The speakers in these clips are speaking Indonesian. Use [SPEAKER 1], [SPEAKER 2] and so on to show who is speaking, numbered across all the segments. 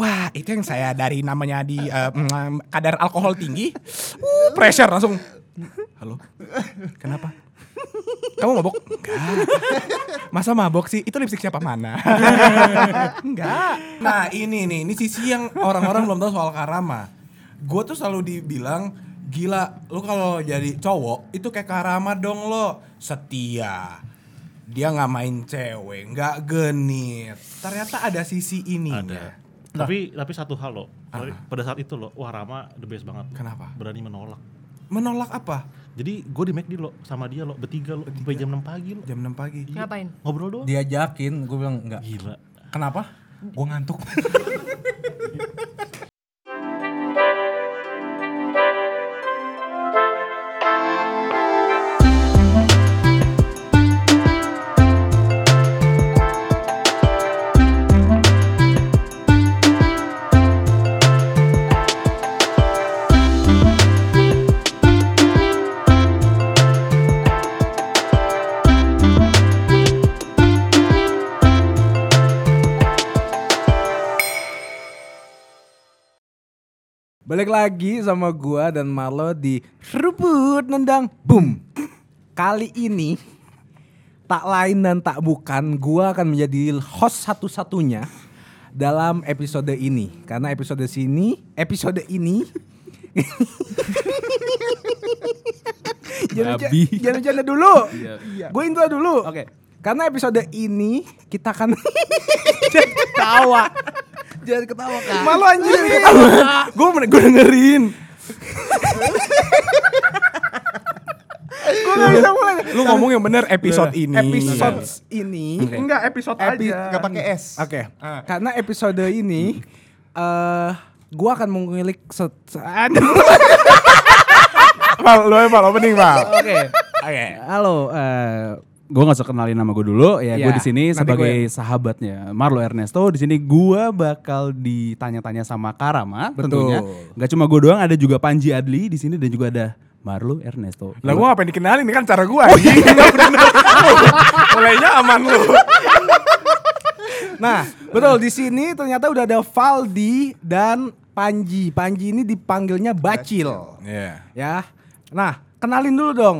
[SPEAKER 1] Wah, itu yang saya dari namanya di eh, mm, kadar alkohol tinggi. Uh, pressure langsung. Halo. Kenapa? Kamu mabok? Enggak. Masa mabok sih? Itu lipstick siapa mana? Enggak. Nah, ini nih, ini sisi yang orang-orang belum tahu soal Karama. Gue tuh selalu dibilang gila, lu kalau jadi cowok itu kayak Karama dong lo, setia. Dia nggak main cewek, nggak genit. Ternyata ada sisi ininya.
[SPEAKER 2] Ada. Tapi tapi satu hal loh. Tapi Pada saat itu loh, wah Rama the best banget.
[SPEAKER 1] Kenapa?
[SPEAKER 2] Berani menolak.
[SPEAKER 1] Menolak apa?
[SPEAKER 2] Jadi gue di McD lo sama dia lo bertiga lo sampai jam 6 pagi lo.
[SPEAKER 1] Jam 6 pagi.
[SPEAKER 3] Ngapain?
[SPEAKER 2] Ngobrol doang.
[SPEAKER 4] Diajakin, gue bilang enggak.
[SPEAKER 2] Gila.
[SPEAKER 4] Kenapa? Gue ngantuk. Balik lagi sama gua dan Marlo di Rebut Nendang Boom. Kali ini tak lain dan tak bukan gua akan menjadi host satu-satunya dalam episode ini karena episode sini episode ini jangan
[SPEAKER 5] Babi.
[SPEAKER 4] bercanda- jangan bercanda dulu
[SPEAKER 5] Iya.
[SPEAKER 4] gue intro dulu
[SPEAKER 5] Oke.
[SPEAKER 4] karena episode ini kita akan jangan ketawa jangan ketawa kan malu anjir
[SPEAKER 1] gue gue dengerin.
[SPEAKER 4] gue
[SPEAKER 1] Iya,
[SPEAKER 4] gak bisa mulai
[SPEAKER 1] Lu ngomong yang bener Iya. episode ini. Iya.
[SPEAKER 4] episode ini
[SPEAKER 1] Enggak episode
[SPEAKER 4] Epi-
[SPEAKER 1] aja.
[SPEAKER 6] Gak pakai S.
[SPEAKER 4] oke
[SPEAKER 1] Ah.
[SPEAKER 4] karena episode ini eh gua akan mengulik set aduh
[SPEAKER 1] Mal, lu emang opening mal.
[SPEAKER 4] oke
[SPEAKER 1] Oke.
[SPEAKER 4] halo eh
[SPEAKER 5] Gue gak usah kenalin nama gue dulu ya.
[SPEAKER 4] Iya,
[SPEAKER 5] Gue di sini
[SPEAKER 4] nanti
[SPEAKER 5] sebagai sahabatnya Marlo Ernesto. Di sini gue bakal ditanya-tanya sama Karama
[SPEAKER 4] Betul.
[SPEAKER 5] tentunya. Gak cuma gue doang, ada juga Panji Adli di sini dan juga ada Marlo Ernesto.
[SPEAKER 1] Lah gue ngapain dikenalin ini kan cara gue. Mulainya aman lu.
[SPEAKER 4] nah betul di sini ternyata udah ada Valdi dan Panji Panji ini dipanggilnya Bacil
[SPEAKER 1] Iya.
[SPEAKER 4] ya nah kenalin dulu dong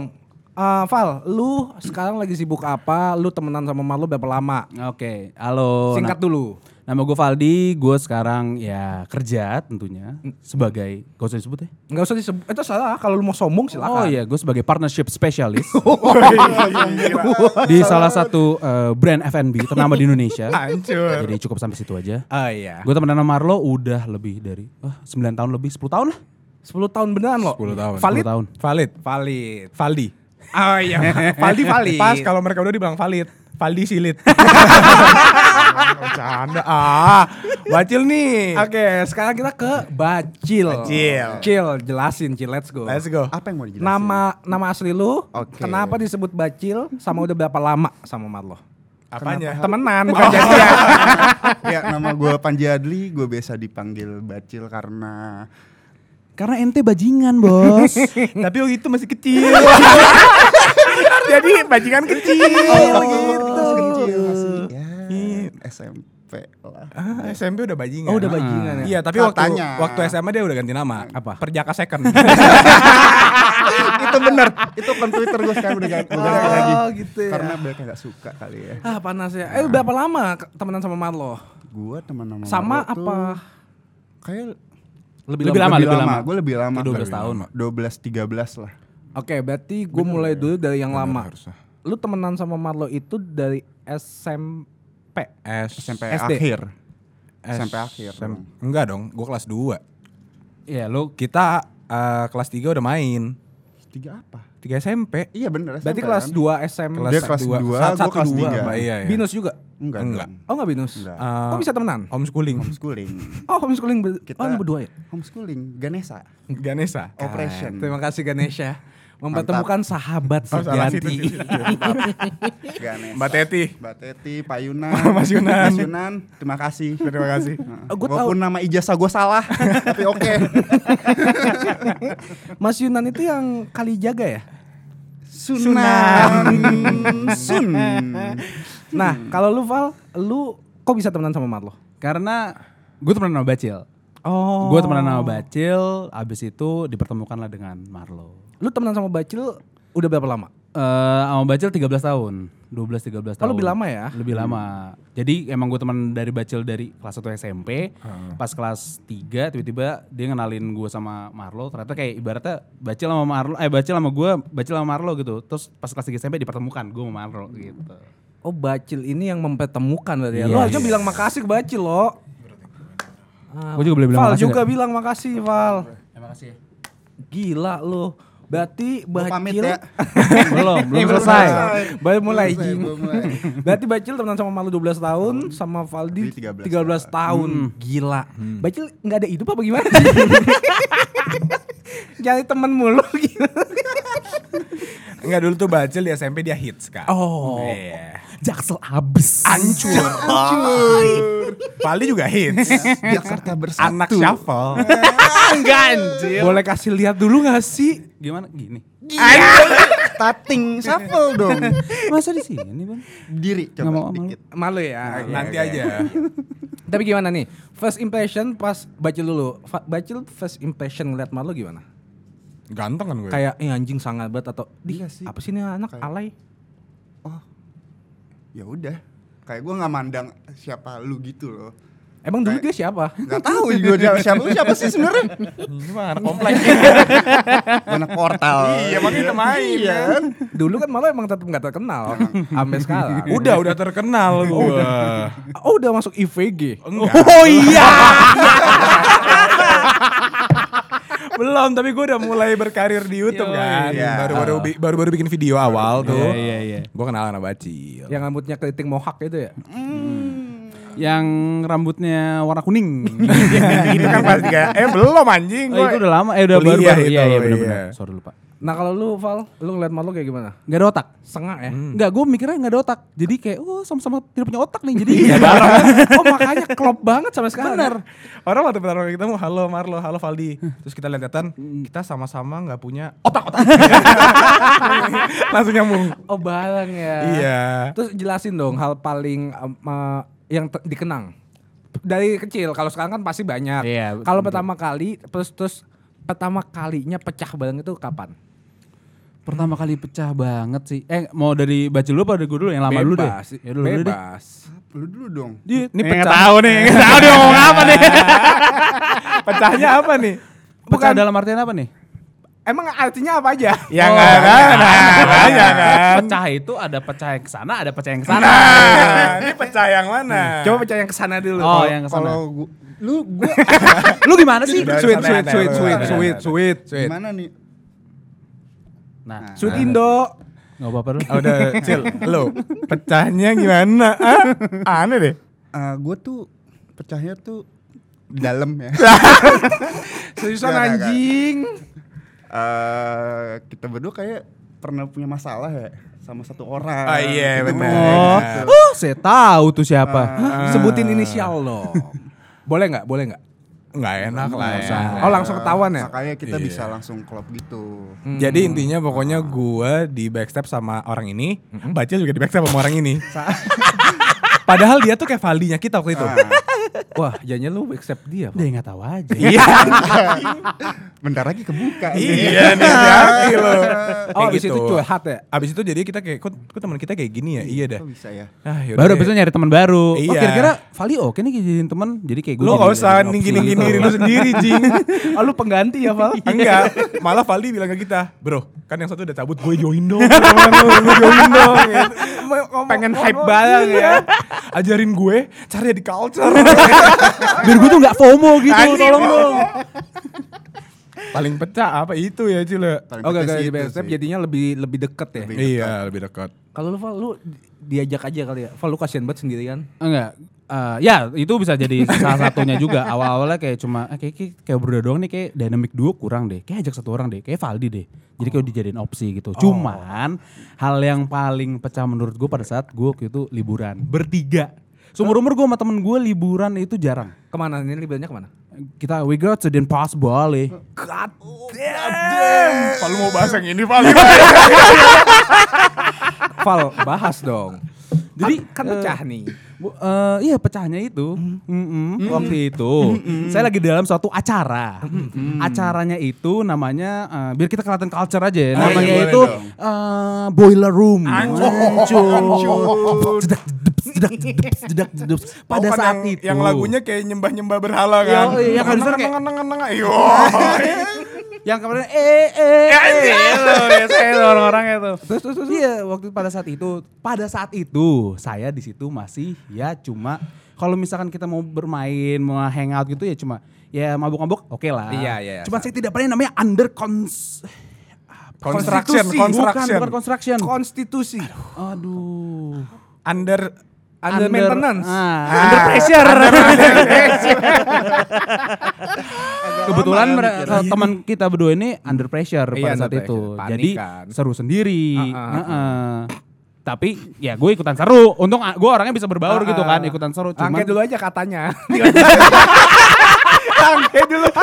[SPEAKER 4] Eh Val, lu sekarang lagi sibuk apa? Lu temenan sama Marlo berapa lama?
[SPEAKER 5] Oke, halo.
[SPEAKER 4] Singkat
[SPEAKER 5] Na-
[SPEAKER 4] dulu.
[SPEAKER 5] Nama gue Valdi, gue sekarang ya kerja tentunya
[SPEAKER 4] Hmm.
[SPEAKER 5] sebagai, gak usah disebut ya.
[SPEAKER 4] Enggak usah disebut. Itu salah. Kalau lu mau sombong
[SPEAKER 5] Oh
[SPEAKER 4] silakan. Oh, iya,
[SPEAKER 5] iya, gue sebagai partnership specialist di salah satu eh, brand F&B ternama di Indonesia.
[SPEAKER 1] Hancur.
[SPEAKER 5] Jadi cukup sampai situ aja.
[SPEAKER 4] Oh iya.
[SPEAKER 5] Gue temenan sama Marlo udah lebih dari wah, 9 tahun lebih, 10 tahun lah.
[SPEAKER 4] 10 tahun beneran loh.
[SPEAKER 1] 10 tahun.
[SPEAKER 4] Valid.
[SPEAKER 5] 10 tahun.
[SPEAKER 4] Valid. Valid.
[SPEAKER 1] Valdi. Oh iya.
[SPEAKER 4] Valdi valid.
[SPEAKER 1] Pas kalau mereka udah dibilang valid. Valdi silit. Bercanda ah. Bacil nih.
[SPEAKER 4] Oke, sekarang kita ke Bacil.
[SPEAKER 1] Bacil.
[SPEAKER 4] Cil, jelasin Cil, let's go.
[SPEAKER 1] Let's go.
[SPEAKER 6] Apa yang mau dijelasin?
[SPEAKER 4] Nama nama asli lu,
[SPEAKER 6] Oke.
[SPEAKER 4] kenapa disebut Bacil sama udah berapa lama sama Marlo?
[SPEAKER 1] Apanya?
[SPEAKER 4] Temenan, bukan jadian.
[SPEAKER 6] ya nama gue Panji Adli, gue biasa dipanggil Bacil karena
[SPEAKER 5] Karena ente bajingan, Bos.
[SPEAKER 1] Tapi waktu itu masih kecil. Jadi bajingan kecil.
[SPEAKER 4] Oh,
[SPEAKER 6] Oh.
[SPEAKER 4] gitu.
[SPEAKER 6] Pas Iya, kecil masih ya
[SPEAKER 4] Iya.
[SPEAKER 6] SMP lah.
[SPEAKER 1] Ah, SMP udah bajingan.
[SPEAKER 4] Oh, udah bajingan ya.
[SPEAKER 1] Iya, tapi waktu
[SPEAKER 6] Katanya.
[SPEAKER 1] waktu SMA dia udah ganti nama.
[SPEAKER 4] Apa?
[SPEAKER 1] Perjaka second.
[SPEAKER 6] itu bener, itu kan Twitter gue sekarang udah gak, udah gak
[SPEAKER 4] Oh,
[SPEAKER 6] lagi.
[SPEAKER 4] gitu ya.
[SPEAKER 6] Karena mereka gak suka kali ya.
[SPEAKER 4] Ah, panas ya. Eh, berapa lama ke- temenan sama Marlo?
[SPEAKER 6] Gue teman nama
[SPEAKER 4] Sama
[SPEAKER 6] Marlo tuh
[SPEAKER 4] apa?
[SPEAKER 6] Kayak
[SPEAKER 5] lebih, lama, lebih lama.
[SPEAKER 6] Gue lebih lama.
[SPEAKER 5] 12 tahun.
[SPEAKER 6] 12 13 lah.
[SPEAKER 4] Oke, berarti gue mulai dulu dari yang lama. Lu temenan sama Marlo itu dari SMP.
[SPEAKER 6] SMP
[SPEAKER 4] SD.
[SPEAKER 6] akhir. SMP akhir.
[SPEAKER 1] Sem- Enggak dong, gua kelas 2.
[SPEAKER 5] Iya, lo
[SPEAKER 1] Kita eh, kelas 3 udah main.
[SPEAKER 6] Tiga apa?
[SPEAKER 1] 3 SMP.
[SPEAKER 6] Iya bener
[SPEAKER 4] Berarti
[SPEAKER 6] SMP
[SPEAKER 4] kelas
[SPEAKER 6] kan?
[SPEAKER 4] 2 SMP.
[SPEAKER 6] Dia kelas
[SPEAKER 1] dua.
[SPEAKER 6] dua,
[SPEAKER 1] Saat
[SPEAKER 6] gua
[SPEAKER 1] satu
[SPEAKER 6] kelas
[SPEAKER 1] dua,
[SPEAKER 6] tiga.
[SPEAKER 1] Mbak, iya, iya.
[SPEAKER 4] Binus juga?
[SPEAKER 6] Enggak,
[SPEAKER 1] Enggak.
[SPEAKER 6] enggak.
[SPEAKER 4] Oh enggak binus?
[SPEAKER 6] Enggak.
[SPEAKER 1] Eh,
[SPEAKER 4] Kok bisa temenan?
[SPEAKER 1] Homeschooling.
[SPEAKER 6] Homeschooling.
[SPEAKER 4] Oh homeschooling. Ber-
[SPEAKER 6] Kita
[SPEAKER 4] oh lu berdua ya?
[SPEAKER 6] Homeschooling, Ganesha.
[SPEAKER 1] Ganesha.
[SPEAKER 6] Operation.
[SPEAKER 4] Terima kasih Ganesha. Mempertemukan sahabat
[SPEAKER 1] Oh, salah situ,
[SPEAKER 4] sejati.
[SPEAKER 1] situ.
[SPEAKER 6] Ganesha.
[SPEAKER 1] Mbak Teti.
[SPEAKER 6] Mbak Teti, Pak Yunan,
[SPEAKER 1] Mas Yunan.
[SPEAKER 6] Mas Yunan, terima kasih.
[SPEAKER 1] Terima kasih.
[SPEAKER 6] Heeh.
[SPEAKER 5] Eh,
[SPEAKER 4] Oh, gua
[SPEAKER 6] Walaupun nama ijazah gue salah, tapi oke.
[SPEAKER 4] Mas Yunan itu yang kali jaga ya?
[SPEAKER 6] Sunan, Sun.
[SPEAKER 4] Nah kalau lu Val, lu kok bisa temenan sama Marlo?
[SPEAKER 5] karena Gue temenan sama Bacil.
[SPEAKER 4] Oh.
[SPEAKER 5] Gue temenan sama Bacil, abis itu dipertemukanlah dengan Marlo.
[SPEAKER 4] Lu temenan sama Bacil udah berapa lama?
[SPEAKER 5] eh sama Bacil 13 tahun, 12 13 tahun.
[SPEAKER 4] Oh, lebih lama ya?
[SPEAKER 5] Lebih lama. Jadi emang gue teman dari Bacil dari kelas 1 SMP. Pas kelas 3 tiba-tiba dia ngenalin gue sama Marlo. Ternyata kayak ibaratnya Bacil sama Marlo eh Bacil sama gue, Bacil sama Marlo gitu. Terus pas kelas 3 SMP dipertemukan gue sama Marlo gitu.
[SPEAKER 4] Oh Bacil ini yang mempertemukan tadi ya.
[SPEAKER 5] Yes.
[SPEAKER 4] Lo aja bilang makasih ke Bacil lo.
[SPEAKER 5] Gua juga boleh bilang
[SPEAKER 4] Val
[SPEAKER 5] makasih ya.
[SPEAKER 4] juga
[SPEAKER 5] nggak?
[SPEAKER 4] bilang makasih Val.
[SPEAKER 5] Terima kasih.
[SPEAKER 4] Gila lo. Berarti
[SPEAKER 6] Gua pamit
[SPEAKER 4] Bacil
[SPEAKER 6] ya.
[SPEAKER 5] belum, belum selesai.
[SPEAKER 4] Baru mulai
[SPEAKER 6] Belum Eh, selesai,
[SPEAKER 4] jing.
[SPEAKER 6] belum mulai.
[SPEAKER 4] Berarti Bacil temenan sama Malu 12 tahun, sama Valdi
[SPEAKER 6] Valdi 13
[SPEAKER 4] 13, tahun. Gila. Bacil nggak ada hidup apa gimana? Jadi temen mulu gitu.
[SPEAKER 1] Enggak dulu tuh Bacil di SMP dia hits kak.
[SPEAKER 4] Oh.
[SPEAKER 1] Iya.
[SPEAKER 5] Jaksel abis.
[SPEAKER 1] Hancur. Paldi juga hits.
[SPEAKER 6] Jakarta bersatu.
[SPEAKER 1] Anak shuffle.
[SPEAKER 5] Enggak anjir.
[SPEAKER 4] Boleh kasih lihat dulu gak sih?
[SPEAKER 5] Gimana gini?
[SPEAKER 6] Tating shuffle dong.
[SPEAKER 5] Masa di sini, Bang?
[SPEAKER 6] Diri
[SPEAKER 5] Nggak mau sama
[SPEAKER 6] coba
[SPEAKER 5] lu.
[SPEAKER 6] dikit.
[SPEAKER 4] Malu ya.
[SPEAKER 1] Nanti aja.
[SPEAKER 4] Tapi gimana nih? First impression pas Bacil dulu. Fa- Bacil first impression ngeliat Malu gimana?
[SPEAKER 1] Ganteng kan gue.
[SPEAKER 4] Kayak eh, anjing sangat banget atau
[SPEAKER 6] Iya
[SPEAKER 4] dia
[SPEAKER 6] sih.
[SPEAKER 4] Apa sih ini anak
[SPEAKER 6] Kayak-
[SPEAKER 4] alay?
[SPEAKER 6] Ya udah. Kayak gue nggak mandang siapa lu gitu loh.
[SPEAKER 4] Emang dulu
[SPEAKER 6] Kayak-
[SPEAKER 4] dia siapa?
[SPEAKER 6] Gak tahu gue siapa lu siapa sih sebenarnya?
[SPEAKER 1] gimana
[SPEAKER 5] Iya.
[SPEAKER 1] kompleks.
[SPEAKER 6] Anak portal.
[SPEAKER 1] Iya, makanya kita main,
[SPEAKER 6] Iya.
[SPEAKER 1] kan?
[SPEAKER 4] Dulu kan malah emang tetap nggak terkenal sampai sekarang.
[SPEAKER 1] udah udah terkenal gue.
[SPEAKER 4] Oh udah masuk IVG.
[SPEAKER 1] Enggak.
[SPEAKER 5] Oh Iya. iya.
[SPEAKER 1] Belum, tapi gue udah mulai berkarir di YouTube kan.
[SPEAKER 6] Iya.
[SPEAKER 1] Baru-baru bi- baru-baru bikin video awal tuh.
[SPEAKER 5] Ah. Iya, iya, iya.
[SPEAKER 1] Gue kenal sama Bacil.
[SPEAKER 4] Yang rambutnya keriting mohak itu ya.
[SPEAKER 5] yang rambutnya warna kuning.
[SPEAKER 1] itu kan pas tiga. Eh belum anjing. gua.
[SPEAKER 5] oh, itu udah lama, eh udah baru
[SPEAKER 1] Kuliah
[SPEAKER 5] baru.
[SPEAKER 1] itu,
[SPEAKER 5] Iya, iya
[SPEAKER 1] iya.
[SPEAKER 5] benar-benar. Sorry lupa.
[SPEAKER 4] Nah kalau lu Val, lu ngeliat malu kayak gimana?
[SPEAKER 5] Gak ada otak. Hmm.
[SPEAKER 4] Sengak ya?
[SPEAKER 5] Enggak, gue mikirnya gak ada otak. Jadi kayak, oh sama-sama tidak punya otak nih. Jadi
[SPEAKER 4] oh makanya klop banget sampai sekarang. ya.
[SPEAKER 1] Bener. Orang waktu pertama kali ketemu, halo Marlo, halo Valdi. Terus kita lihat-lihatan,
[SPEAKER 4] Hmm.
[SPEAKER 1] kita sama-sama nggak punya otak-otak. Langsung nyambung.
[SPEAKER 4] Oh bareng ya.
[SPEAKER 1] Iya.
[SPEAKER 4] Terus jelasin dong hal paling em, eh, yang te- dikenang dari kecil. Kalau sekarang kan pasti banyak.
[SPEAKER 5] Iya,
[SPEAKER 4] kalau
[SPEAKER 5] betul.
[SPEAKER 4] pertama kali terus terus pertama kalinya pecah bareng itu kapan?
[SPEAKER 5] Pertama kali pecah banget sih. Eh, mau dari baca dulu apa dari gue dulu? Yang lama dulu deh.
[SPEAKER 4] Bebas.
[SPEAKER 5] Ya, dulu, dulu deh.
[SPEAKER 4] Bebas.
[SPEAKER 6] Lu dulu dong.
[SPEAKER 5] Dia, Iya, ini
[SPEAKER 1] Nggak
[SPEAKER 5] pecah.
[SPEAKER 1] tahu nih, nggak tahu dia ngomong apa nih. Pecahnya apa nih?
[SPEAKER 5] Pecah dalam artian apa nih?
[SPEAKER 4] Emang artinya apa aja? Oh,
[SPEAKER 1] Ya nggak kan, nah, ya kan.
[SPEAKER 5] Pecah itu ada pecah yang kesana, ada pecah yang kesana.
[SPEAKER 1] Nah, ini pecah yang mana?
[SPEAKER 4] Coba pecah yang kesana dulu.
[SPEAKER 5] Oh,
[SPEAKER 4] Kalau-
[SPEAKER 5] yang kesana.
[SPEAKER 6] Kalau gua lu gua
[SPEAKER 5] Lu gimana sih?
[SPEAKER 6] Udah,
[SPEAKER 4] sweet, sweet,
[SPEAKER 6] santai, santai,
[SPEAKER 4] sweet, sweet,
[SPEAKER 6] santai, santai,
[SPEAKER 4] sweet,
[SPEAKER 6] santai.
[SPEAKER 4] sweet, sweet.
[SPEAKER 6] Gimana nih?
[SPEAKER 5] Nah,
[SPEAKER 4] Sweet Indo.
[SPEAKER 5] gak apa-apa lu.
[SPEAKER 1] Oh, udah, Cil, lo pecahnya gimana? Ah, aneh deh.
[SPEAKER 6] Eh gue tuh pecahnya tuh di dalam ya.
[SPEAKER 4] Seriusan
[SPEAKER 6] Gak, gak, gak.
[SPEAKER 4] anjing.
[SPEAKER 6] Eh kita berdua kayak pernah punya masalah ya sama satu orang.
[SPEAKER 1] Oh, iya,
[SPEAKER 6] Gitu.
[SPEAKER 1] benar.
[SPEAKER 5] Oh,
[SPEAKER 1] Gitu.
[SPEAKER 5] oh, saya tahu tuh
[SPEAKER 4] Ah.
[SPEAKER 5] siapa.
[SPEAKER 4] Sebutin inisial dong. Boleh nggak? Boleh nggak?
[SPEAKER 1] Nggak enak lah
[SPEAKER 6] Nggak
[SPEAKER 1] ya.
[SPEAKER 6] usah.
[SPEAKER 4] Oh langsung ketahuan ya?
[SPEAKER 6] Makanya
[SPEAKER 1] Iya.
[SPEAKER 6] kita
[SPEAKER 1] Hmm.
[SPEAKER 6] bisa langsung klop gitu.
[SPEAKER 1] Jadi intinya pokoknya gua di backstep sama orang ini, Bacil juga di backstep sama orang ini. Padahal dia tuh kayak Valdinya kita waktu itu.
[SPEAKER 6] Ah. Nah,
[SPEAKER 4] Wah janjian lu accept dia. Pak.
[SPEAKER 5] Dia nggak tahu aja.
[SPEAKER 1] Iya.
[SPEAKER 6] Bentar lagi kebuka.
[SPEAKER 1] iya nih berarti lo.
[SPEAKER 4] Oh abis
[SPEAKER 1] gitu.
[SPEAKER 4] itu curhat ya?
[SPEAKER 1] Abis itu jadi kita kayak, kok, kok teman kita kayak gini ya? Iya dah.
[SPEAKER 6] Kok bisa ya?
[SPEAKER 1] Ah, yaudah
[SPEAKER 5] Baru
[SPEAKER 1] deh.
[SPEAKER 5] abis itu nyari teman baru. Oh
[SPEAKER 1] Iya.
[SPEAKER 5] kira-kira Vali oke nih jadiin teman. Jadi gitu. kayak gue.
[SPEAKER 1] Lu gak usah ninggin-ninggin diri lu sendiri, Jing.
[SPEAKER 4] Oh lu pengganti ya Val?
[SPEAKER 1] Iya. Enggak, malah Valdi bilang ke kita, bro, kan yang satu udah cabut, gue join dong, teman lu, lu join dong. gitu. Pengen hype bareng ya. Ajarin gue, caranya di culture.
[SPEAKER 5] Biar gue tuh nggak FOMO gitu.
[SPEAKER 1] Anjing.
[SPEAKER 5] tolong dong.
[SPEAKER 1] Paling pecah apa itu ya, Cile?
[SPEAKER 6] Paling
[SPEAKER 4] Oh gak,
[SPEAKER 6] pecah
[SPEAKER 4] gak,
[SPEAKER 6] sih
[SPEAKER 4] di
[SPEAKER 6] itu
[SPEAKER 4] backstep
[SPEAKER 6] sih.
[SPEAKER 4] jadinya lebih lebih deket ya?
[SPEAKER 6] Lebih.
[SPEAKER 1] Iya, lebih dekat.
[SPEAKER 4] Kalau lu Val, lu diajak aja kali ya? Val lu kasihan banget kan. sendirian.
[SPEAKER 5] Enggak. Eh, ya itu bisa jadi salah satunya juga awal-awalnya kayak cuma eh, kayak, kayak, kayak berdua doang nih kayak dynamic duo kurang deh kayak ajak satu orang deh kayak Valdi deh jadi kayak dijadiin
[SPEAKER 1] Oh.
[SPEAKER 5] opsi gitu cuman hal yang paling pecah menurut gue pada saat gue waktu itu liburan bertiga seumur umur gue sama temen gue liburan itu jarang
[SPEAKER 4] Kemana? Ini liburannya kemana?
[SPEAKER 5] kita we go to the impossible eh. Bali
[SPEAKER 4] God
[SPEAKER 1] Kalau mau bahas yang ini, Val.
[SPEAKER 6] Iya,
[SPEAKER 4] Val bahas dong.
[SPEAKER 5] Jadi,
[SPEAKER 4] Ah, kan, kan pecah nih.
[SPEAKER 5] Bu- eh, iya pecahnya itu Mm-mm, waktu itu saya lagi di dalam suatu acara acaranya itu namanya eh, biar kita kelihatan culture aja ya.
[SPEAKER 6] Oh, iya,
[SPEAKER 5] namanya
[SPEAKER 6] boleh
[SPEAKER 5] itu
[SPEAKER 6] dong.
[SPEAKER 5] eh, boiler room
[SPEAKER 1] Anjur.
[SPEAKER 5] Hancur. Jedak, jedups, jedak, jedups, jedak, jedups. pada
[SPEAKER 1] Bukan
[SPEAKER 5] saat
[SPEAKER 1] kan yang,
[SPEAKER 5] itu
[SPEAKER 1] yang lagunya kayak nyembah-nyembah berhala kan.
[SPEAKER 5] Yoi, yang harusnya
[SPEAKER 1] Neng,
[SPEAKER 5] kayak-
[SPEAKER 1] neng, neng, neng, neng, yoi.
[SPEAKER 5] yang kemarin eh eh eh itu biasanya itu orang-orang itu terus terus terus iya waktu pada saat itu pada saat itu saya di situ masih ya cuma kalau misalkan kita mau bermain mau hangout gitu ya cuma ya mabuk-mabuk oke lah
[SPEAKER 4] Iya, iya, iya.
[SPEAKER 5] cuma saya tidak pernah yang namanya under cons
[SPEAKER 1] Construction,
[SPEAKER 5] konstitusi.
[SPEAKER 1] construction.
[SPEAKER 5] bukan bukan construction
[SPEAKER 4] Konstitusi.
[SPEAKER 5] aduh
[SPEAKER 1] Under
[SPEAKER 4] Under maintenance.
[SPEAKER 5] ah, under pressure kebetulan mere- teman kita berdua ini gitu. under pressure
[SPEAKER 4] Iya,
[SPEAKER 5] pada
[SPEAKER 4] under
[SPEAKER 5] saat itu.
[SPEAKER 4] pressure. Panik
[SPEAKER 5] Jadi
[SPEAKER 4] kan.
[SPEAKER 5] seru sendiri.
[SPEAKER 4] Ah, ah,
[SPEAKER 5] Heeh. Tapi ya gue ikutan seru. Untung ah, gue orangnya bisa berbaur gitu kan, ikutan seru. Cuman
[SPEAKER 4] Angkat dulu aja katanya.
[SPEAKER 5] Eh,
[SPEAKER 1] Angke dulu.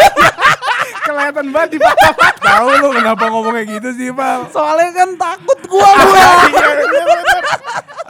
[SPEAKER 1] Kelihatan banget di Pak. Tahu lu kenapa ngomong kayak gitu sih, Iya, Pak?
[SPEAKER 5] soalnya kan takut gue gue.
[SPEAKER 1] iya,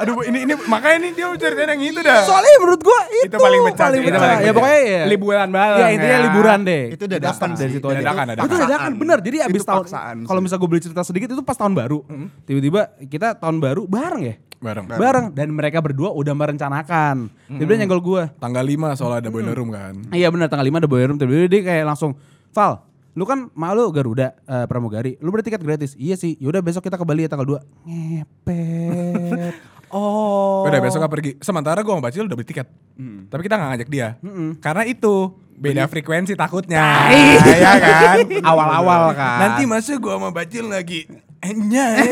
[SPEAKER 1] Aduh, Bu, ini ini makanya ini dia ceritain yang itu dah.
[SPEAKER 5] soalnya menurut gue
[SPEAKER 1] Itu
[SPEAKER 5] itu,
[SPEAKER 1] paling pecah sih, itu
[SPEAKER 5] pecah.
[SPEAKER 1] paling
[SPEAKER 5] Ya
[SPEAKER 1] pecah.
[SPEAKER 4] Iya,
[SPEAKER 5] pokoknya ya.
[SPEAKER 4] Liburan bareng.
[SPEAKER 5] Ya intinya
[SPEAKER 4] ya.
[SPEAKER 5] liburan deh.
[SPEAKER 6] Itu dadakan
[SPEAKER 5] Iya. dari
[SPEAKER 6] sih,
[SPEAKER 5] situ aja.
[SPEAKER 1] dadakan, dadakan.
[SPEAKER 5] Itu dadakan bener. Jadi
[SPEAKER 6] Itu
[SPEAKER 5] abis tahun
[SPEAKER 6] paksaan sih.
[SPEAKER 5] kalau misal gue boleh cerita sedikit itu pas tahun baru. Tiba-tiba kita tahun baru bareng ya.
[SPEAKER 1] Bareng.
[SPEAKER 5] Bareng dan mereka berdua udah merencanakan. Tiba-tiba nyenggol gue.
[SPEAKER 1] Tanggal 5 soalnya ada boiler room kan.
[SPEAKER 5] Iya benar tanggal 5 ada boiler room tiba-tiba dia kayak langsung Val lu kan mak lu Garuda eh, Pramugari lu bertiket gratis iya sih yaudah besok kita ke Bali ya tanggal 2 ngepet oh
[SPEAKER 1] Udah besok gak pergi. Sementara gue sama Bacil udah beli tiket. Tapi kita gak ngajak dia. Karena itu beda frekuensi takutnya. Iya kan?
[SPEAKER 4] Awal-awal kan.
[SPEAKER 1] Nanti masa gue sama Bacil lagi Enya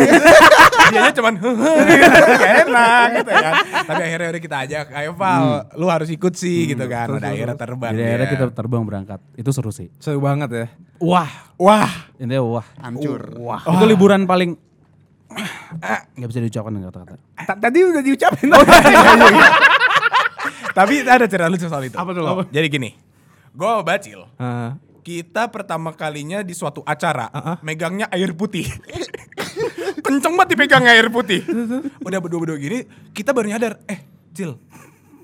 [SPEAKER 1] Dia cuman Gak enak gitu kan Tapi akhirnya udah kita ajak Ayo
[SPEAKER 4] Hmm.
[SPEAKER 1] Val Lu harus ikut sih gitu kan Udah akhirnya terbang
[SPEAKER 5] jadi
[SPEAKER 1] dia.
[SPEAKER 5] akhirnya kita terbang berangkat itu seru sih
[SPEAKER 4] Seru banget ya.
[SPEAKER 5] wah
[SPEAKER 1] Wah
[SPEAKER 5] intinya wah
[SPEAKER 6] hancur. Wah.
[SPEAKER 5] itu liburan paling nggak bisa diucapkan dengan kata-kata
[SPEAKER 4] Ta- Tadi udah diucapin.
[SPEAKER 1] Oh, iya, Tapi ada cerita lucu soal itu
[SPEAKER 4] Apa tuh, Lo?
[SPEAKER 1] Jadi gini Gue sama Bacil
[SPEAKER 4] Ah.
[SPEAKER 1] kita pertama kalinya di suatu acara megangnya air putih. Kenceng banget dipegang air putih. Udah berdua-berdua gini, kita baru nyadar, eh, Cil,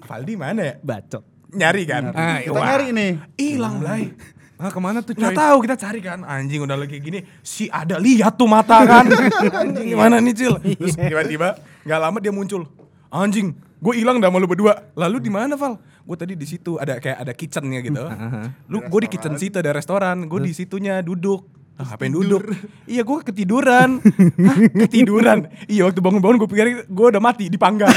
[SPEAKER 1] Valdi mana ya?
[SPEAKER 5] bacot
[SPEAKER 1] Nyari kan? Ah,
[SPEAKER 6] Kita
[SPEAKER 1] wah.
[SPEAKER 6] nyari nih.
[SPEAKER 1] Hilang, Blay.
[SPEAKER 4] Ah, kemana tuh coy?
[SPEAKER 1] Nggak tahu kita cari kan anjing udah lagi gini si ada lihat tuh mata kan anjing gimana nih cil terus tiba-tiba nggak lama dia muncul anjing gue hilang dah malu berdua lalu di mana val gue tadi di situ ada kayak ada kitchennya gitu lu gue di kitchen situ ada restoran gue di situnya duduk Ah, ngapain duduk? Iya gue ketiduran Hah, Ketiduran? Iya waktu bangun-bangun gue pikir gue udah mati dipanggang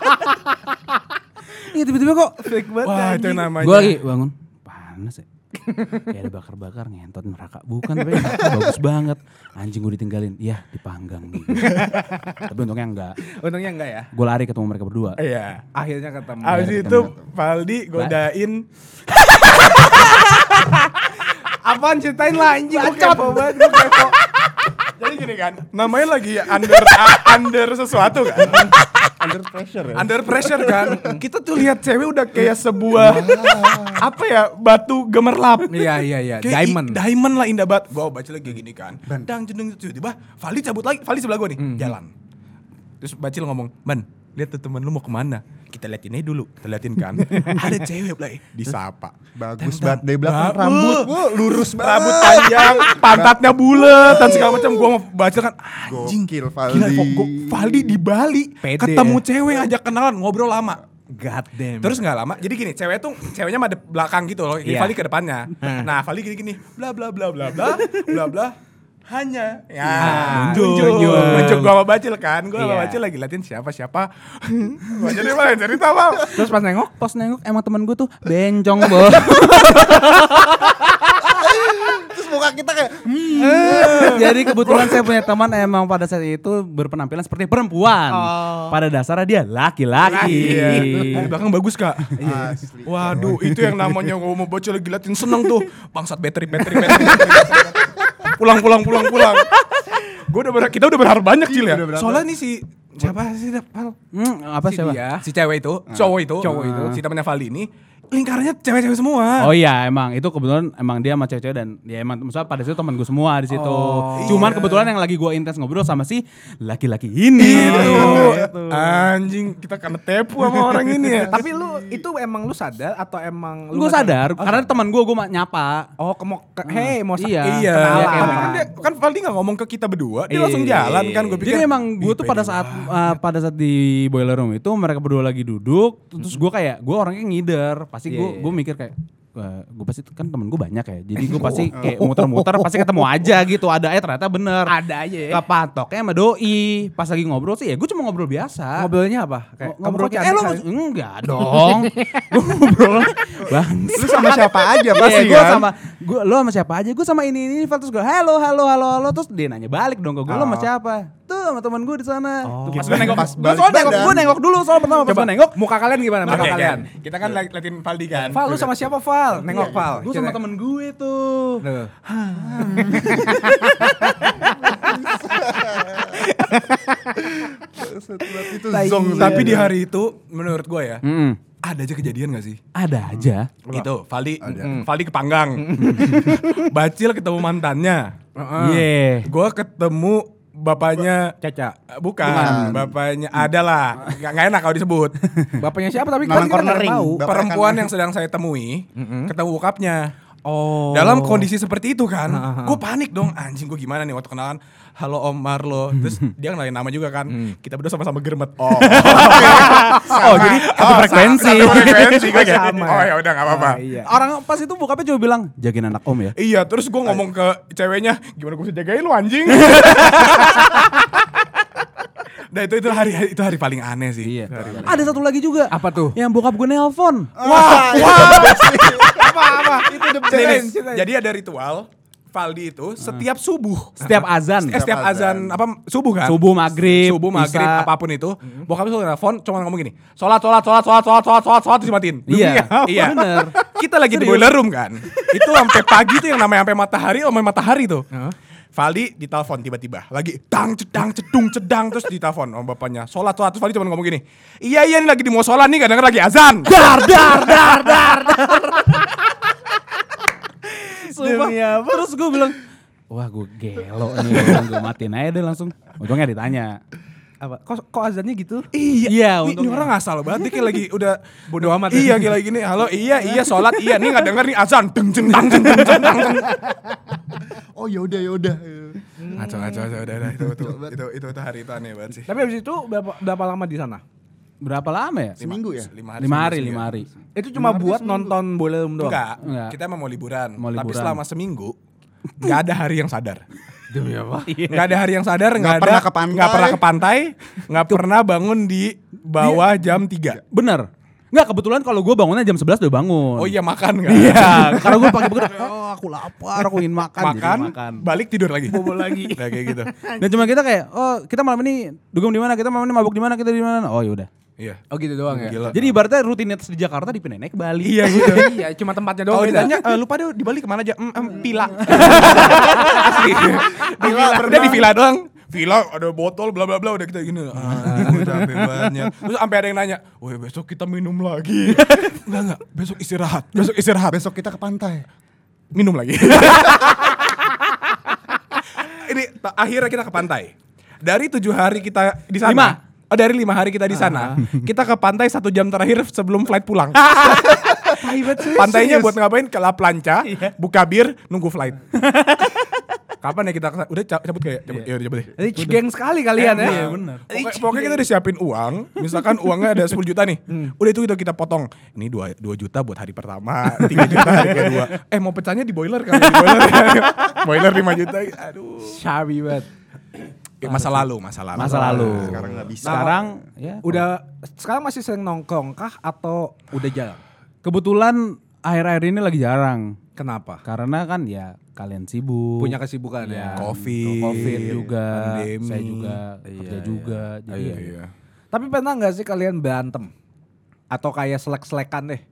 [SPEAKER 5] iya tiba-tiba kok
[SPEAKER 1] Wah itu namanya
[SPEAKER 5] gue lagi bangun panas ya kayak ada bakar-bakar ngentot neraka bukan tapi neraka bagus banget anjing gue ditinggalin ya dipanggang nih tapi untungnya enggak
[SPEAKER 4] Untungnya enggak ya.
[SPEAKER 5] gue lari ketemu mereka berdua
[SPEAKER 4] Eh,
[SPEAKER 1] Iya
[SPEAKER 4] Akhirnya ketemu.
[SPEAKER 1] Abis itu Valdi godain
[SPEAKER 4] Apaan ceritain lah anjing gue kepo banget gue kepo.
[SPEAKER 1] Jadi gini kan, namanya lagi under a- under sesuatu kan,
[SPEAKER 6] Under pressure ya.
[SPEAKER 1] under pressure
[SPEAKER 4] Hmm.
[SPEAKER 1] kan. Kita tuh lihat cewek udah kayak sebuah apa ya batu gemerlap.
[SPEAKER 4] Ah. Iya iya iya,
[SPEAKER 1] Kayak i-
[SPEAKER 4] diamond.
[SPEAKER 1] diamond lah indah banget. Gua baca lagi gini kan. Dang jeneng tiba-tiba Vali cabut lagi, Vali sebelah gua nih,
[SPEAKER 4] Hmm.
[SPEAKER 1] jalan. Terus Bacil ngomong, "Man, lihat tuh temen lu mau kemana?" Kita liatin aja dulu, kita liatin kan. Ada cewek lah, disapa. Tentang.
[SPEAKER 6] Bagus banget dari belakang
[SPEAKER 1] Ba-
[SPEAKER 6] rambut.
[SPEAKER 1] Uh.
[SPEAKER 6] Wah, lurus banget.
[SPEAKER 1] Rambut panjang, pantatnya bulat dan segala macam. Gua mau baca kan anjing.
[SPEAKER 6] Gokil,
[SPEAKER 1] Gila,
[SPEAKER 6] Valdi.
[SPEAKER 1] Fok. Gua- Valdi di Bali
[SPEAKER 4] Pede
[SPEAKER 1] ketemu
[SPEAKER 4] ya.
[SPEAKER 1] cewek ajak kenalan, ngobrol lama.
[SPEAKER 4] God damn.
[SPEAKER 1] Terus nggak lama, jadi gini, cewek tuh ceweknya madep belakang gitu loh, jadi
[SPEAKER 4] Iya.
[SPEAKER 1] Valdi ke depannya. Nah, Valdi gini-gini, bla bla bla bla bla bla bla hanya ya
[SPEAKER 4] nunjuk.
[SPEAKER 1] nunjuk
[SPEAKER 4] Nunjuk.
[SPEAKER 1] nunjuk gua sama Bacil kan gua sama
[SPEAKER 4] Iya.
[SPEAKER 1] Bacil lagi latihan siapa siapa gua jadi malah cerita bang
[SPEAKER 4] terus pas nengok
[SPEAKER 5] pas nengok emang temen gue tuh bencong bo
[SPEAKER 6] Terus muka kita kayak hmm.
[SPEAKER 5] jadi kebetulan saya punya teman emang pada saat itu berpenampilan seperti perempuan
[SPEAKER 4] Oh.
[SPEAKER 5] pada dasarnya dia laki-laki
[SPEAKER 1] Iya. Dari belakang bagus kak.
[SPEAKER 6] Asli.
[SPEAKER 1] Waduh, itu yang namanya gue mau bocil lagi latin seneng tuh. Bangsat bateri, bateri, bateri. pulang, pulang, pulang, pulang. Gue udah berharap, kita udah berharap banyak cil ya.
[SPEAKER 6] udah berharap.
[SPEAKER 1] Soalnya nih si siapa sih Dap? Pal?
[SPEAKER 5] Hmm, apa
[SPEAKER 1] si
[SPEAKER 5] siapa
[SPEAKER 1] dia, si cewek itu, cowok itu,
[SPEAKER 4] Cowok itu.
[SPEAKER 1] si temannya Vali ini lingkarannya cewek-cewek semua.
[SPEAKER 5] Oh iya emang itu kebetulan emang dia sama cewek-cewek dan ya emang maksudnya pada situ teman gue semua di situ.
[SPEAKER 1] Oh,
[SPEAKER 5] Cuman
[SPEAKER 1] iya.
[SPEAKER 5] kebetulan yang lagi gue intens ngobrol sama si laki-laki ini.
[SPEAKER 1] Gitu.
[SPEAKER 5] Gitu.
[SPEAKER 1] Anjing, kita kena tepu sama orang ini ya.
[SPEAKER 4] Tapi lu itu emang lu sadar atau emang lu
[SPEAKER 5] Gue sadar karena teman gue gue nyapa.
[SPEAKER 4] Oh, kemok ke, hey, mau sa-
[SPEAKER 5] Iya.
[SPEAKER 1] Iya,
[SPEAKER 4] kenalan.
[SPEAKER 1] tapi kan dia kan Valdi nggak ngomong ke kita berdua, dia langsung jalan kan gue pikir.
[SPEAKER 5] Jadi emang
[SPEAKER 1] "Ih,
[SPEAKER 5] gue tuh
[SPEAKER 1] pede
[SPEAKER 5] pada saat uh, pada saat di boiler room itu mereka berdua lagi duduk, terus gue kayak gue orangnya ngider, pasti gue gue mikir kayak gue pasti kan temen gue banyak ya, jadi gue pasti kayak muter-muter, pasti ketemu aja gitu, ada aja ternyata bener.
[SPEAKER 4] Ada aja ya.
[SPEAKER 5] Kepatoknya sama doi, pas lagi ngobrol sih ya gue cuma ngobrol biasa.
[SPEAKER 4] Ngobrolnya apa? Kayak
[SPEAKER 5] Ngo- ngobrol
[SPEAKER 4] kamu kok
[SPEAKER 5] kayak, eh lo
[SPEAKER 4] cantik
[SPEAKER 5] mau- enggak dong, gue ngobrol bang.
[SPEAKER 6] Lu sama siapa aja pasti
[SPEAKER 5] Iya,
[SPEAKER 6] kan?
[SPEAKER 5] gua sama gua lo sama siapa aja? Gue sama ini ini ini, terus gue halo halo halo halo terus dia nanya balik dong ke gue lo sama siapa? Tuh sama teman gue di sana. Tuh, Oh, Pas
[SPEAKER 1] Gitu.
[SPEAKER 5] gue nengok,
[SPEAKER 6] Pas
[SPEAKER 5] gue
[SPEAKER 6] balik
[SPEAKER 5] soal nengok,
[SPEAKER 6] badan.
[SPEAKER 5] gue nengok dulu soal pertama pas
[SPEAKER 4] Coba
[SPEAKER 5] gua nengok.
[SPEAKER 4] nengok muka kalian gimana
[SPEAKER 1] Oke,
[SPEAKER 4] muka
[SPEAKER 1] oke.
[SPEAKER 4] kalian?
[SPEAKER 1] Kita kan liat- liatin Valdi kan.
[SPEAKER 4] Val lu sama siapa Val? Nengok Val.
[SPEAKER 5] Gue sama temen gue tuh.
[SPEAKER 4] Tuh.
[SPEAKER 6] Setelah itu gitu.
[SPEAKER 4] Tai.
[SPEAKER 6] zong
[SPEAKER 4] Iya.
[SPEAKER 1] Tapi di hari itu menurut gue ya,
[SPEAKER 5] Mm-mm.
[SPEAKER 1] ada aja kejadian gak sih?
[SPEAKER 5] Ada aja.
[SPEAKER 1] Itu Valdi, Mm. Valdi kepanggang. Bacil ketemu mantannya.
[SPEAKER 5] Iya.
[SPEAKER 1] Gue ketemu bapaknya
[SPEAKER 4] Caca.
[SPEAKER 1] Eh, Bukan, bapaknya adalah nggak nggak enak kalau disebut.
[SPEAKER 4] Bapaknya siapa tapi kan
[SPEAKER 6] Nanang
[SPEAKER 4] kita nggak
[SPEAKER 6] cornering.
[SPEAKER 4] tahu.
[SPEAKER 6] Bapaknya
[SPEAKER 1] Perempuan
[SPEAKER 6] kan-
[SPEAKER 1] yang sedang saya temui ketemu bokapnya.
[SPEAKER 4] Oh.
[SPEAKER 1] Dalam kondisi seperti itu kan, gue panik dong. Anjing gue gimana nih waktu kenalan? Halo Om Marlo. Terus dia kenalin nama juga kan. Kita berdua sama-sama germet. Oh,
[SPEAKER 5] Oh jadi satu frekuensi.
[SPEAKER 1] frekuensi gue kayak,
[SPEAKER 4] Sama.
[SPEAKER 1] Oh ya udah nggak apa-apa.
[SPEAKER 4] Ah, iya.
[SPEAKER 5] Orang pas itu bokapnya cuma bilang jagain anak om ya.
[SPEAKER 1] Iya, terus gue ngomong ke ceweknya, gimana gue bisa jagain lu anjing? Nah itu itu hari itu hari paling aneh sih.
[SPEAKER 5] Iya. Ada satu lagi juga.
[SPEAKER 4] Apa tuh?
[SPEAKER 5] Yang bokap gue nelpon.
[SPEAKER 1] Ah, Eh, iya,
[SPEAKER 6] Wah,
[SPEAKER 4] apa apa? Itu the
[SPEAKER 1] Nih, nih,
[SPEAKER 4] Jadi
[SPEAKER 1] jadi ada ritual Valdi itu setiap subuh,
[SPEAKER 5] Setiap azan.
[SPEAKER 1] eh, setiap azan apa subuh kan?
[SPEAKER 5] Subuh, maghrib,
[SPEAKER 1] subuh maghrib
[SPEAKER 5] isya.
[SPEAKER 1] apapun itu. Bokap selalu telepon cuma ngomong gini, sholat sholat sholat sholat sholat sholat sholat sholat terus matiin.
[SPEAKER 5] Iya,
[SPEAKER 1] iya.
[SPEAKER 5] bener.
[SPEAKER 1] Kita lagi di
[SPEAKER 5] Serius.
[SPEAKER 1] boiler room kan. itu sampai pagi tuh yang namanya sampai matahari, oh, sampai matahari tuh. Valdi ditelepon tiba-tiba lagi tang cedang cedung cedang terus ditelepon sama bapaknya sholat sholat terus Valdi cuma ngomong gini iya iya ini lagi di musola nih kadang lagi azan
[SPEAKER 5] dar dar dar dar dar Sumpah.
[SPEAKER 4] Demi apa?
[SPEAKER 5] Terus gue bilang, wah gue gelo nih, gue matiin aja deh langsung. Untungnya ditanya.
[SPEAKER 4] apa? Kok kok azannya gitu?
[SPEAKER 1] Iya,
[SPEAKER 5] Iya,
[SPEAKER 1] ini, ini
[SPEAKER 5] untungnya.
[SPEAKER 1] orang asal banget dia kayak lagi udah
[SPEAKER 4] Bodoh amat ya.
[SPEAKER 1] Iya, kayak lagi gini. Halo, iya, iya, sholat, iya. Nih nggak denger nih azan. Deng jeng tang jeng jeng jeng tang jeng.
[SPEAKER 6] Oh yaudah yaudah.
[SPEAKER 1] Ngaco ngaco ngaco udah udah itu itu itu itu, itu hari itu aneh banget sih.
[SPEAKER 4] Tapi habis itu berapa, berapa lama di sana?
[SPEAKER 5] Berapa lama
[SPEAKER 1] Lima-
[SPEAKER 5] ya?
[SPEAKER 6] Seminggu ya?
[SPEAKER 1] Lima hari. iya.
[SPEAKER 5] Lima hari,
[SPEAKER 1] seminggu,
[SPEAKER 5] lima
[SPEAKER 1] seminggu.
[SPEAKER 5] hari.
[SPEAKER 4] Itu cuma buat nonton bola room doang.
[SPEAKER 1] Enggak,
[SPEAKER 5] Enggak.
[SPEAKER 1] kita emang mau liburan.
[SPEAKER 5] Mau
[SPEAKER 1] Tapi
[SPEAKER 5] liburan.
[SPEAKER 1] selama seminggu nggak ada hari yang sadar.
[SPEAKER 4] Demi apa?
[SPEAKER 5] Iya.
[SPEAKER 1] Nggak ada hari yang sadar, nggak ada
[SPEAKER 6] pernah ke pantai.
[SPEAKER 1] nggak pernah ke pantai, nggak pernah bangun di bawah
[SPEAKER 6] Iya.
[SPEAKER 1] jam 3.
[SPEAKER 5] Bener. Enggak, kebetulan kalau gue bangunnya jam 11 udah bangun.
[SPEAKER 1] Oh iya makan kan?
[SPEAKER 5] Iya, karena gue pakai begitu, oh aku lapar, aku ingin makan. Jadi
[SPEAKER 1] Makan,
[SPEAKER 5] makan.
[SPEAKER 1] balik tidur lagi. Bobo lagi. kayak gitu.
[SPEAKER 5] Dan cuma kita kayak, oh kita malam ini dugem di mana, kita malam ini mabuk di mana, kita di mana. Oh yaudah.
[SPEAKER 1] Iya.
[SPEAKER 4] Oh gitu doang ya.
[SPEAKER 1] Gila.
[SPEAKER 5] Jadi ibaratnya rutinitas di Jakarta dipindahin naik ke Bali.
[SPEAKER 1] Iya gitu.
[SPEAKER 4] Iya, cuma tempatnya doang.
[SPEAKER 1] Kalau
[SPEAKER 4] beda.
[SPEAKER 1] ditanya "Eh, lu pada di Bali kemana aja? Mm, em, pila. Asli. Di villa, udah di villa doang. Villa ada botol bla bla bla udah kita gini. Ah, capek banget. Terus sampai ada yang nanya, "Woi, besok kita minum lagi." Enggak enggak, besok istirahat. Besok istirahat.
[SPEAKER 6] Besok kita ke pantai.
[SPEAKER 1] minum lagi. Ini ta- akhirnya kita ke pantai. Dari tujuh hari kita di sana.
[SPEAKER 5] Lima.
[SPEAKER 1] Oh, dari lima Ah. hari kita di sana, kita ke pantai satu jam terakhir sebelum flight pulang. Pantainya buat ngapain? Ke La Plancha,
[SPEAKER 5] Iya.
[SPEAKER 1] buka bir, nunggu flight. Kapan ya kita kesana? Udah ca- cabut kayak cabut. Ya udah cabut deh. Nah,
[SPEAKER 4] Ini geng sekali kalian ya.
[SPEAKER 5] Iya, bener.
[SPEAKER 1] Pokoknya, pokoknya kita udah siapin uang, misalkan uangnya ada 10 juta nih.
[SPEAKER 5] Hmm.
[SPEAKER 1] Udah itu kita, kita potong. Ini 2, 2 juta buat hari pertama, 3 juta hari kedua. Eh mau pecahnya di boiler kan? Di boiler, boiler 5 juta. Aduh.
[SPEAKER 4] Shabby banget.
[SPEAKER 1] Eh, masa lalu, masa lalu.
[SPEAKER 5] Masa lalu.
[SPEAKER 6] Sekarang nggak bisa.
[SPEAKER 5] Sekarang ya
[SPEAKER 4] Udah sekarang masih sering nongkrong kah atau udah jarang?
[SPEAKER 5] Kebetulan akhir-akhir ini lagi jarang
[SPEAKER 4] Kenapa?
[SPEAKER 5] karena kan ya kalian sibuk. Iya.
[SPEAKER 4] Punya kesibukan ya.
[SPEAKER 1] Covid,
[SPEAKER 5] Covid juga,
[SPEAKER 1] pandemi.
[SPEAKER 5] saya juga kerja juga. Jadi ya.
[SPEAKER 1] Iya.
[SPEAKER 4] Tapi pernah nggak sih kalian berantem? Atau kayak selek-selekan deh?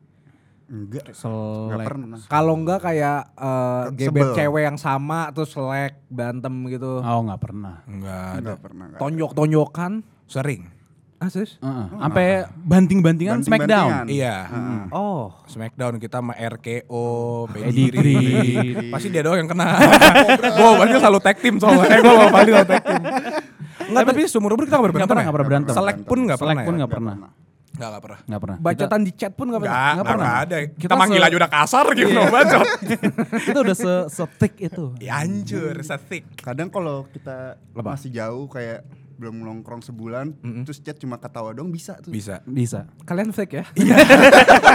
[SPEAKER 6] Enggak.
[SPEAKER 5] Selek.
[SPEAKER 6] Enggak pernah.
[SPEAKER 4] Kalau nggak kayak eh,
[SPEAKER 6] Sebel.
[SPEAKER 4] gebet cewek yang sama terus selek, bantem gitu.
[SPEAKER 5] Oh nggak pernah.
[SPEAKER 1] Enggak ada.
[SPEAKER 6] Enggak pernah. enggak.
[SPEAKER 4] Tonjok-tonjokan.
[SPEAKER 1] Sering.
[SPEAKER 4] Ah, serius?
[SPEAKER 5] Heeh. Sampai banting-bantingan Smackdown.
[SPEAKER 6] Banting-bantingan.
[SPEAKER 1] Iya.
[SPEAKER 5] Hmm.
[SPEAKER 6] Heeh.
[SPEAKER 4] Oh.
[SPEAKER 1] Smackdown kita sama RKO,
[SPEAKER 5] Eddie
[SPEAKER 1] Eddie
[SPEAKER 5] Green.
[SPEAKER 1] Green. Pasti dia doang yang kena. gue Fadil selalu tag team soalnya. Eh gue sama Fadil selalu tag team. Enggak, tapi seumur hidup kita gak pernah
[SPEAKER 5] Nggak pernah,
[SPEAKER 1] berantem.
[SPEAKER 5] nggak pernah berantem.
[SPEAKER 1] Selek pun gak pernah.
[SPEAKER 5] Selek pun nggak pernah.
[SPEAKER 1] Enggak, enggak pernah.
[SPEAKER 5] Nggak pernah. Nah, Kita,
[SPEAKER 4] Bacotan di chat pun gak
[SPEAKER 1] Enggak,
[SPEAKER 4] pernah.
[SPEAKER 1] enggak pernah ada. Kita
[SPEAKER 5] Kita Iya.
[SPEAKER 1] manggil
[SPEAKER 5] se-
[SPEAKER 1] aja udah kasar gitu yeah. bacot.
[SPEAKER 5] kita udah se setik itu.
[SPEAKER 1] ya anjur, setik.
[SPEAKER 6] Kadang kalau kita masih jauh kayak belum nongkrong sebulan, terus chat cuma ketawa dong bisa tuh.
[SPEAKER 1] Bisa.
[SPEAKER 5] Bisa.
[SPEAKER 4] Kalian fake ya?
[SPEAKER 1] Iya.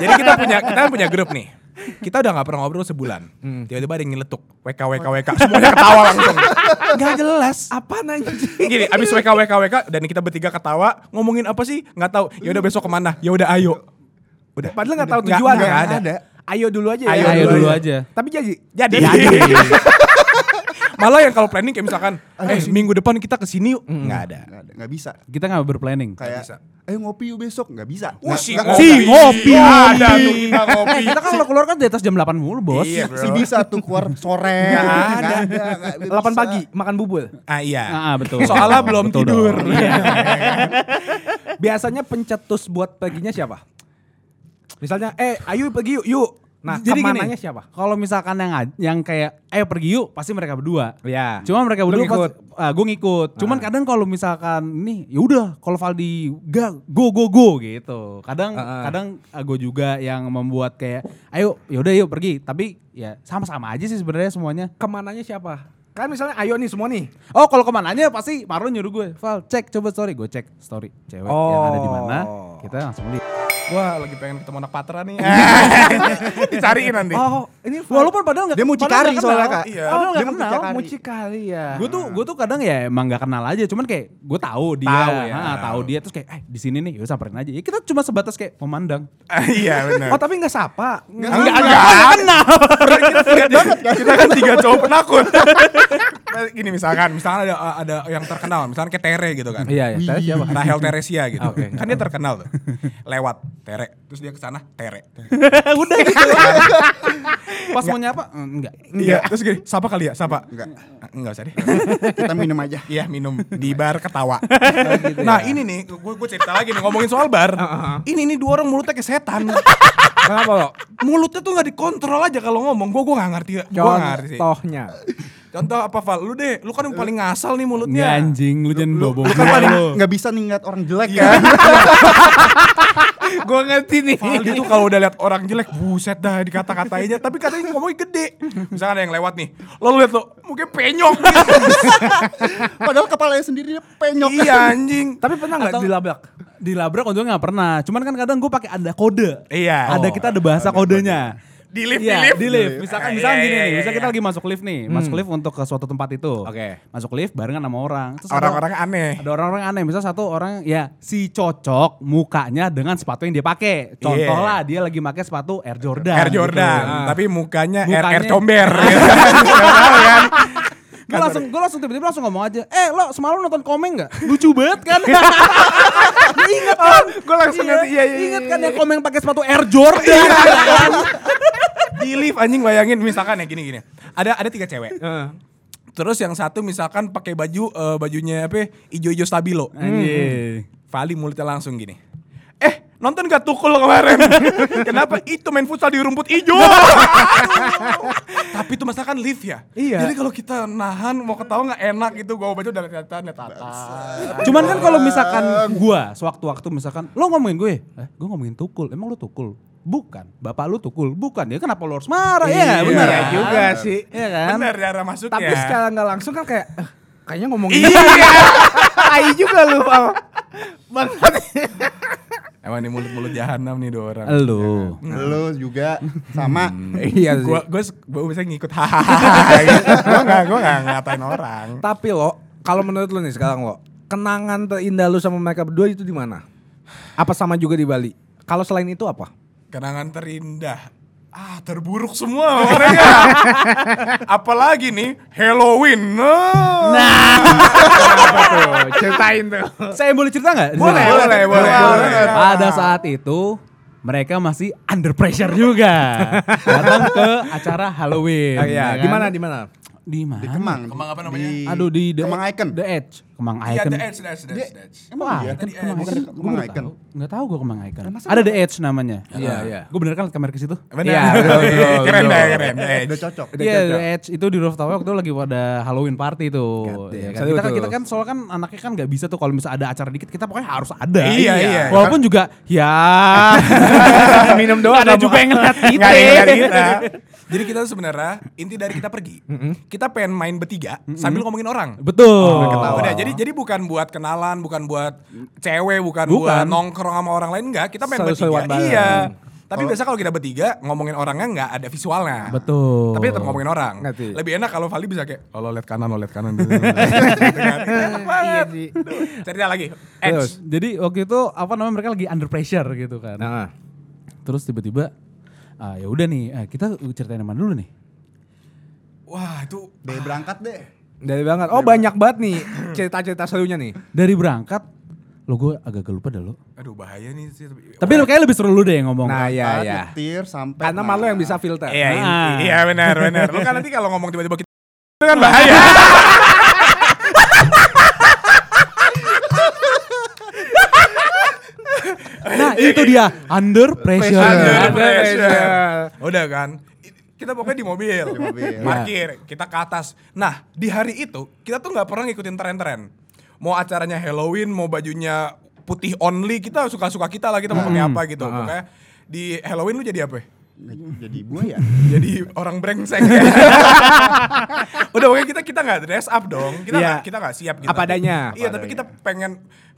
[SPEAKER 1] Jadi kita punya kita kan punya grup nih. Kita udah gak pernah ngobrol sebulan.
[SPEAKER 5] Hmm.
[SPEAKER 1] Tiba-tiba ada yang nyeletuk. WK, WK, WK. Semuanya ketawa langsung.
[SPEAKER 4] Gak Ah, jelas. Apa anjing?
[SPEAKER 1] Gini, abis WK, WK, WK. Dan kita bertiga ketawa. Ngomongin apa sih? Gak tahu. Ya udah besok kemana? Ya udah ayo. Udah.
[SPEAKER 4] Padahal gak tahu
[SPEAKER 1] Nggak-
[SPEAKER 4] tujuan
[SPEAKER 1] nggak
[SPEAKER 4] ya.
[SPEAKER 1] ada.
[SPEAKER 4] Ayo dulu aja.
[SPEAKER 1] Ayo
[SPEAKER 5] Ayo dulu aja. Iya,
[SPEAKER 4] Tapi jadi.
[SPEAKER 1] Jadi. Malah yang kalau planning kayak misalkan, eh minggu depan kita kesini yuk. Nggak ada.
[SPEAKER 6] Nggak ada, nggak bisa.
[SPEAKER 5] Kita nggak berplanning.
[SPEAKER 6] Kayak,
[SPEAKER 1] bisa.
[SPEAKER 6] ayo ngopi yuk besok, nggak bisa.
[SPEAKER 1] Uh,
[SPEAKER 6] Nggak-
[SPEAKER 1] si
[SPEAKER 6] nggak-
[SPEAKER 1] ngopi.
[SPEAKER 5] Si ngopi.
[SPEAKER 1] Nggak ada tuh kita
[SPEAKER 6] Eh,
[SPEAKER 1] ngopi.
[SPEAKER 5] Kita kan kalau keluar kan di atas jam 8 mulu, Bos.
[SPEAKER 1] Iya,
[SPEAKER 6] Si bisa tuh keluar sore.
[SPEAKER 1] Nggak ada.
[SPEAKER 6] Nggak nggak- nggak
[SPEAKER 4] 8
[SPEAKER 6] bisa.
[SPEAKER 4] ya, pagi makan bubul.
[SPEAKER 1] Ah iya.
[SPEAKER 5] Ah, ah, betul.
[SPEAKER 1] Soalnya
[SPEAKER 5] Betul
[SPEAKER 1] belum
[SPEAKER 5] dong. Iya.
[SPEAKER 1] tidur.
[SPEAKER 4] Iya. Biasanya pencetus buat paginya siapa? Misalnya, eh ayo pergi yuk, yuk. Nah,
[SPEAKER 5] Jadi gini,
[SPEAKER 4] kemananya siapa?
[SPEAKER 5] Kalau misalkan yang aj- yang kayak ayo pergi yuk, pasti mereka berdua.
[SPEAKER 1] Iya.
[SPEAKER 4] Ya.
[SPEAKER 5] Cuma mereka
[SPEAKER 4] Lu
[SPEAKER 5] berdua
[SPEAKER 4] ngikut? Ah.
[SPEAKER 5] gue ngikut. Cuman kadang kalau misalkan nih, ya udah kalau Valdi ga go go go gitu. Kadang
[SPEAKER 4] Ah, ah.
[SPEAKER 5] kadang gue juga yang membuat kayak ayo ya udah yuk pergi. Tapi ya sama-sama aja sih sebenarnya semuanya.
[SPEAKER 4] kemananya siapa? Kan misalnya ayo nih semua nih.
[SPEAKER 5] Oh kalau kemananya pasti Marlon nyuruh gue Val cek coba story Gue cek story cewek yang ada di mana
[SPEAKER 4] Oh.
[SPEAKER 5] Kita langsung lihat
[SPEAKER 1] Wah lagi pengen ketemu anak patra nih. Dicariin nanti.
[SPEAKER 4] Oh, ini
[SPEAKER 5] Walaupun padahal gak
[SPEAKER 6] Dia mucikari soalnya, Kak.
[SPEAKER 1] Iya.
[SPEAKER 4] dia
[SPEAKER 5] Padahal gak kenal iya.
[SPEAKER 4] mucikari. mucikari ya.
[SPEAKER 5] Gue tuh gue tuh kadang ya emang gak kenal aja, cuman kayak gue tahu dia,
[SPEAKER 1] Tahu ya.
[SPEAKER 5] ah, tahu dia terus kayak eh di sini nih, yuk samperin aja. Ya kita cuma sebatas kayak memandang.
[SPEAKER 1] Ah, Iya benar.
[SPEAKER 4] Oh, tapi enggak sapa.
[SPEAKER 1] Enggak, enggak, kenal. Kita pelit banget kan. Kita kan tiga cowok penakut. Nah, Gini misalkan, misalkan ada ada yang terkenal, misalkan kayak Tere gitu kan.
[SPEAKER 4] Iya, ya. Tadi siapa? Ah,
[SPEAKER 1] Rahel Teresia gitu.
[SPEAKER 4] Oke.
[SPEAKER 1] Kan dia terkenal tuh. Lewat Tere, terus dia ke sana Tere.
[SPEAKER 5] Udah gitu. Pas mau nyapa, "Mm, enggak.
[SPEAKER 1] Iya, terus gini, sapa kali ya, sapa.
[SPEAKER 6] Enggak.
[SPEAKER 1] Ah, Enggak usah deh.
[SPEAKER 6] Kita minum aja.
[SPEAKER 1] Iya, minum di bar ketawa. nah, ini nih, gue gue cerita lagi nih ngomongin soal bar. Ini nih dua orang mulutnya kayak setan.
[SPEAKER 4] Ah, Kenapa lo?
[SPEAKER 1] mulutnya tuh nggak dikontrol aja kalau ngomong. Gue gue nggak ngerti. Gue nggak ngerti sih.
[SPEAKER 4] Contohnya.
[SPEAKER 1] Contoh apa Val? Lu deh, lu kan yang paling ngasal nih
[SPEAKER 4] Iya,
[SPEAKER 5] Enggak
[SPEAKER 1] mulutnya.
[SPEAKER 5] anjing, lu jangan bobo.
[SPEAKER 6] Lu kan paling nggak bisa nih ngeliat orang jelek
[SPEAKER 1] Iya,
[SPEAKER 6] kan.
[SPEAKER 4] Gue ngerti nih.
[SPEAKER 1] Valdi tuh kalau udah lihat orang jelek, buset dah dikata-katainya. Tapi katanya ngomongnya gede. Misalkan ada yang lewat nih, lo lihat lo, mungkin penyok.
[SPEAKER 6] Padahal kepalanya sendiri dia penyok.
[SPEAKER 1] iya anjing.
[SPEAKER 4] Tapi pernah enggak
[SPEAKER 5] Atau-
[SPEAKER 4] dilabrak?
[SPEAKER 5] Dilabrak untungnya gak pernah. Cuman kan kadang gue pakai ada kode.
[SPEAKER 1] Iya.
[SPEAKER 5] Ada kita ada bahasa kodenya.
[SPEAKER 1] Di lift, di
[SPEAKER 5] Iya,
[SPEAKER 1] lift.
[SPEAKER 5] di lift. Misalkan
[SPEAKER 1] Iya,
[SPEAKER 5] misalkan
[SPEAKER 1] iya,
[SPEAKER 5] gini
[SPEAKER 1] iya,
[SPEAKER 5] nih,
[SPEAKER 1] iya,
[SPEAKER 5] bisa kita
[SPEAKER 1] iya.
[SPEAKER 5] lagi masuk lift nih, masuk lift untuk ke suatu tempat itu.
[SPEAKER 4] Oke.
[SPEAKER 5] Masuk lift barengan sama orang. Terus ada-
[SPEAKER 1] Orang-orang aneh.
[SPEAKER 5] Ada orang-orang aneh, misalnya satu orang ya si cocok mukanya dengan sepatu yang dia pakai. Contoh
[SPEAKER 1] Iya.
[SPEAKER 5] lah dia lagi pakai sepatu Air Jordan.
[SPEAKER 1] Air Jordan,
[SPEAKER 5] gitu.
[SPEAKER 1] tapi mukanya,
[SPEAKER 5] Mukanya-
[SPEAKER 1] Air, Air Comber.
[SPEAKER 5] Gue langsung gue langsung tiba-tiba langsung ngomong aja, "Eh, lo semalam nonton Komeng nggak? Lucu banget kan?" Lu inget kan?
[SPEAKER 1] gua langsung ngerti, iya, iya,
[SPEAKER 5] Inget
[SPEAKER 1] iya,
[SPEAKER 5] kan yang Komeng pakai sepatu Air Jordan?
[SPEAKER 1] di lift anjing bayangin misalkan ya gini-gini. Ada ada tiga cewek. Terus yang satu misalkan pakai baju eh, bajunya apa? Ijo-ijo stabilo.
[SPEAKER 4] Hmm.
[SPEAKER 5] Anjing.
[SPEAKER 1] Vali mulutnya langsung gini. Eh, nonton gak tukul kemarin? Kenapa? Itu main futsal di rumput hijau. Tapi itu masakan lift ya.
[SPEAKER 4] Iya.
[SPEAKER 1] Jadi kalau kita nahan mau ketawa nggak enak gitu. Gua baca udah kelihatan ya tata.
[SPEAKER 5] Cuman kan kalau misalkan gua sewaktu-waktu misalkan lo ngomongin gue, eh gua ngomongin tukul, emang lu tukul? Bukan, bapak lu tukul, bukan. Ya kenapa lu harus marah?
[SPEAKER 4] Iya
[SPEAKER 5] Iya, benar kan?
[SPEAKER 4] juga sih.
[SPEAKER 5] Iya kan?
[SPEAKER 1] Bener cara masuknya.
[SPEAKER 4] Tapi secara nggak langsung kan kayak eh, kayaknya gitu." ngomongin
[SPEAKER 1] Iya.
[SPEAKER 4] tai juga lu. Al. Banget.
[SPEAKER 1] Emang ini mulut-mulut jahanam nih dua orang.
[SPEAKER 5] Lo.
[SPEAKER 6] Lu juga sama.
[SPEAKER 4] Iya sih.
[SPEAKER 1] Gua gua gua bisa ngikut hahaha. gitu. gua nggak gua nggak ngatain orang.
[SPEAKER 4] Tapi lo, kalau menurut lo nih sekarang lo, kenangan terindah lo sama mereka berdua itu di mana? Apa sama juga di Bali? Kalau selain itu apa?
[SPEAKER 1] Kenangan terindah. Ah, terburuk semua orangnya. Apalagi nih Halloween. Nah.
[SPEAKER 4] Ceritain tuh.
[SPEAKER 5] Saya boleh cerita nggak? di
[SPEAKER 1] Boleh,
[SPEAKER 5] sini?
[SPEAKER 1] boleh, boleh, boleh.
[SPEAKER 5] Pada saat itu mereka masih under pressure juga. Datang ke acara Halloween.
[SPEAKER 4] iya,
[SPEAKER 5] ya kan?
[SPEAKER 4] di mana di mana?
[SPEAKER 5] Di mana?
[SPEAKER 6] Di Kemang.
[SPEAKER 1] Kemang apa namanya?
[SPEAKER 6] Di-
[SPEAKER 5] Eh, Aduh di The,
[SPEAKER 6] Kemang Icon.
[SPEAKER 5] The Edge. Kemang
[SPEAKER 1] Iya,
[SPEAKER 5] Icon.
[SPEAKER 1] The Edge, The Edge, The Edge, The Edge.
[SPEAKER 6] Emang
[SPEAKER 5] Wah,
[SPEAKER 6] iya?
[SPEAKER 5] Icon,
[SPEAKER 1] The Edge.
[SPEAKER 5] Kemang Icon.
[SPEAKER 6] Bukan The-
[SPEAKER 5] Gua
[SPEAKER 6] Kemang
[SPEAKER 5] baru
[SPEAKER 6] Icon.
[SPEAKER 5] tahu. Nggak tahu gue Kemang Icon.
[SPEAKER 6] Lah, masa
[SPEAKER 5] Ada
[SPEAKER 6] nggak
[SPEAKER 5] The Edge namanya.
[SPEAKER 4] Iya, iya.
[SPEAKER 5] Gue bener kan merek ke situ?
[SPEAKER 1] Benar.
[SPEAKER 4] Iya,
[SPEAKER 1] keren
[SPEAKER 6] Udah,
[SPEAKER 1] deh,
[SPEAKER 6] udah.
[SPEAKER 1] keren. Eh, The Edge.
[SPEAKER 6] Udah cocok.
[SPEAKER 4] Udah
[SPEAKER 5] Iya,
[SPEAKER 4] cocok.
[SPEAKER 5] The Edge itu di rooftop waktu lagi pada Halloween party tuh.
[SPEAKER 4] God damn,
[SPEAKER 5] Iya kan?
[SPEAKER 4] seru
[SPEAKER 5] Kita kan
[SPEAKER 4] tuh.
[SPEAKER 5] kita kan soalnya kan anaknya kan nggak bisa tuh kalau misalnya ada acara dikit kita pokoknya harus ada.
[SPEAKER 1] Iya, iya.
[SPEAKER 5] Walaupun juga ya
[SPEAKER 4] Minum doang
[SPEAKER 5] ada
[SPEAKER 4] nggak
[SPEAKER 5] juga
[SPEAKER 4] mau-
[SPEAKER 5] yang ngeliat kita.
[SPEAKER 1] Nggak ingat kita. Jadi kita tuh sebenarnya inti dari kita pergi, kita pengen main bertiga sambil ngomongin orang.
[SPEAKER 5] Betul.
[SPEAKER 1] Udah, jadi jadi bukan buat kenalan, bukan buat cewek, bukan,
[SPEAKER 5] Bukan.
[SPEAKER 1] buat nongkrong sama orang lain enggak, kita main bertiga.
[SPEAKER 4] Seru-seruan bareng.
[SPEAKER 1] Iya. Tapi
[SPEAKER 5] Oh.
[SPEAKER 1] biasa kalau kita bertiga ngomongin orangnya nggak ada visualnya.
[SPEAKER 5] Betul.
[SPEAKER 1] Tapi tetap ngomongin orang.
[SPEAKER 4] Ngerti.
[SPEAKER 1] Lebih enak kalau Vali bisa kayak oh, lo lihat kanan, lo liat kanan. gitu kan. Enak banget. Cerita lagi.
[SPEAKER 4] Terus.
[SPEAKER 1] Edge.
[SPEAKER 5] Jadi waktu itu apa namanya mereka lagi under pressure gitu kan.
[SPEAKER 4] Nah,
[SPEAKER 5] Terus tiba-tiba ah, ya udah nih eh, kita ceritain yang mana dulu nih.
[SPEAKER 1] Wah, itu
[SPEAKER 6] Deh berangkat deh.
[SPEAKER 4] dari banget. Oh banyak banget nih cerita-cerita serunya nih.
[SPEAKER 5] Dari berangkat lo gue agak lupa dah lo.
[SPEAKER 1] aduh bahaya nih sih.
[SPEAKER 5] Tapi lo kayak lebih seru lu deh yang ngomong.
[SPEAKER 4] Nah, iya
[SPEAKER 6] Berangkat,
[SPEAKER 4] iya.
[SPEAKER 6] Nyetir sampai.
[SPEAKER 4] Karena
[SPEAKER 6] nah.
[SPEAKER 4] malu yang bisa filter.
[SPEAKER 1] Iya,
[SPEAKER 5] Ah.
[SPEAKER 1] inti- iya benar, benar. Lu kan nanti kalau ngomong tiba-tiba kita itu kan bahaya.
[SPEAKER 5] Nah itu dia under pressure.
[SPEAKER 1] Under
[SPEAKER 4] Under
[SPEAKER 1] pressure.
[SPEAKER 4] pressure.
[SPEAKER 1] Udah kan? I- Kita pokoknya di mobil.
[SPEAKER 6] Di mobil.
[SPEAKER 1] Parkir, kita ke atas. Nah, di hari itu kita tuh nggak pernah ngikutin tren-tren. Mau acaranya Halloween, mau bajunya putih only, kita suka-suka kita lah kita mau pakai apa gitu. Pokoknya di Halloween lu jadi apa? ya?
[SPEAKER 6] Nah, Jadi ya. buaya.
[SPEAKER 1] Jadi orang brengsek. ya. Udah pokoknya kita kita nggak dress up dong. Kita
[SPEAKER 4] Iya.
[SPEAKER 1] nggak kita nggak siap gitu.
[SPEAKER 4] Apa adanya.
[SPEAKER 1] Iya,
[SPEAKER 6] Apa
[SPEAKER 1] tapi
[SPEAKER 6] adanya.
[SPEAKER 1] kita pengen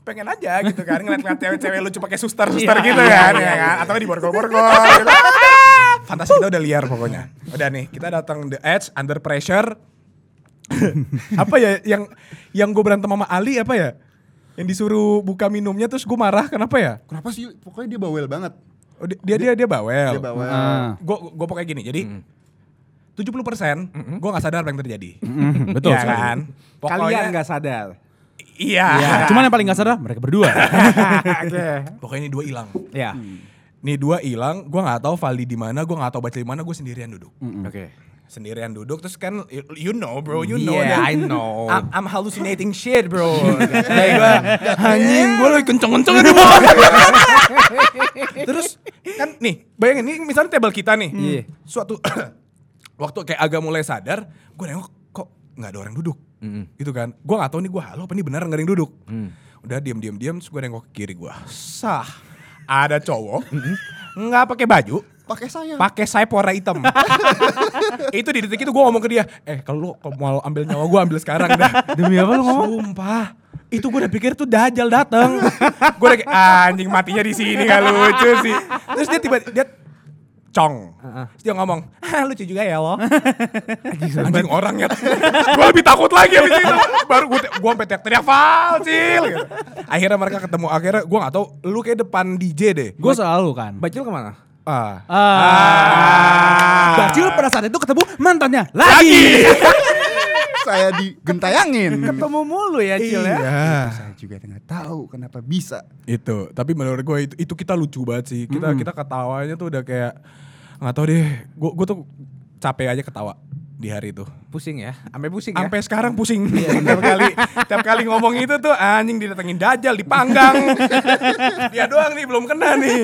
[SPEAKER 1] pengen aja gitu kan ngeliat-ngeliat cewek-cewek lucu pakai suster-suster gitu kan, ya kan? Atau di borgol-borgol gitu. Fantasi kita udah liar pokoknya. Udah nih, kita datang The Edge under pressure. apa ya yang yang gue berantem sama Ali apa ya? Yang disuruh buka minumnya terus gue marah kenapa ya?
[SPEAKER 6] Kenapa sih? Pokoknya dia bawel banget.
[SPEAKER 1] Oh, di- dia dia dia bawel.
[SPEAKER 6] Dia
[SPEAKER 4] Nah,
[SPEAKER 6] bawel.
[SPEAKER 5] Ah,
[SPEAKER 1] Gue gue pokoknya gini, jadi 70% gue gak sadar apa yang terjadi.
[SPEAKER 5] mm, betul
[SPEAKER 1] Iya
[SPEAKER 5] sekali.
[SPEAKER 1] kan?
[SPEAKER 4] Kalian nggak sadar.
[SPEAKER 1] Iya.
[SPEAKER 5] Ya, cuman yang paling gak sadar mereka berdua.
[SPEAKER 4] Oke.
[SPEAKER 1] Pokoknya ini dua hilang.
[SPEAKER 4] Ya.
[SPEAKER 1] Nih dua hilang, gue nggak tahu Valdi di mana, gue nggak tahu Bacil di mana, gue sendirian duduk.
[SPEAKER 4] Oke.
[SPEAKER 1] Sendirian duduk terus kan you- you know bro, you know
[SPEAKER 4] Yeah,
[SPEAKER 1] that-
[SPEAKER 4] I know.
[SPEAKER 1] I'm, I'm hallucinating shit bro. Kayak gue anjing gue lagi kenceng-kenceng di bawah. terus kan nih, bayangin nih misalnya table kita nih.
[SPEAKER 4] Iya.
[SPEAKER 1] Suatu waktu kayak agak mulai sadar, gue nengok kok nggak ada orang duduk. Gitu kan. Gue nggak tahu nih gue halo apa nih benar nggak ada yang duduk. Udah diem diem diem, terus gue nengok ke kiri gue. Sah. Ada cowok nggak pakai baju,
[SPEAKER 6] Pakai saya.
[SPEAKER 1] pakai sayap warna hitam. itu di detik itu gue ngomong ke dia, eh kalau lu kalau mau ambil nyawa gue ambil sekarang dah. Demi apa lu ngomong? Sumpah. Itu gue udah pikir tuh Dajjal dateng. gue udah kayak anjing matinya di sini gak lucu sih. Terus dia tiba dia cong. Terus dia ngomong, ah, lucu juga ya lo. anjing orangnya. gue lebih takut lagi abis itu. Baru gue gua sampai teriak-teriak, Val, Cil. Gitu. Akhirnya mereka ketemu. Akhirnya gue gak tahu lu kayak depan DJ deh.
[SPEAKER 5] gue selalu kan.
[SPEAKER 4] Bacil kemana?
[SPEAKER 1] Ah.
[SPEAKER 5] Ah. Bacil pada saat itu ketemu mantannya lagi.
[SPEAKER 6] saya digentayangin.
[SPEAKER 4] Ketemu mulu ya Cil ya.
[SPEAKER 6] Iya. Saya juga nggak tahu kenapa bisa.
[SPEAKER 1] itu tapi menurut gue itu, itu kita lucu banget sih kita kita ketawanya tuh udah kayak nggak tahu deh gue gue tuh capek aja ketawa di hari itu
[SPEAKER 4] Pusing ya. Sampai pusing ya.
[SPEAKER 1] sampai sekarang pusing tiap kali tiap kali ngomong itu tuh anjing didatengin dajal dipanggang dia doang nih belum kena nih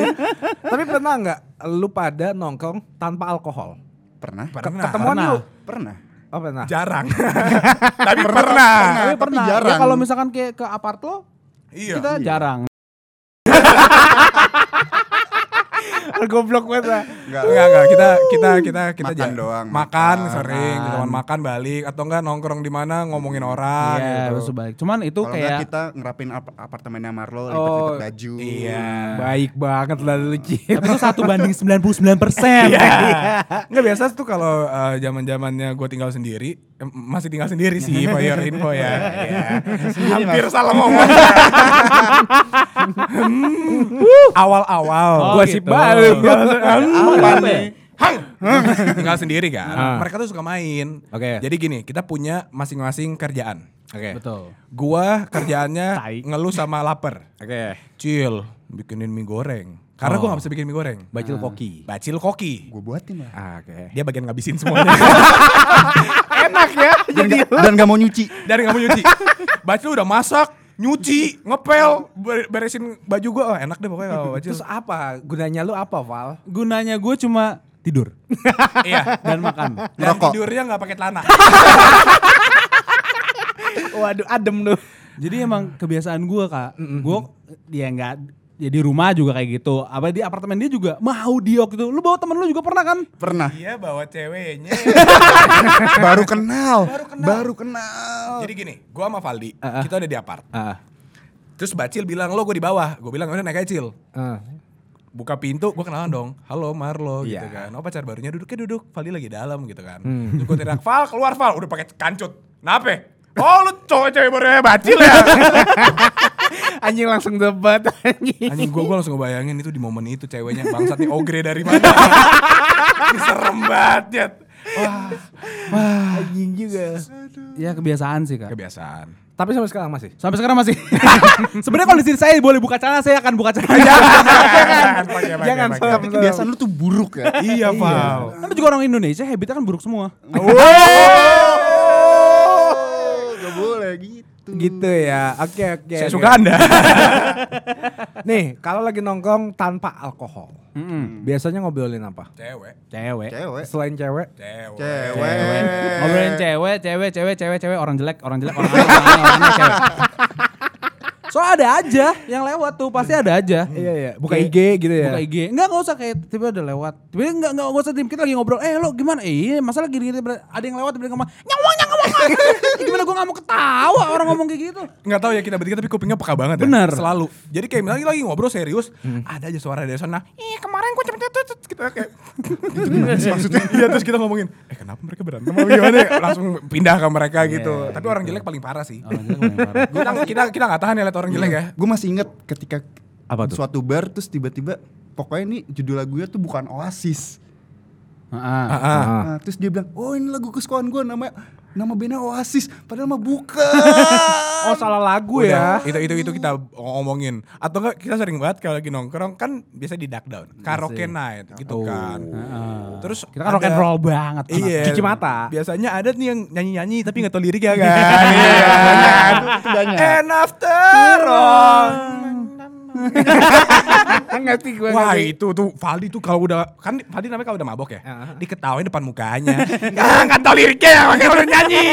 [SPEAKER 4] Tapi pernah nggak lu pada nongkrong tanpa alkohol?
[SPEAKER 6] Pernah?
[SPEAKER 1] Pernah.
[SPEAKER 4] Ke- Ketemuan
[SPEAKER 5] Pernah.
[SPEAKER 4] lu?
[SPEAKER 6] Pernah.
[SPEAKER 4] Oh pernah.
[SPEAKER 1] jarang tapi pernah,
[SPEAKER 5] Tapi
[SPEAKER 6] Tapi
[SPEAKER 5] pernah. Ya,
[SPEAKER 6] jarang.
[SPEAKER 5] kalau misalkan ke ke apart lo,
[SPEAKER 1] iya
[SPEAKER 5] kita jarang.
[SPEAKER 4] Goblok banget lah.
[SPEAKER 6] Enggak.
[SPEAKER 1] Enggak, enggak. Kita kita kita kita
[SPEAKER 6] Makan
[SPEAKER 1] ja-
[SPEAKER 6] doang,
[SPEAKER 1] Makan,
[SPEAKER 6] makan.
[SPEAKER 1] sering, kita makan balik atau enggak nongkrong di mana ngomongin orang
[SPEAKER 5] Iya,
[SPEAKER 1] gitu.
[SPEAKER 5] terus balik. Cuman itu
[SPEAKER 6] Kalau nggak
[SPEAKER 5] kayak
[SPEAKER 6] kita ngerapin ap- apartemennya
[SPEAKER 4] Oh,
[SPEAKER 6] Marlo, lipat-lipat baju.
[SPEAKER 1] iya.
[SPEAKER 4] Baik banget lah lu Cil.
[SPEAKER 5] tapi itu satu banding 99 persen.
[SPEAKER 4] Iya.
[SPEAKER 1] Nggak biasa tuh kalau eh, zaman-zamannya gue tinggal sendiri, em, masih tinggal sendiri sih for your info ya. Iya. Hampir salah ngomong. Hmm, Awal-awal
[SPEAKER 5] Oh,
[SPEAKER 1] gua
[SPEAKER 5] gitu.
[SPEAKER 1] sih baru.
[SPEAKER 6] Apa nih?
[SPEAKER 1] Hang. tinggal sendiri kan. Mereka tuh suka main.
[SPEAKER 4] Oke.
[SPEAKER 1] Jadi gini, kita punya masing-masing kerjaan.
[SPEAKER 4] Oke.
[SPEAKER 5] Betul.
[SPEAKER 1] Gua kerjaannya
[SPEAKER 5] Tai.
[SPEAKER 1] ngeluh sama lapar.
[SPEAKER 4] Oke. Oh.
[SPEAKER 1] Cil, bikinin mie goreng. Karena gue gak bisa bikin mie goreng.
[SPEAKER 4] Bacil koki.
[SPEAKER 1] Bacil koki.
[SPEAKER 6] Gue buatin lah.
[SPEAKER 4] Ah, Oke.
[SPEAKER 1] Dia bagian ngabisin semuanya. Enak ya.
[SPEAKER 6] Dan, ga- dan gak mau nyuci.
[SPEAKER 1] Dari gak mau nyuci. Bacil udah masak, nyuci, ngepel, ber- beresin baju gue. Oh, enak deh pokoknya kalau Bacil.
[SPEAKER 4] Terus apa? Gunanya lu apa, Val?
[SPEAKER 5] Gunanya gue cuma tidur
[SPEAKER 1] iya.
[SPEAKER 5] dan makan.
[SPEAKER 1] Dan
[SPEAKER 6] Ngerokok.
[SPEAKER 1] tidurnya gak pakai celana.
[SPEAKER 4] Waduh, adem lu.
[SPEAKER 5] Jadi emang kebiasaan gue kak, gue dia nggak ya di rumah juga kayak gitu. Apa di apartemen dia juga mau diok gitu. Lu bawa temen lu juga pernah kan?
[SPEAKER 6] Pernah.
[SPEAKER 1] Iya bawa ceweknya.
[SPEAKER 6] Baru kenal.
[SPEAKER 1] Iya. Baru kenal.
[SPEAKER 6] Baru kenal.
[SPEAKER 1] Jadi gini, gue sama Valdi,
[SPEAKER 4] Uh-uh.
[SPEAKER 1] kita udah di apart.
[SPEAKER 4] Ah.
[SPEAKER 1] Terus Bacil bilang, lo gue di bawah. Gue bilang, udah naik aja Cil.
[SPEAKER 4] Ah.
[SPEAKER 1] buka pintu gue kenalan dong halo Marlo gitu
[SPEAKER 4] Iya. Hmm.
[SPEAKER 1] kan oh pacar barunya duduk ya duduk Vali lagi dalam gitu kan terus gue teriak Val keluar Val udah pakai kancut kenapa oh lu cowok cewek barunya bacil ya
[SPEAKER 4] Anjing langsung debat anjing.
[SPEAKER 1] anjing gue gue langsung ngebayangin itu di momen itu ceweknya bangsat nih ogre dari mana serem banget Jet. wah
[SPEAKER 4] Anjing juga.
[SPEAKER 5] Ya kebiasaan sih kak.
[SPEAKER 1] kebiasaan
[SPEAKER 4] Tapi sampai sekarang Ah, masih.
[SPEAKER 5] Sampai sekarang masih. Sebenarnya kalau di sini saya boleh buka celana, saya akan buka
[SPEAKER 4] Iya,
[SPEAKER 5] celana.
[SPEAKER 1] jangan jangan,
[SPEAKER 4] Jangan,
[SPEAKER 1] jangan.
[SPEAKER 4] sob.
[SPEAKER 6] Tapi kebiasaan lu tuh buruk ya.
[SPEAKER 1] iya Val
[SPEAKER 5] Tapi juga orang Indonesia habitnya kan buruk semua.
[SPEAKER 6] Oh, gak boleh gitu.
[SPEAKER 4] Gitu ya. Oke, oke.
[SPEAKER 1] saya
[SPEAKER 4] oke.
[SPEAKER 1] suka anda
[SPEAKER 4] Nih, kalau lagi nongkrong tanpa alkohol,
[SPEAKER 5] Mm-mm.
[SPEAKER 4] biasanya ngobrolin apa?
[SPEAKER 1] cewek
[SPEAKER 5] Cewek.
[SPEAKER 6] Cewek.
[SPEAKER 4] Selain cewek,
[SPEAKER 1] cewek
[SPEAKER 6] Cewek.
[SPEAKER 4] Eh.
[SPEAKER 5] Ngobrolin cewek, cewek, cewek, cewek, cewek, orang jelek, orang jelek, orang aneh, orang aneh, orang aneh, cewek. So ada aja yang lewat tuh, pasti ada aja.
[SPEAKER 4] iya iya, buka
[SPEAKER 5] Kayak-
[SPEAKER 4] IG gitu ya.
[SPEAKER 5] Buka IG. Enggak enggak usah kayak tiba udah lewat. Tiba enggak enggak enggak usah tim kita lagi ngobrol. Eh lo gimana? Eh iya, masalah gini gini ada yang lewat tiba ngomong nyawang nyawang. gimana gua enggak mau ketawa orang ngomong kayak gitu.
[SPEAKER 1] nggak tahu ya kita bertiga tapi kupingnya peka banget ya.
[SPEAKER 5] Bener.
[SPEAKER 1] Selalu. Jadi kayak misalnya lagi ngobrol serius, ada aja suara dari sana. Ih, kemarin gua cepet cepet kita kayak gitu gimana sih maksudnya. Iya, terus kita ngomongin, eh kenapa mereka berantem apa gimana? ya? Langsung pindah ke mereka gitu. Tapi orang jelek paling parah sih.
[SPEAKER 5] Orang jelek ngomong parah.
[SPEAKER 1] Kita kita kita nggak tahan ya lihat orang jelek ya.
[SPEAKER 6] Gue masih inget ketika
[SPEAKER 5] Apa tuh?
[SPEAKER 6] suatu bar terus tiba-tiba pokoknya ini judul lagunya tuh bukan Oasis.
[SPEAKER 5] Heeh.
[SPEAKER 1] Ah,
[SPEAKER 4] Ah.
[SPEAKER 6] Nah, terus dia bilang, "Oh, ini lagu kesukaan gue namanya nama bandnya Oasis, padahal mah bukan."
[SPEAKER 4] Oh, salah lagu
[SPEAKER 1] Udah,
[SPEAKER 4] ya.
[SPEAKER 1] itu itu itu kita ngomongin atau enggak kita sering banget kalau lagi nongkrong kan biasa di duck down karaoke night gitu kan terus
[SPEAKER 5] Kita kan rock and
[SPEAKER 1] ada-
[SPEAKER 5] roll banget. anak.
[SPEAKER 1] Iya.
[SPEAKER 4] Cuci mata.
[SPEAKER 1] Biasanya ada nih yang nyanyi-nyanyi tapi nggak tahu liriknya kan. Iya. kan?
[SPEAKER 6] Itu- itu banyak.
[SPEAKER 1] And after all.
[SPEAKER 5] Kan
[SPEAKER 4] Ngerti gue
[SPEAKER 1] Wah itu tuh Valdi tuh kalau udah kan Valdi namanya kalau udah mabok ya,
[SPEAKER 4] Heeh.
[SPEAKER 1] diketawain depan mukanya. ah nggak tahu liriknya, makanya udah nyanyi.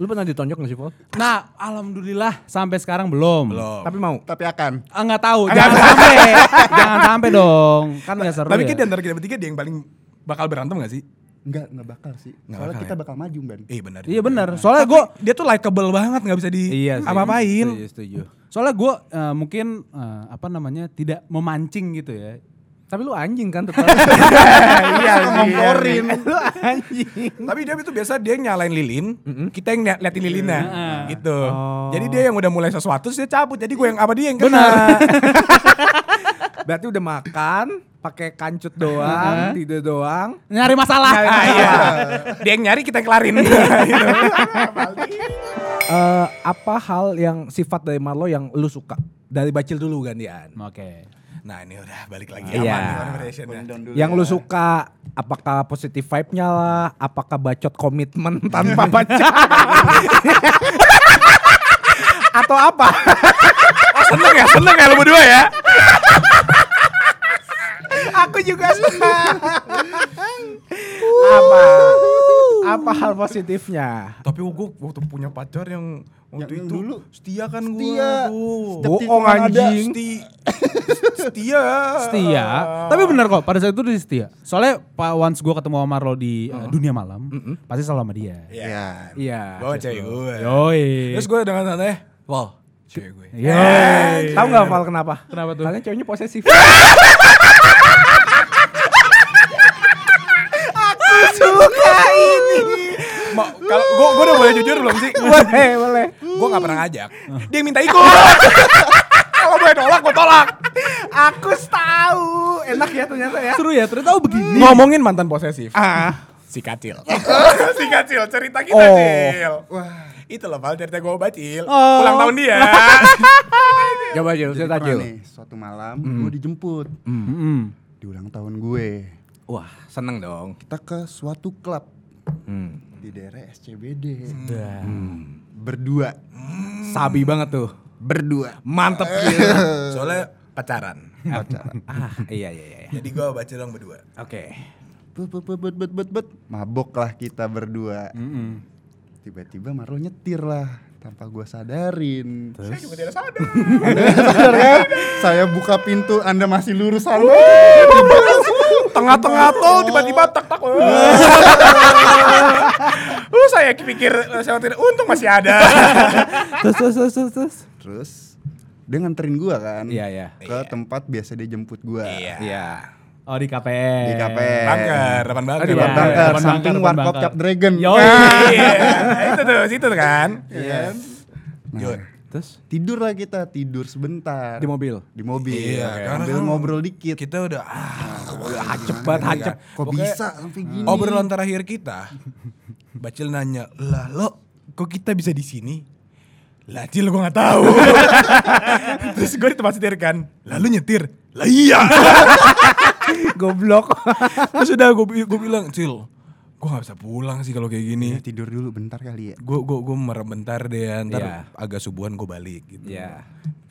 [SPEAKER 4] Lu pernah ditonjok gak sih, Paul?
[SPEAKER 5] Nah, alhamdulillah sampai sekarang belum.
[SPEAKER 1] Belum.
[SPEAKER 4] Tapi mau.
[SPEAKER 6] Tapi akan.
[SPEAKER 5] Ah, Enggak tahu. Jangan sampai. Jangan sampai dong. Kan enggak seru.
[SPEAKER 1] Tapi
[SPEAKER 5] ya.
[SPEAKER 1] kayak di antara kita bertiga dia yang paling bakal berantem gak sih?
[SPEAKER 6] Enggak, enggak bakal sih.
[SPEAKER 1] Nggak
[SPEAKER 6] Soalnya
[SPEAKER 1] bakal
[SPEAKER 6] kita
[SPEAKER 1] ya?
[SPEAKER 6] bakal maju, Ban.
[SPEAKER 1] Iya benar.
[SPEAKER 5] Iya benar. Soalnya gue
[SPEAKER 1] dia tuh likeable banget nggak bisa di
[SPEAKER 4] Iya, sih.
[SPEAKER 1] apa-apain.
[SPEAKER 4] Setuju, setuju.
[SPEAKER 5] soalnya gue mungkin eh, apa namanya tidak memancing gitu ya.
[SPEAKER 4] Tapi lu anjing kan tetap.
[SPEAKER 6] Iya, ngomporin.
[SPEAKER 4] lu anjing.
[SPEAKER 1] Tapi dia itu biasa dia yang nyalain lilin, kita yang liat- liatin lilinnya
[SPEAKER 5] Heeh.
[SPEAKER 1] gitu.
[SPEAKER 4] Oh.
[SPEAKER 1] Jadi dia yang udah mulai sesuatu terus dia cabut. Jadi gue yang apa dia yang kena.
[SPEAKER 4] Berarti udah makan, pakai kancut doang, tidur doang.
[SPEAKER 5] Nyari masalah.
[SPEAKER 1] Ah, iya. dia yang nyari kita yang kelarin. Gitu.
[SPEAKER 4] Eh, apa hal yang sifat dari Marlo yang lu suka? Dari Bacil dulu gantian.
[SPEAKER 5] Oke.
[SPEAKER 1] nah ini udah balik lagi aman
[SPEAKER 4] Iya.
[SPEAKER 1] nih conversation ya.
[SPEAKER 4] Yang lu suka apakah positif vibe-nya lah, apakah bacot komitmen tanpa bacot? Atau apa?
[SPEAKER 1] Oh, seneng ya, seneng ya lu berdua ya.
[SPEAKER 4] Aku juga senang. apa? Apa hal positifnya?
[SPEAKER 1] Tapi gue waktu punya pacar yang waktu
[SPEAKER 6] Yang
[SPEAKER 1] itu
[SPEAKER 6] dulu.
[SPEAKER 1] setia kan gue.
[SPEAKER 6] Setia. Setiap
[SPEAKER 1] Bohong
[SPEAKER 6] tikungan ada.
[SPEAKER 1] anjing. Seti- setia.
[SPEAKER 5] Setia. Tapi benar kok pada saat itu dia setia. Soalnya Pak once gue ketemu sama Marlo di eh, dunia malam, pasti selalu sama dia.
[SPEAKER 1] Iya.
[SPEAKER 4] Iya.
[SPEAKER 1] Gue cewek gue.
[SPEAKER 5] Yoi.
[SPEAKER 1] Terus gue dengan santai, wow, cewek gue.
[SPEAKER 5] Yoi.
[SPEAKER 4] Iya. Tahu nggak Val kenapa?
[SPEAKER 5] Kenapa tuh?
[SPEAKER 4] Karena ceweknya posesif.
[SPEAKER 1] Mau kalau gue gue udah boleh jujur belum sih?
[SPEAKER 4] boleh, boleh.
[SPEAKER 1] gue nggak pernah ngajak. Dia yang minta ikut. Kalau gue tolak, gue tolak. Ah,
[SPEAKER 4] Aku tahu. Enak ya ternyata ya.
[SPEAKER 5] Seru ya, ternyata oh begini.
[SPEAKER 1] Ngomongin mantan posesif. Ah. Si kacil. si kacil, cerita kita
[SPEAKER 4] Oh.
[SPEAKER 1] Cil. Wah. Itu loh Val cerita gue bacil.
[SPEAKER 5] Oh.
[SPEAKER 1] Ulang tahun dia.
[SPEAKER 4] Coba Jil,
[SPEAKER 6] Jadi
[SPEAKER 4] cerita
[SPEAKER 6] pernah
[SPEAKER 4] Jil.
[SPEAKER 6] nih, suatu malam
[SPEAKER 4] Hmm.
[SPEAKER 6] gue dijemput
[SPEAKER 1] Hmm.
[SPEAKER 5] Mm-mm.
[SPEAKER 6] di ulang tahun gue.
[SPEAKER 4] Wah, seneng dong.
[SPEAKER 6] Kita ke suatu klub
[SPEAKER 4] Hmm.
[SPEAKER 6] di daerah SCBD. Berdua,
[SPEAKER 4] Sabi banget tuh.
[SPEAKER 6] berdua.
[SPEAKER 4] Mantep Jil.
[SPEAKER 1] Soalnya pacaran.
[SPEAKER 6] Pacaran.
[SPEAKER 4] ah, iya iya iya.
[SPEAKER 1] Jadi gue bacil dong berdua.
[SPEAKER 4] Oke.
[SPEAKER 6] Bet, bet, bet, bet, bet, bet, bet. Mabok lah kita berdua.
[SPEAKER 4] Hmm.
[SPEAKER 6] Tiba-tiba Marlo nyetir lah tanpa gue sadarin.
[SPEAKER 1] Saya juga tidak sadar.
[SPEAKER 6] Sadar kan? Saya buka pintu, anda masih lurus sana.
[SPEAKER 1] Tengah-tengah tol tiba-tiba tak tak. Oh. Uh, saya pikir eh, saya tidak untung masih ada.
[SPEAKER 4] Terus terus terus terus. terus.
[SPEAKER 6] Terus dia nganterin gue kan?
[SPEAKER 4] Iya, iya.
[SPEAKER 6] Ke tempat biasa dia jemput gue.
[SPEAKER 4] Iya.
[SPEAKER 5] Oh di KP.
[SPEAKER 6] Di kafe.
[SPEAKER 1] Bangker, depan bangker.
[SPEAKER 5] Iya,
[SPEAKER 6] Depan bangker,
[SPEAKER 5] depan
[SPEAKER 6] eh, samping
[SPEAKER 5] bangker, depan
[SPEAKER 6] warkop
[SPEAKER 5] bangker.
[SPEAKER 6] Cap Dragon. Nah,
[SPEAKER 5] Yo.
[SPEAKER 1] Iya, itu tuh, situ tuh kan.
[SPEAKER 6] Iya. kan?
[SPEAKER 1] Jod.
[SPEAKER 4] Terus
[SPEAKER 6] Tidur lah kita, tidur sebentar.
[SPEAKER 4] di mobil.
[SPEAKER 6] Di mobil.
[SPEAKER 1] Iya, karena
[SPEAKER 6] Sambil
[SPEAKER 1] kan
[SPEAKER 6] ngobrol dikit. Iya,
[SPEAKER 1] Kita udah ah,
[SPEAKER 4] Hacep banget hacep.
[SPEAKER 6] Kok
[SPEAKER 1] Pokoknya-
[SPEAKER 6] bisa Hmm. sampai gini?
[SPEAKER 1] Obrolan terakhir kita, Bacil nanya, lah lo kok kita bisa di sini? Lah Cil gue gak tahu. Terus gue di tempat setir kan, lalu nyetir. Lah iya.
[SPEAKER 4] Goblok.
[SPEAKER 1] Terus udah gue bi- gue bilang, Cil gue gak bisa pulang sih kalau kayak gini.
[SPEAKER 6] Ya, tidur dulu bentar kali ya.
[SPEAKER 1] Gue gue gue merem bentar deh, ya, ntar
[SPEAKER 4] Iya.
[SPEAKER 1] agak subuhan gue balik gitu.
[SPEAKER 4] Iya.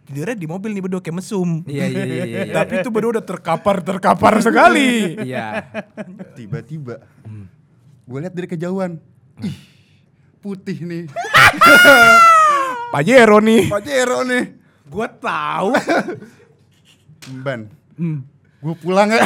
[SPEAKER 1] Tidurnya di mobil nih berdua kayak mesum.
[SPEAKER 4] Iya, iya, iya, iya, iya.
[SPEAKER 1] Tapi itu berdua udah terkapar-terkapar sekali.
[SPEAKER 4] Iya.
[SPEAKER 6] Tiba-tiba gue lihat dari kejauhan. Ih, putih nih.
[SPEAKER 1] Pajero nih.
[SPEAKER 6] Pajero nih.
[SPEAKER 4] Gua tahu.
[SPEAKER 6] Ban. Gue pulang ya.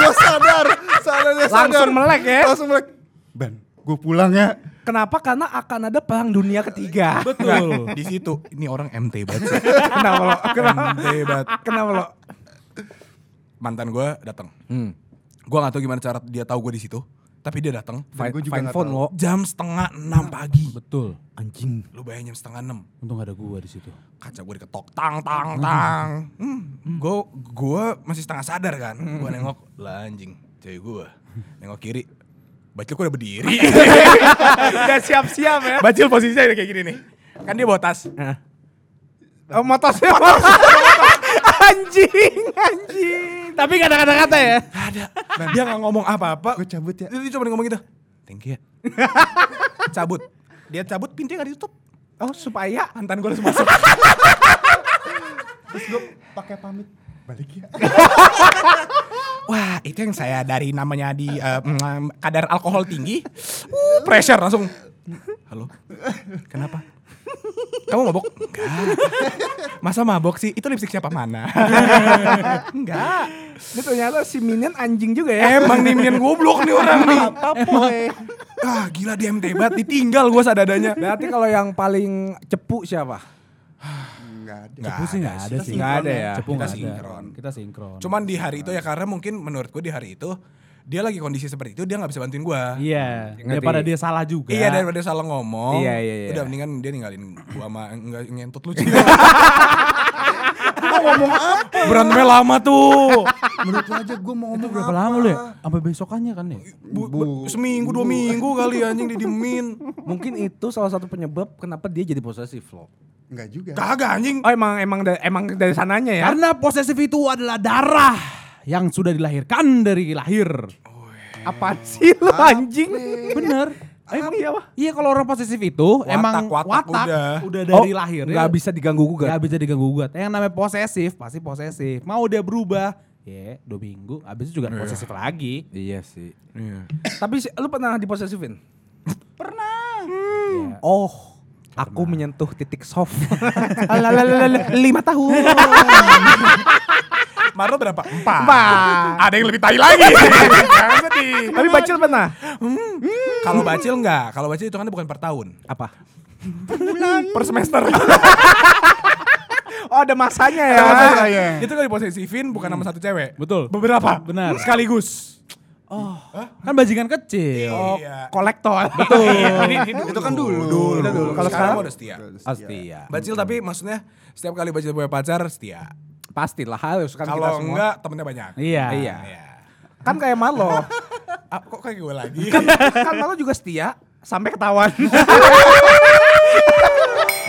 [SPEAKER 6] gue sadar, sadarnya sadar.
[SPEAKER 4] Langsung melek ya?
[SPEAKER 6] Langsung melek. Ban, gue pulang ya.
[SPEAKER 4] Kenapa? Karena akan ada perang dunia ketiga.
[SPEAKER 1] Betul. Di situ ini orang MT banget. sih.
[SPEAKER 4] kenapa lo? Kenapa?
[SPEAKER 1] MT banget.
[SPEAKER 4] Kenapa lo?
[SPEAKER 1] Mantan gue datang.
[SPEAKER 4] Hmm.
[SPEAKER 1] Gue gak tahu gimana cara dia tahu gue di situ, tapi dia datang
[SPEAKER 6] Dan gua juga
[SPEAKER 4] Fine
[SPEAKER 6] nggak
[SPEAKER 4] phone
[SPEAKER 6] tahu.
[SPEAKER 4] lo.
[SPEAKER 1] jam setengah enam pagi.
[SPEAKER 5] Betul.
[SPEAKER 4] Anjing.
[SPEAKER 1] Lu bayangin jam setengah enam.
[SPEAKER 5] Untung ada gua di situ.
[SPEAKER 1] Kaca gue diketok tang tang tang. Hmm. Gue gua masih setengah sadar kan. Gue nengok lah anjing, cewek gue. Nengok kiri. Bacil gue udah berdiri.
[SPEAKER 4] Udah siap-siap ya.
[SPEAKER 1] Bacil posisinya udah kayak gini nih. Kan dia bawa tas.
[SPEAKER 4] Oh, motosnya. anjing, anjing. Tapi gak ada kata-kata ya.
[SPEAKER 1] Gak ada. Nah, dia gak ngomong apa-apa.
[SPEAKER 6] Gue cabut ya.
[SPEAKER 1] Dia cuma ngomong gitu. Thank you ya. cabut. Dia cabut pintunya gak ditutup.
[SPEAKER 4] Oh, supaya
[SPEAKER 1] Mantan gue langsung masuk.
[SPEAKER 6] Terus gue pakai pamit. Balik ya.
[SPEAKER 1] Wah itu yang saya dari namanya di eh, mm, kadar alkohol tinggi. Uh, pressure langsung. Halo. Kenapa? Kamu mabok? Enggak. Masa mabok sih? Itu lipstick siapa mana? Enggak.
[SPEAKER 4] ini ternyata si Minion anjing juga ya.
[SPEAKER 1] Emang nih minion goblok nih orang nih. Ah gila dia MT banget ditinggal gue sadadanya.
[SPEAKER 4] Ya, Berarti kalau yang paling cepu siapa?
[SPEAKER 6] Enggak ada.
[SPEAKER 1] Nggak
[SPEAKER 5] Cepu sih nggak ada
[SPEAKER 1] Kita
[SPEAKER 5] sih.
[SPEAKER 4] Nggak ada ya.
[SPEAKER 5] Cepu
[SPEAKER 1] Kita
[SPEAKER 5] nggak ada.
[SPEAKER 1] sinkron.
[SPEAKER 5] Kita sinkron.
[SPEAKER 1] Cuman di hari itu ya karena mungkin menurut gue di hari itu dia lagi kondisi seperti itu dia nggak bisa bantuin gue.
[SPEAKER 5] Iya.
[SPEAKER 4] Ngerti.
[SPEAKER 5] Daripada dia salah juga.
[SPEAKER 1] Iya daripada salah ngomong.
[SPEAKER 4] Iya, iya, iya.
[SPEAKER 1] Udah mendingan dia ninggalin gua sama enggak ngentut lu. Cil.
[SPEAKER 6] ngomong apa?
[SPEAKER 1] Berantemnya lama tuh.
[SPEAKER 6] Menurut lo aja gue mau
[SPEAKER 5] Itu
[SPEAKER 6] ngomong
[SPEAKER 5] berapa
[SPEAKER 6] apa?
[SPEAKER 5] lama lu ya? Sampai besokannya kan ya?
[SPEAKER 1] Bu-
[SPEAKER 6] Bu.
[SPEAKER 1] bu- seminggu dua minggu kali anjing didiemin.
[SPEAKER 4] Mungkin itu salah satu penyebab kenapa dia jadi posesif lo.
[SPEAKER 6] Enggak juga.
[SPEAKER 1] Kagak anjing.
[SPEAKER 4] Oh emang emang da- emang dari sananya ya?
[SPEAKER 5] Karena posesif itu adalah darah yang sudah dilahirkan dari lahir.
[SPEAKER 4] Apaan sih lo anjing?
[SPEAKER 5] Bener.
[SPEAKER 4] Emang iya apa?
[SPEAKER 5] Iya kalau orang posesif itu emang
[SPEAKER 1] watak
[SPEAKER 5] watak,
[SPEAKER 1] udah.
[SPEAKER 5] udah. dari
[SPEAKER 4] Oh,
[SPEAKER 5] lahir. ya.
[SPEAKER 4] nggak bisa diganggu gugat.
[SPEAKER 5] Gak bisa diganggu gugat. Yang namanya posesif pasti posesif. Mau dia berubah, ya dua minggu, abis itu juga posesif lagi.
[SPEAKER 4] Iya sih.
[SPEAKER 1] Iya.
[SPEAKER 4] Tapi si- lu pernah diposesifin?
[SPEAKER 5] Ya.
[SPEAKER 4] pernah. Oh, aku menyentuh titik soft. Lalalala, Lima tahun.
[SPEAKER 1] Marlo berapa? Empat.
[SPEAKER 4] Empat.
[SPEAKER 1] Ada yang lebih tai lagi. Jangan sedih.
[SPEAKER 4] Tapi bacil pernah?
[SPEAKER 1] Kalau bacil enggak? Kalau bacil itu kan bukan per tahun. kan
[SPEAKER 4] Apa?
[SPEAKER 1] Per semester.
[SPEAKER 4] Oh ada masanya ya.
[SPEAKER 1] Ada masalah.
[SPEAKER 6] iya.
[SPEAKER 1] Itu kan diposesifin bukan nama satu cewek.
[SPEAKER 5] Betul.
[SPEAKER 1] Beberapa.
[SPEAKER 5] Benar.
[SPEAKER 1] Sekaligus.
[SPEAKER 5] Kan bajingan kecil.
[SPEAKER 1] Oh,
[SPEAKER 4] Kolektor.
[SPEAKER 6] Itu kan dulu.
[SPEAKER 1] Dulu.
[SPEAKER 4] Dulu. Kalau
[SPEAKER 1] sekarang
[SPEAKER 4] sekarang?
[SPEAKER 1] udah setia.
[SPEAKER 4] Pasti ya.
[SPEAKER 1] Bacil tapi maksudnya setiap kali Bacil punya pacar setia.
[SPEAKER 4] Pastilah harus kan kita
[SPEAKER 1] Kalau
[SPEAKER 4] semua.
[SPEAKER 1] enggak temennya banyak.
[SPEAKER 5] Iya.
[SPEAKER 4] Iya.
[SPEAKER 1] Iya.
[SPEAKER 4] Kan kayak Malo.
[SPEAKER 1] Ah, kok kayak gue lagi?
[SPEAKER 4] kan Malo juga setia.
[SPEAKER 1] sampai ketahuan.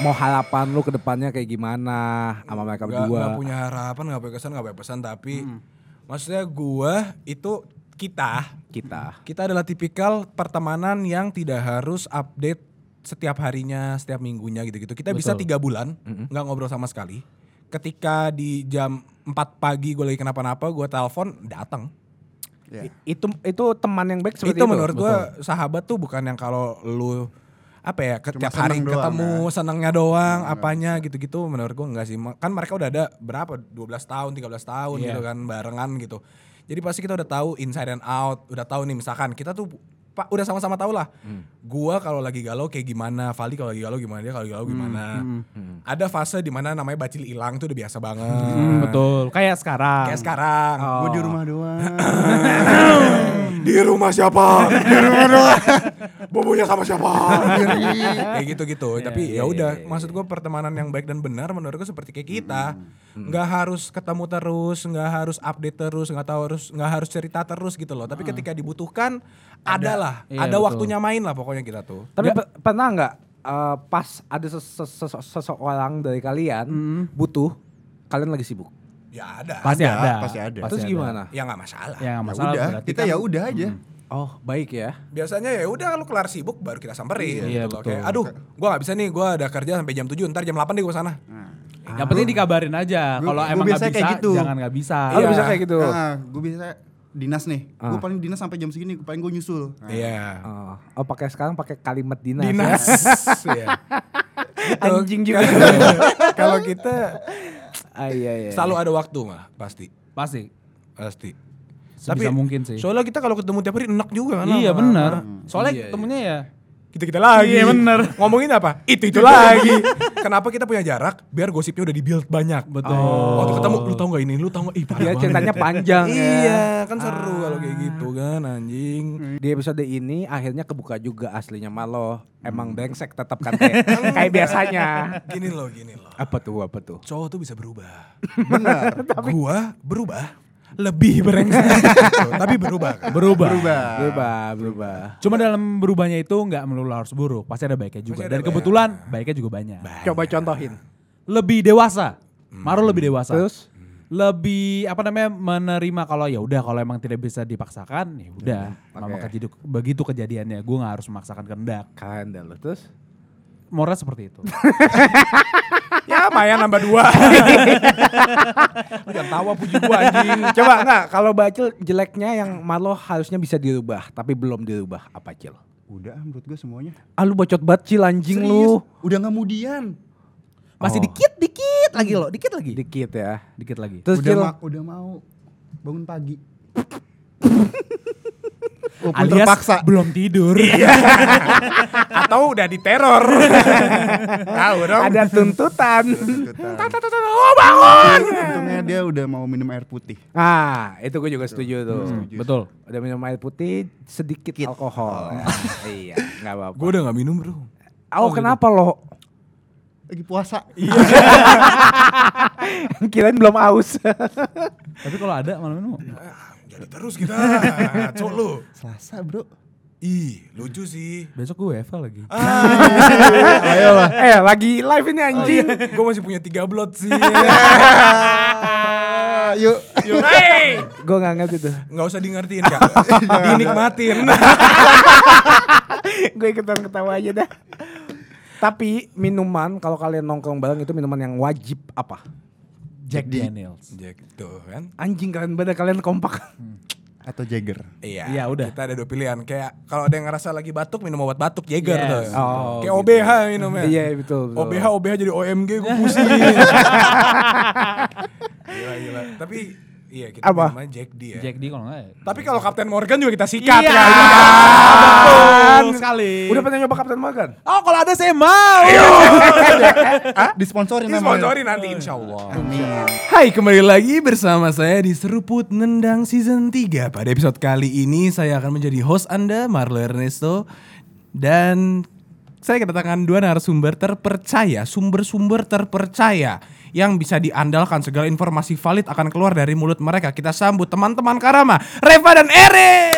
[SPEAKER 4] Mau harapan lu ke depannya kayak gimana sama
[SPEAKER 1] Gak,
[SPEAKER 4] mereka berdua? Hmm.
[SPEAKER 1] gak punya harapan, gak punya kesan, gak punya pesan. Tapi maksudnya gue itu kita.
[SPEAKER 4] Kita.
[SPEAKER 1] Kita adalah tipikal pertemanan yang tidak harus update setiap harinya, setiap minggunya gitu-gitu. Kita bisa tiga bulan
[SPEAKER 4] Hmm.
[SPEAKER 1] nggak ngobrol sama sekali. Ketika di jam 4 pagi gue lagi kenapa-napa, gue telepon datang.
[SPEAKER 6] Ya.
[SPEAKER 4] I- Itu itu teman yang baik seperti
[SPEAKER 1] itu,
[SPEAKER 4] itu.
[SPEAKER 1] menurut gue sahabat tuh bukan yang kalau lu apa ya
[SPEAKER 6] Cuma
[SPEAKER 1] setiap hari
[SPEAKER 6] seneng doang, ya. Iya,
[SPEAKER 1] ketemu senangnya doang apanya gitu-gitu menurut gue enggak sih Ma- kan mereka udah ada berapa 12 tahun 13 tahun
[SPEAKER 4] Iya.
[SPEAKER 1] gitu kan barengan gitu jadi pasti kita udah tahu inside and out udah tahu nih misalkan kita tuh pak udah sama-sama tahu lah
[SPEAKER 4] Hmm.
[SPEAKER 1] gua kalau lagi galau kayak gimana Vali kalau lagi galau gimana dia kalau lagi galau
[SPEAKER 6] Hmm,
[SPEAKER 1] gimana
[SPEAKER 4] Hmm.
[SPEAKER 1] ada fase dimana namanya bacil hilang tuh udah biasa banget
[SPEAKER 5] Hmm, betul. Kayak sekarang.
[SPEAKER 1] kayak sekarang
[SPEAKER 6] Gue di rumah doang.
[SPEAKER 1] di rumah siapa di rumah doang bobonya sama siapa kayak gitu gitu
[SPEAKER 5] Iya,
[SPEAKER 1] tapi ya udah maksud gue pertemanan yang baik dan benar menurut gue seperti kayak kita
[SPEAKER 5] Hmm,
[SPEAKER 1] nggak harus ketemu terus nggak harus update terus nggak tahu harus nggak harus cerita terus gitu loh tapi ketika dibutuhkan ada lah
[SPEAKER 5] Hmm. Iya,
[SPEAKER 1] ada
[SPEAKER 5] betul.
[SPEAKER 1] waktunya main lah pokoknya kita tuh
[SPEAKER 4] Tapi pe- pernah nggak eh, pas ada ses- ses- ses- seseorang dari kalian butuh kalian lagi sibuk.
[SPEAKER 1] ya ada
[SPEAKER 5] Pasti
[SPEAKER 6] Ada,
[SPEAKER 5] ada.
[SPEAKER 6] Iya, pasti ada.
[SPEAKER 4] Terus gimana?
[SPEAKER 1] ya nggak masalah
[SPEAKER 5] Ya nggak
[SPEAKER 6] Ya
[SPEAKER 5] masalah
[SPEAKER 6] udah,
[SPEAKER 5] berarti
[SPEAKER 6] kita
[SPEAKER 5] kan-
[SPEAKER 6] ya udah aja.
[SPEAKER 4] Oh, baik ya.
[SPEAKER 1] biasanya ya udah lu kelar sibuk baru kita samperin
[SPEAKER 5] Iya,
[SPEAKER 1] gitu loh.
[SPEAKER 5] betul.
[SPEAKER 1] Kayak, aduh gua nggak bisa nih gua ada kerja sampai jam 7 ntar jam 8 deh gua sana
[SPEAKER 5] Nah. Yang penting dikabarin aja.
[SPEAKER 6] Gua-
[SPEAKER 5] Kalau
[SPEAKER 6] gua
[SPEAKER 5] emang nggak
[SPEAKER 6] biasanya
[SPEAKER 5] bisa,
[SPEAKER 6] kayak gitu.
[SPEAKER 5] jangan nggak bisa. Iya.
[SPEAKER 4] Oh, lu bisa kayak gitu.
[SPEAKER 6] Nah, gue biasa dinas nih. Gue paling dinas sampai jam segini, gua paling gue nyusul. Nah,
[SPEAKER 5] Ah.
[SPEAKER 1] iya
[SPEAKER 4] Oh, oh, pakai sekarang pakai kalimat dinas.
[SPEAKER 1] dinas
[SPEAKER 4] ya.
[SPEAKER 1] Nah, Iya.
[SPEAKER 4] Anjing juga.
[SPEAKER 1] kalau kita
[SPEAKER 4] Ah, iya, iya.
[SPEAKER 1] Selalu ada waktu mah pasti.
[SPEAKER 5] Pasti.
[SPEAKER 1] Pasti.
[SPEAKER 5] Sebisa mungkin sih.
[SPEAKER 1] Soalnya kita kalau ketemu tiap hari enak juga kan.
[SPEAKER 5] iya
[SPEAKER 1] lama-lama.
[SPEAKER 5] benar. Soalnya
[SPEAKER 1] Iya,
[SPEAKER 5] ketemunya ya.
[SPEAKER 1] Kita-kita lagi.
[SPEAKER 5] Iya, bener.
[SPEAKER 1] Ngomongin apa? Itu-itu lagi. Kenapa kita punya jarak? Biar gosipnya udah dibuild banyak. Oh.
[SPEAKER 5] Betul.
[SPEAKER 1] Waktu ketemu lu tau gak ini, lu tau gak ih parah
[SPEAKER 4] Dia
[SPEAKER 1] banget.
[SPEAKER 4] Iya, ceritanya panjang ya.
[SPEAKER 1] Iya, kan seru kalau kayak gitu kan anjing.
[SPEAKER 4] Di episode ini akhirnya kebuka juga aslinya Malo. Emang brengsek tetap kan kayak, kayak biasanya.
[SPEAKER 1] Gini loh, gini loh.
[SPEAKER 4] Apa tuh? Apa tuh?
[SPEAKER 1] Cowok tuh bisa berubah. Benar. Gua berubah lebih berengsek. Tuh, Tapi berubah kan.
[SPEAKER 5] Berubah.
[SPEAKER 6] Berubah.
[SPEAKER 4] Berubah, berubah.
[SPEAKER 5] Cuma dalam berubahnya itu nggak melulu harus buruk, pasti ada baiknya juga.
[SPEAKER 1] Pasti ada
[SPEAKER 5] Dan
[SPEAKER 1] baik.
[SPEAKER 5] kebetulan baiknya juga banyak.
[SPEAKER 4] Coba contohin.
[SPEAKER 5] Lebih dewasa.
[SPEAKER 4] Hmm.
[SPEAKER 5] Maro lebih dewasa.
[SPEAKER 4] Terus?
[SPEAKER 5] lebih apa namanya menerima kalau ya udah kalau emang tidak bisa dipaksakan ya udah
[SPEAKER 4] Iya,
[SPEAKER 5] memang kejadian- begitu kejadiannya gue nggak harus memaksakan kehendak
[SPEAKER 4] Kalian dah lu. Terus?
[SPEAKER 5] moral seperti itu
[SPEAKER 1] Ya Maya nambah dua. Lu jangan tawa puji gua anjing.
[SPEAKER 4] Coba enggak kalau Bacil jeleknya yang Marlo harusnya bisa dirubah tapi belum dirubah apa Cil?
[SPEAKER 6] Udah ah, menurut gue semuanya.
[SPEAKER 4] Ah lu bacot bacil anjing lu.
[SPEAKER 6] Udah nggak mudian.
[SPEAKER 5] masih
[SPEAKER 4] Oh.
[SPEAKER 5] dikit dikit lagi loh dikit lagi
[SPEAKER 4] Dikit ya.
[SPEAKER 5] dikit lagi
[SPEAKER 4] Terus
[SPEAKER 6] udah,
[SPEAKER 4] Cil
[SPEAKER 6] ma- udah mau bangun pagi. Walaupun
[SPEAKER 5] alias
[SPEAKER 6] terpaksa.
[SPEAKER 5] belum tidur
[SPEAKER 4] Iya.
[SPEAKER 1] atau udah diteror. Tahu dong.
[SPEAKER 4] ada tuntutan.
[SPEAKER 1] Oh, bangun.
[SPEAKER 6] Untungnya dia udah mau minum air putih.
[SPEAKER 4] ah, itu gue juga setuju tuh.
[SPEAKER 5] Gitu. betul
[SPEAKER 4] Udah minum air putih sedikit alkohol. iya, enggak apa-apa.
[SPEAKER 1] Gue udah gak minum bro.
[SPEAKER 4] Oh, kenapa lo?
[SPEAKER 6] Lagi puasa.
[SPEAKER 4] Kirain belum aus.
[SPEAKER 5] tapi kalau ada malam ini mau.
[SPEAKER 1] Jadi terus kita. Cok lu.
[SPEAKER 6] Selasa bro.
[SPEAKER 1] Ih lucu sih.
[SPEAKER 5] besok gue WFH lagi
[SPEAKER 4] Ah. eh, lagi live ini anjing.
[SPEAKER 1] gue masih punya tiga blot sih.
[SPEAKER 6] Ah, yuk.
[SPEAKER 4] gue nggak ngerti tuh.
[SPEAKER 1] Gak usah diingetin kak. Iya. Dinikmatin.
[SPEAKER 4] gue ikutan ketawa aja dah. Tapi minuman kalau kalian nongkrong bareng itu minuman yang wajib apa?
[SPEAKER 5] Jack Daniels
[SPEAKER 1] Jack tuh kan.
[SPEAKER 4] Anjing kalian bener kalian kompak.
[SPEAKER 6] Atau Jagger.
[SPEAKER 1] Iya,
[SPEAKER 5] Iya, udah.
[SPEAKER 1] Kita ada dua pilihan. Kayak kalau ada yang ngerasa lagi batuk minum obat batuk Jaeger
[SPEAKER 5] Yes.
[SPEAKER 1] tuh.
[SPEAKER 4] Oh,
[SPEAKER 1] Kayak
[SPEAKER 4] gitu.
[SPEAKER 1] OBH minumnya.
[SPEAKER 4] Iya, betul, betul.
[SPEAKER 1] OBH OBH jadi OMG gue pusing. gila gila. Tapi iya kita
[SPEAKER 4] Apa?
[SPEAKER 1] namanya Jack D ya.
[SPEAKER 5] Jack D kalau nggak ya.
[SPEAKER 1] Tapi kalau Kapten Morgan juga kita sikat
[SPEAKER 5] Iya,
[SPEAKER 1] kan?
[SPEAKER 5] betul sekali
[SPEAKER 4] Udah pernah nyoba Captain Morgan?
[SPEAKER 5] oh kalau ada saya mau
[SPEAKER 6] Disponsorin
[SPEAKER 1] Ini
[SPEAKER 6] namanya.
[SPEAKER 1] sponsorin nanti insya Allah.
[SPEAKER 6] Amin.
[SPEAKER 1] Hai kembali lagi bersama saya di Seruput Nendang Season 3 Pada episode kali ini saya akan menjadi host Anda Marlo Ernesto Dan saya kedatangan dua narasumber terpercaya Sumber-sumber terpercaya Yang bisa diandalkan segala informasi valid akan keluar dari mulut mereka Kita sambut teman-teman Karama, Reva dan Ere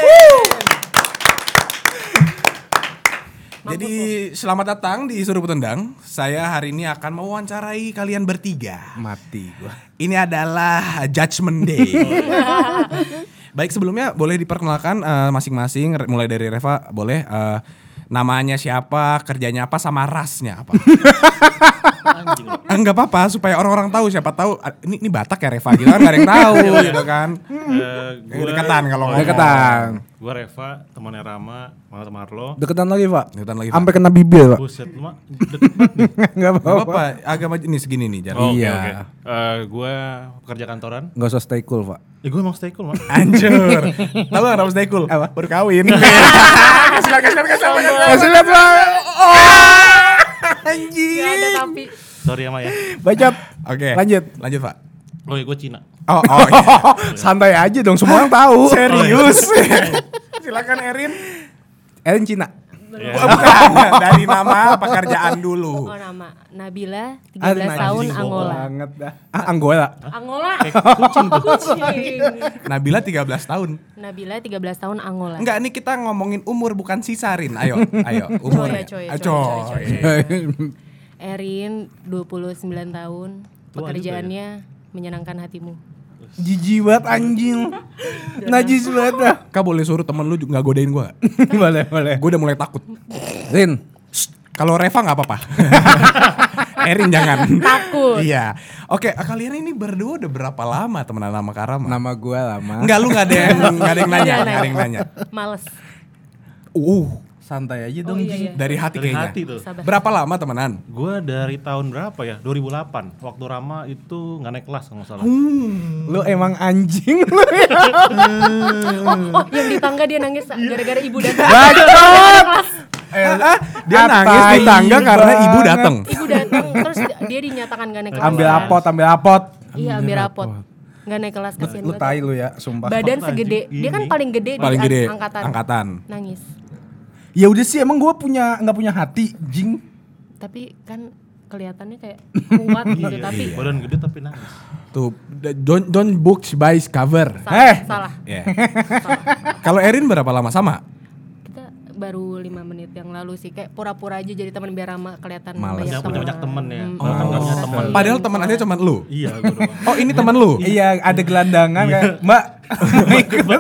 [SPEAKER 1] Jadi selamat datang di Suruh Tendang. Saya hari ini akan mewawancarai kalian bertiga.
[SPEAKER 4] Mati gua.
[SPEAKER 1] Ini adalah Judgment Day. Baik sebelumnya boleh diperkenalkan eh, masing-masing re- mulai dari Reva boleh eh, namanya siapa, kerjanya apa sama rasnya apa.
[SPEAKER 2] Anjing lu.
[SPEAKER 1] Enggak apa-apa supaya orang-orang tahu siapa tahu ah, ini ini Batak ya Reva gitu kan gak ada yang tahu
[SPEAKER 2] Iya,
[SPEAKER 1] gitu kan.
[SPEAKER 2] Eh, gua- iya.
[SPEAKER 1] Deketan kalau ngomong.
[SPEAKER 4] Deketan.
[SPEAKER 2] Gua Reva, temannya Rama, Marlo Marlo.
[SPEAKER 4] Deketan lagi, Pak.
[SPEAKER 1] Deketan lagi, Pak.
[SPEAKER 4] Sampai kena bibir, Pak.
[SPEAKER 2] Buset lu mah deket banget nih.
[SPEAKER 4] Enggak
[SPEAKER 1] Gak
[SPEAKER 4] apa-apa.
[SPEAKER 1] apa-apa, agama ini segini nih jalan.
[SPEAKER 2] Oh, oke,
[SPEAKER 4] Iya.
[SPEAKER 2] oke. Eh, gua pekerja kantoran.
[SPEAKER 4] Enggak usah stay cool, Pak.
[SPEAKER 2] Ya gua emang stay cool, Mak.
[SPEAKER 1] Anjir. Tahu enggak Ramsday cool?
[SPEAKER 4] Apa?
[SPEAKER 1] Baru kawin. Kasihan kasihan kasihan.
[SPEAKER 4] Kasih lihat, Pak.
[SPEAKER 3] Gak ada tapi
[SPEAKER 2] Sorry ya, Mak ya.
[SPEAKER 4] Bacot.
[SPEAKER 1] Oke.
[SPEAKER 4] Lanjut.
[SPEAKER 1] Lanjut, Pak.
[SPEAKER 2] Oh, ya gua Cina.
[SPEAKER 1] Oh, oh. iya.
[SPEAKER 4] Santai aja dong, semua orang tahu. Oh, iya.
[SPEAKER 1] Serius.
[SPEAKER 2] Oh,
[SPEAKER 1] Silakan Erin.
[SPEAKER 4] Ellen Eh, Cina.
[SPEAKER 2] Iya.
[SPEAKER 1] Oh, bukan. Dari nama pekerjaan dulu.
[SPEAKER 3] Oh nama Nabila 13
[SPEAKER 4] Aduh,
[SPEAKER 3] tahun
[SPEAKER 2] najis.
[SPEAKER 3] Angola
[SPEAKER 4] Ah, Banget dah. Ah, Angola.
[SPEAKER 3] Angola
[SPEAKER 2] Eh, kucing tuh.
[SPEAKER 3] Kucing
[SPEAKER 1] Nabila 13 tahun.
[SPEAKER 3] Nabila 13 tahun Angola
[SPEAKER 1] Enggak, ini kita ngomongin umur bukan sisarin. Ayo, ayo, umur.
[SPEAKER 3] Coy, coy, coy, coy, coy, coy. Erin
[SPEAKER 2] Tua
[SPEAKER 3] 29 tahun
[SPEAKER 2] juga
[SPEAKER 3] Pekerjaannya menyenangkan hatimu
[SPEAKER 4] Jijik banget anjing. Najis banget dah.
[SPEAKER 1] Kak boleh suruh temen lu juga nggak godain gua.
[SPEAKER 4] boleh, boleh.
[SPEAKER 1] Gua udah mulai takut.
[SPEAKER 4] Rin,
[SPEAKER 1] Shh, Kalau Reva nggak apa-apa. Erin jangan.
[SPEAKER 3] Takut.
[SPEAKER 1] iya. Oke, kalian ini berdua udah berapa lama temenan sama Karama?
[SPEAKER 4] nama gue lama.
[SPEAKER 1] Enggak lu nggak ada yang nggak ada yang nanya,
[SPEAKER 3] Nggak ada
[SPEAKER 1] nggak ada yang nanya.
[SPEAKER 3] Males
[SPEAKER 1] Uh,
[SPEAKER 4] Santai aja
[SPEAKER 3] Oh
[SPEAKER 4] dong.
[SPEAKER 3] iya iya
[SPEAKER 1] dari hati
[SPEAKER 2] Dari
[SPEAKER 1] kayaknya.
[SPEAKER 2] hati tuh.
[SPEAKER 3] Sabar
[SPEAKER 1] Berapa lama temenan?
[SPEAKER 2] Gua dari tahun berapa ya? 2008. Waktu Rama itu nggak naik kelas kalau nggak salah.
[SPEAKER 4] Lu emang anjing lu ya.
[SPEAKER 3] Oh yang di tangga dia nangis Gara-gara ibu datang
[SPEAKER 1] Ah, ah, dia
[SPEAKER 4] Atai
[SPEAKER 1] nangis di tangga karena
[SPEAKER 4] banget.
[SPEAKER 1] ibu datang.
[SPEAKER 3] Ibu datang Terus dia dinyatakan gak naik kelas
[SPEAKER 4] Ambil apot, ambil apot.
[SPEAKER 3] Iya ambil rapot Gak naik kelas kasihan
[SPEAKER 4] Lu
[SPEAKER 3] banget.
[SPEAKER 4] tai lu ya, sumpah.
[SPEAKER 3] Badan
[SPEAKER 2] Apot
[SPEAKER 3] segede
[SPEAKER 2] anjing.
[SPEAKER 3] Dia kan
[SPEAKER 2] Ini.
[SPEAKER 3] paling gede
[SPEAKER 1] Paling
[SPEAKER 3] di
[SPEAKER 1] gede
[SPEAKER 3] an- angkatan.
[SPEAKER 1] angkatan.
[SPEAKER 3] Nangis
[SPEAKER 4] Ya udah sih emang gue punya nggak punya hati, jing.
[SPEAKER 3] Tapi kan kelihatannya kayak kuat
[SPEAKER 2] Iya,
[SPEAKER 1] Iya,
[SPEAKER 3] gitu Tapi
[SPEAKER 2] Badan gede tapi nangis.
[SPEAKER 1] Tuh, d- don't don't books by its cover.
[SPEAKER 3] salah,
[SPEAKER 4] Eh.
[SPEAKER 3] salah
[SPEAKER 1] Ya. Kalau Erin berapa lama sama?
[SPEAKER 3] Kita baru lima menit yang lalu sih Kayak pura-pura aja jadi teman biar Rama kelihatan
[SPEAKER 1] Males. Oh.
[SPEAKER 2] Jangan punya banyak temen ya.
[SPEAKER 3] Hmm.
[SPEAKER 2] Kalau kan nggak punya temen.
[SPEAKER 1] Padahal teman aslinya cuma lu.
[SPEAKER 2] Iya, gua doang.
[SPEAKER 1] Oh, ini teman lu.
[SPEAKER 4] Iya, ada gelandangan kayak, Mbak. mau ikut?"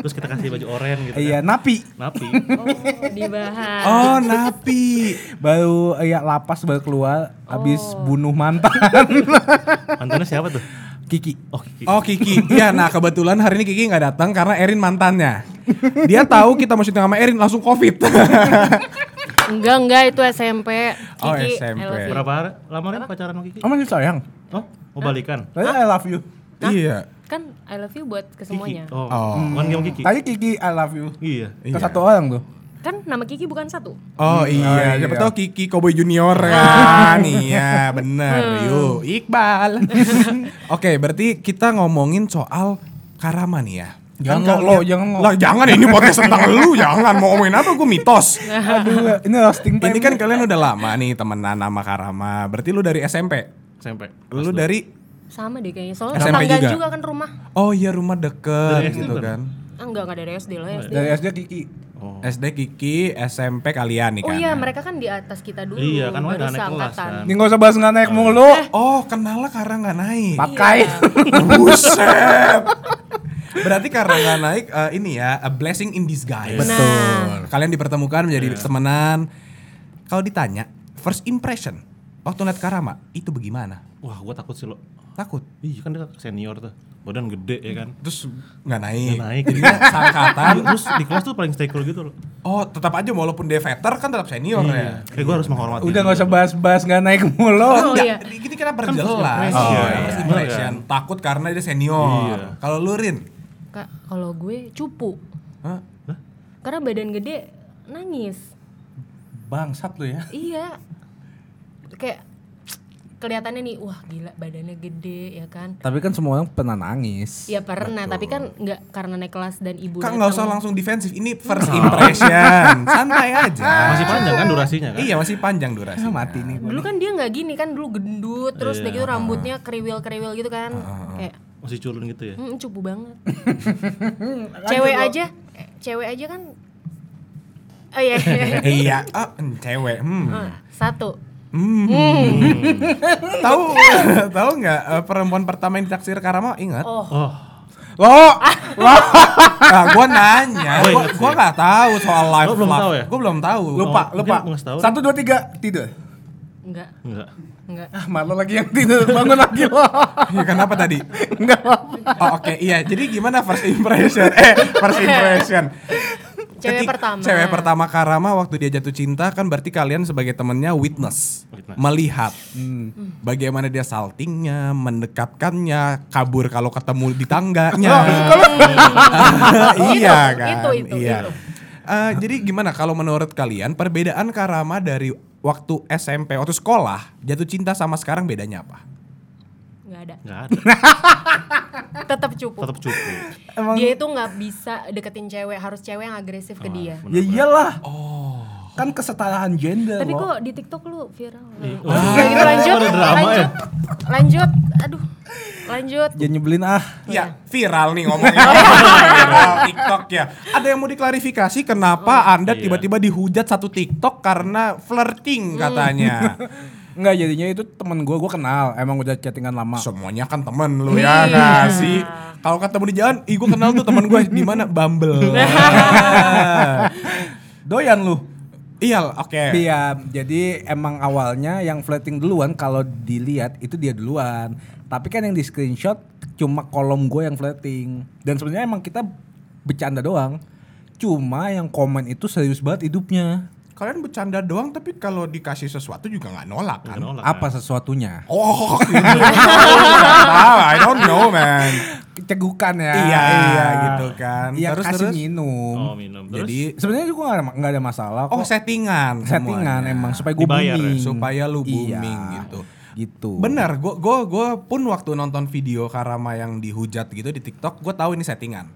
[SPEAKER 2] Terus kita kasih baju oren gitu.
[SPEAKER 4] Iya,
[SPEAKER 2] kan.
[SPEAKER 4] napi.
[SPEAKER 2] Napi.
[SPEAKER 3] Oh, dibahas
[SPEAKER 1] Oh, Napi.
[SPEAKER 4] Baru ya lapas baru keluar habis
[SPEAKER 3] Oh.
[SPEAKER 4] bunuh mantan.
[SPEAKER 2] Mantannya siapa tuh?
[SPEAKER 4] Kiki.
[SPEAKER 2] Oh, Kiki.
[SPEAKER 1] Oh, Kiki. Iya, nah kebetulan hari ini Kiki nggak datang karena Erin mantannya. Dia tahu kita mau syuting sama Erin langsung Covid.
[SPEAKER 3] Enggak enggak itu SMP
[SPEAKER 1] Oh,
[SPEAKER 3] Kiki,
[SPEAKER 1] SMP.
[SPEAKER 3] I love you.
[SPEAKER 2] Berapa hari- lama Ren pacaran sama Kiki?
[SPEAKER 4] Oh masih sayang.
[SPEAKER 2] Oh, mau balikan?
[SPEAKER 4] I love you.
[SPEAKER 1] iya.
[SPEAKER 3] Kan I love you buat
[SPEAKER 2] Kiki.
[SPEAKER 3] kesemuanya
[SPEAKER 2] Oh,
[SPEAKER 1] Oh.
[SPEAKER 2] bukan game Kiki.
[SPEAKER 4] Tadi Kiki I love you.
[SPEAKER 2] Iya.
[SPEAKER 4] Ke satu orang tuh.
[SPEAKER 3] Kan nama Kiki bukan satu
[SPEAKER 1] Oh iya, siapa tahu Kiki Cowboy Junior kan. iya, bener. Yuk, Iqbal. Oke, berarti kita ngomongin soal Karama nih ya.
[SPEAKER 4] Jangan
[SPEAKER 1] Kan
[SPEAKER 4] lo,
[SPEAKER 1] kalian-
[SPEAKER 4] jangan lo.
[SPEAKER 1] Lah, jangan ini podcast tentang lu, jangan mau ngomongin apa gue mitos.
[SPEAKER 4] Aduh, ya. ini roasting time.
[SPEAKER 1] Ini kan kalian udah lama nih temenan sama Karama. Berarti lu dari SMP.
[SPEAKER 2] SMP.
[SPEAKER 1] Lu dari
[SPEAKER 3] Sama deh kayaknya Soalnya
[SPEAKER 1] SMP
[SPEAKER 3] tetangga
[SPEAKER 1] juga.
[SPEAKER 3] juga kan rumah
[SPEAKER 1] Oh iya rumah
[SPEAKER 2] Dari
[SPEAKER 1] deket
[SPEAKER 2] SD
[SPEAKER 1] gitu
[SPEAKER 2] berapa?
[SPEAKER 1] kan.
[SPEAKER 3] Ah, Enggak, enggak dari SD lah SD.
[SPEAKER 4] Dari SD Kiki.
[SPEAKER 2] Oh.
[SPEAKER 1] SD Kiki, SMP kalian nih
[SPEAKER 3] Oh
[SPEAKER 1] kan.
[SPEAKER 3] iya, mereka kan di atas kita dulu.
[SPEAKER 2] Iya, kan
[SPEAKER 3] baru
[SPEAKER 2] udah naik kelas
[SPEAKER 3] seangkatan.
[SPEAKER 2] kan.
[SPEAKER 4] Ini nggak usah bahas nggak naik mulu.
[SPEAKER 1] Oh, kenalnya karena nggak naik.
[SPEAKER 3] Iya.
[SPEAKER 4] Pakai.
[SPEAKER 1] Buset. Berarti karena nggak naik eh, ini ya a blessing in disguise.
[SPEAKER 3] Betul.
[SPEAKER 1] Kalian dipertemukan
[SPEAKER 2] Iya.
[SPEAKER 1] menjadi temenan. Kalau ditanya first impression waktu lihat Karama itu bagaimana?
[SPEAKER 2] Wah, gua takut sih lo.
[SPEAKER 1] Takut.
[SPEAKER 2] Iya kan dia senior tuh. Badan gede ya kan.
[SPEAKER 1] Terus nggak naik.
[SPEAKER 2] Nggak naik.
[SPEAKER 1] Jadinya sangkatan.
[SPEAKER 2] Terus di kelas tuh paling stay cool gitu loh.
[SPEAKER 1] Oh, tetap aja walaupun dia veter kan tetap senior
[SPEAKER 2] Iya.
[SPEAKER 1] ya.
[SPEAKER 2] Kayak gua harus menghormati.
[SPEAKER 4] Udah
[SPEAKER 2] dia
[SPEAKER 4] nggak usah
[SPEAKER 2] dulu.
[SPEAKER 4] bahas-bahas nggak naik mulu.
[SPEAKER 1] Ah.
[SPEAKER 3] Oh, iya.
[SPEAKER 1] Ini kita
[SPEAKER 2] first
[SPEAKER 1] perjelas.
[SPEAKER 2] impression.
[SPEAKER 1] Oh,
[SPEAKER 2] Iya.
[SPEAKER 1] first impression. Takut karena dia senior.
[SPEAKER 2] Iya.
[SPEAKER 1] Kalau lu Rin,
[SPEAKER 3] Kak, kalau gue cupu.
[SPEAKER 1] Hah?
[SPEAKER 3] Karena badan gede nangis.
[SPEAKER 4] Bangsat lu ya.
[SPEAKER 3] Iya. Kayak kelihatannya nih, wah gila badannya gede ya kan.
[SPEAKER 4] Tapi kan semua orang pernah nangis.
[SPEAKER 3] Ya pernah, tapi kan nggak karena naik kelas dan
[SPEAKER 1] Kak
[SPEAKER 3] ibu datang.
[SPEAKER 1] nggak usah langsung defensif. Ini first impression. Santai aja.
[SPEAKER 2] Iya. Masih panjang kan durasinya kan?
[SPEAKER 1] Iya masih panjang durasi.
[SPEAKER 4] Ah, mati nih.
[SPEAKER 3] Dulu kan dia nggak gini kan, dulu gendut,
[SPEAKER 2] Iya.
[SPEAKER 3] terus udah gitu rambutnya kriwil-kriwil gitu kan.
[SPEAKER 1] Ah,
[SPEAKER 3] Kayak
[SPEAKER 2] Masih culun gitu ya.
[SPEAKER 3] "Mm, cupu banget. cewek aja, eh, cewek aja kan Oh iya. iya.
[SPEAKER 1] iya, ah, mm, cewek. Hmm.
[SPEAKER 3] Hmm, Satu.
[SPEAKER 1] Hmm. tahu tahu nggak eh, perempuan pertama yang ditaksir Karama ingat?
[SPEAKER 3] Oh.
[SPEAKER 2] Oh,
[SPEAKER 1] Lo, lo, nah, gue nanya,
[SPEAKER 2] Gua
[SPEAKER 1] gue
[SPEAKER 2] ingat
[SPEAKER 1] gua
[SPEAKER 2] Oh, iya sih.
[SPEAKER 1] nggak tahu soal live.
[SPEAKER 2] Lo belum tahu ya?
[SPEAKER 1] Gue belum tahu.
[SPEAKER 2] Lupa,
[SPEAKER 1] Oh,
[SPEAKER 2] lupa.
[SPEAKER 1] mungkin gua nggak tahu. Satu dua tiga tidur.
[SPEAKER 3] Enggak.
[SPEAKER 2] enggak.
[SPEAKER 3] Enggak.
[SPEAKER 4] Ah, malu lagi yang tidur bangun lagi lo.
[SPEAKER 1] Ya, kenapa tadi?
[SPEAKER 4] Enggak apa.
[SPEAKER 1] Oh, Oke, iya. Jadi gimana first impression? Eh, first impression.
[SPEAKER 3] Cewek
[SPEAKER 1] Ketik-
[SPEAKER 3] pertama.
[SPEAKER 1] Cewek pertama Karama waktu dia jatuh cinta kan berarti kalian sebagai temennya witness,
[SPEAKER 2] Witness.
[SPEAKER 1] melihat
[SPEAKER 3] Hmm.
[SPEAKER 1] bagaimana dia saltingnya, mendekatkannya, kabur kalau ketemu di tangganya. iya
[SPEAKER 3] Oh, Itu,
[SPEAKER 1] kan?
[SPEAKER 3] itu, itu,
[SPEAKER 1] iya.
[SPEAKER 3] itu.
[SPEAKER 1] Eh, jadi gimana kalau menurut kalian perbedaan Karama dari waktu SMP, waktu sekolah, jatuh cinta sama sekarang bedanya apa?
[SPEAKER 3] Enggak ada.
[SPEAKER 2] Enggak ada.
[SPEAKER 3] Tetap cupu.
[SPEAKER 2] Tetap cukup.
[SPEAKER 3] Dia itu nggak bisa deketin cewek, harus cewek yang agresif ke dia.
[SPEAKER 4] Ya iyalah. Oh. Kan kesetaraan gender
[SPEAKER 3] Tapi
[SPEAKER 4] lo.
[SPEAKER 3] kok di TikTok lu viral.
[SPEAKER 2] Wah.
[SPEAKER 3] Udah gitu lanjut,
[SPEAKER 2] Ada drama ya?
[SPEAKER 3] lanjut, lanjut, aduh, lanjut.
[SPEAKER 4] Jangan nyebelin ah.
[SPEAKER 1] Ya, viral nih ngomongnya. viral TikTok ya. Ada yang mau diklarifikasi kenapa
[SPEAKER 4] Oh,
[SPEAKER 1] Anda
[SPEAKER 2] iya.
[SPEAKER 1] tiba-tiba dihujat satu TikTok karena
[SPEAKER 4] Hmm.
[SPEAKER 1] flirting katanya.
[SPEAKER 4] Enggak jadinya itu teman gua gua kenal. Emang udah chattingan lama.
[SPEAKER 1] Semuanya kan temen lu ya
[SPEAKER 4] Iya.
[SPEAKER 1] nggak sih? Kalau ketemu di jalan, ih gue kenal tuh temen gue di mana Bumble.
[SPEAKER 4] Doyan lu.
[SPEAKER 1] iya, oke.
[SPEAKER 4] Iya, jadi emang awalnya yang flirting duluan kalau dilihat itu dia duluan. Tapi kan yang di screenshot cuma kolom gue yang flirting. Dan sebenarnya emang kita bercanda doang. Cuma yang komen itu serius banget hidupnya.
[SPEAKER 1] Kalian bercanda doang tapi kalau dikasih sesuatu juga nggak nolak kan?
[SPEAKER 2] Enggak nolak.
[SPEAKER 4] Apa
[SPEAKER 2] kan?
[SPEAKER 4] sesuatunya?
[SPEAKER 1] Oh,
[SPEAKER 4] Iya.
[SPEAKER 1] wow, I don't know man.
[SPEAKER 4] Cegukan ya.
[SPEAKER 1] Iya, iya, gitu kan.
[SPEAKER 4] Iya,
[SPEAKER 1] Terus,
[SPEAKER 4] kasih
[SPEAKER 1] terus?
[SPEAKER 4] minum.
[SPEAKER 2] Oh, minum. Terus
[SPEAKER 1] Jadi
[SPEAKER 4] Sebenarnya juga nggak ada- nggak ada masalah kok.
[SPEAKER 1] oh settingan,
[SPEAKER 4] settingan
[SPEAKER 1] semuanya.
[SPEAKER 4] emang supaya gue
[SPEAKER 2] Dibayar ya?
[SPEAKER 4] booming.
[SPEAKER 1] supaya lu
[SPEAKER 4] Iya,
[SPEAKER 1] booming gitu.
[SPEAKER 4] Gitu.
[SPEAKER 1] Bener, gue gua, gua pun waktu nonton video Karama yang dihujat gitu di TikTok, gue tahu ini settingan.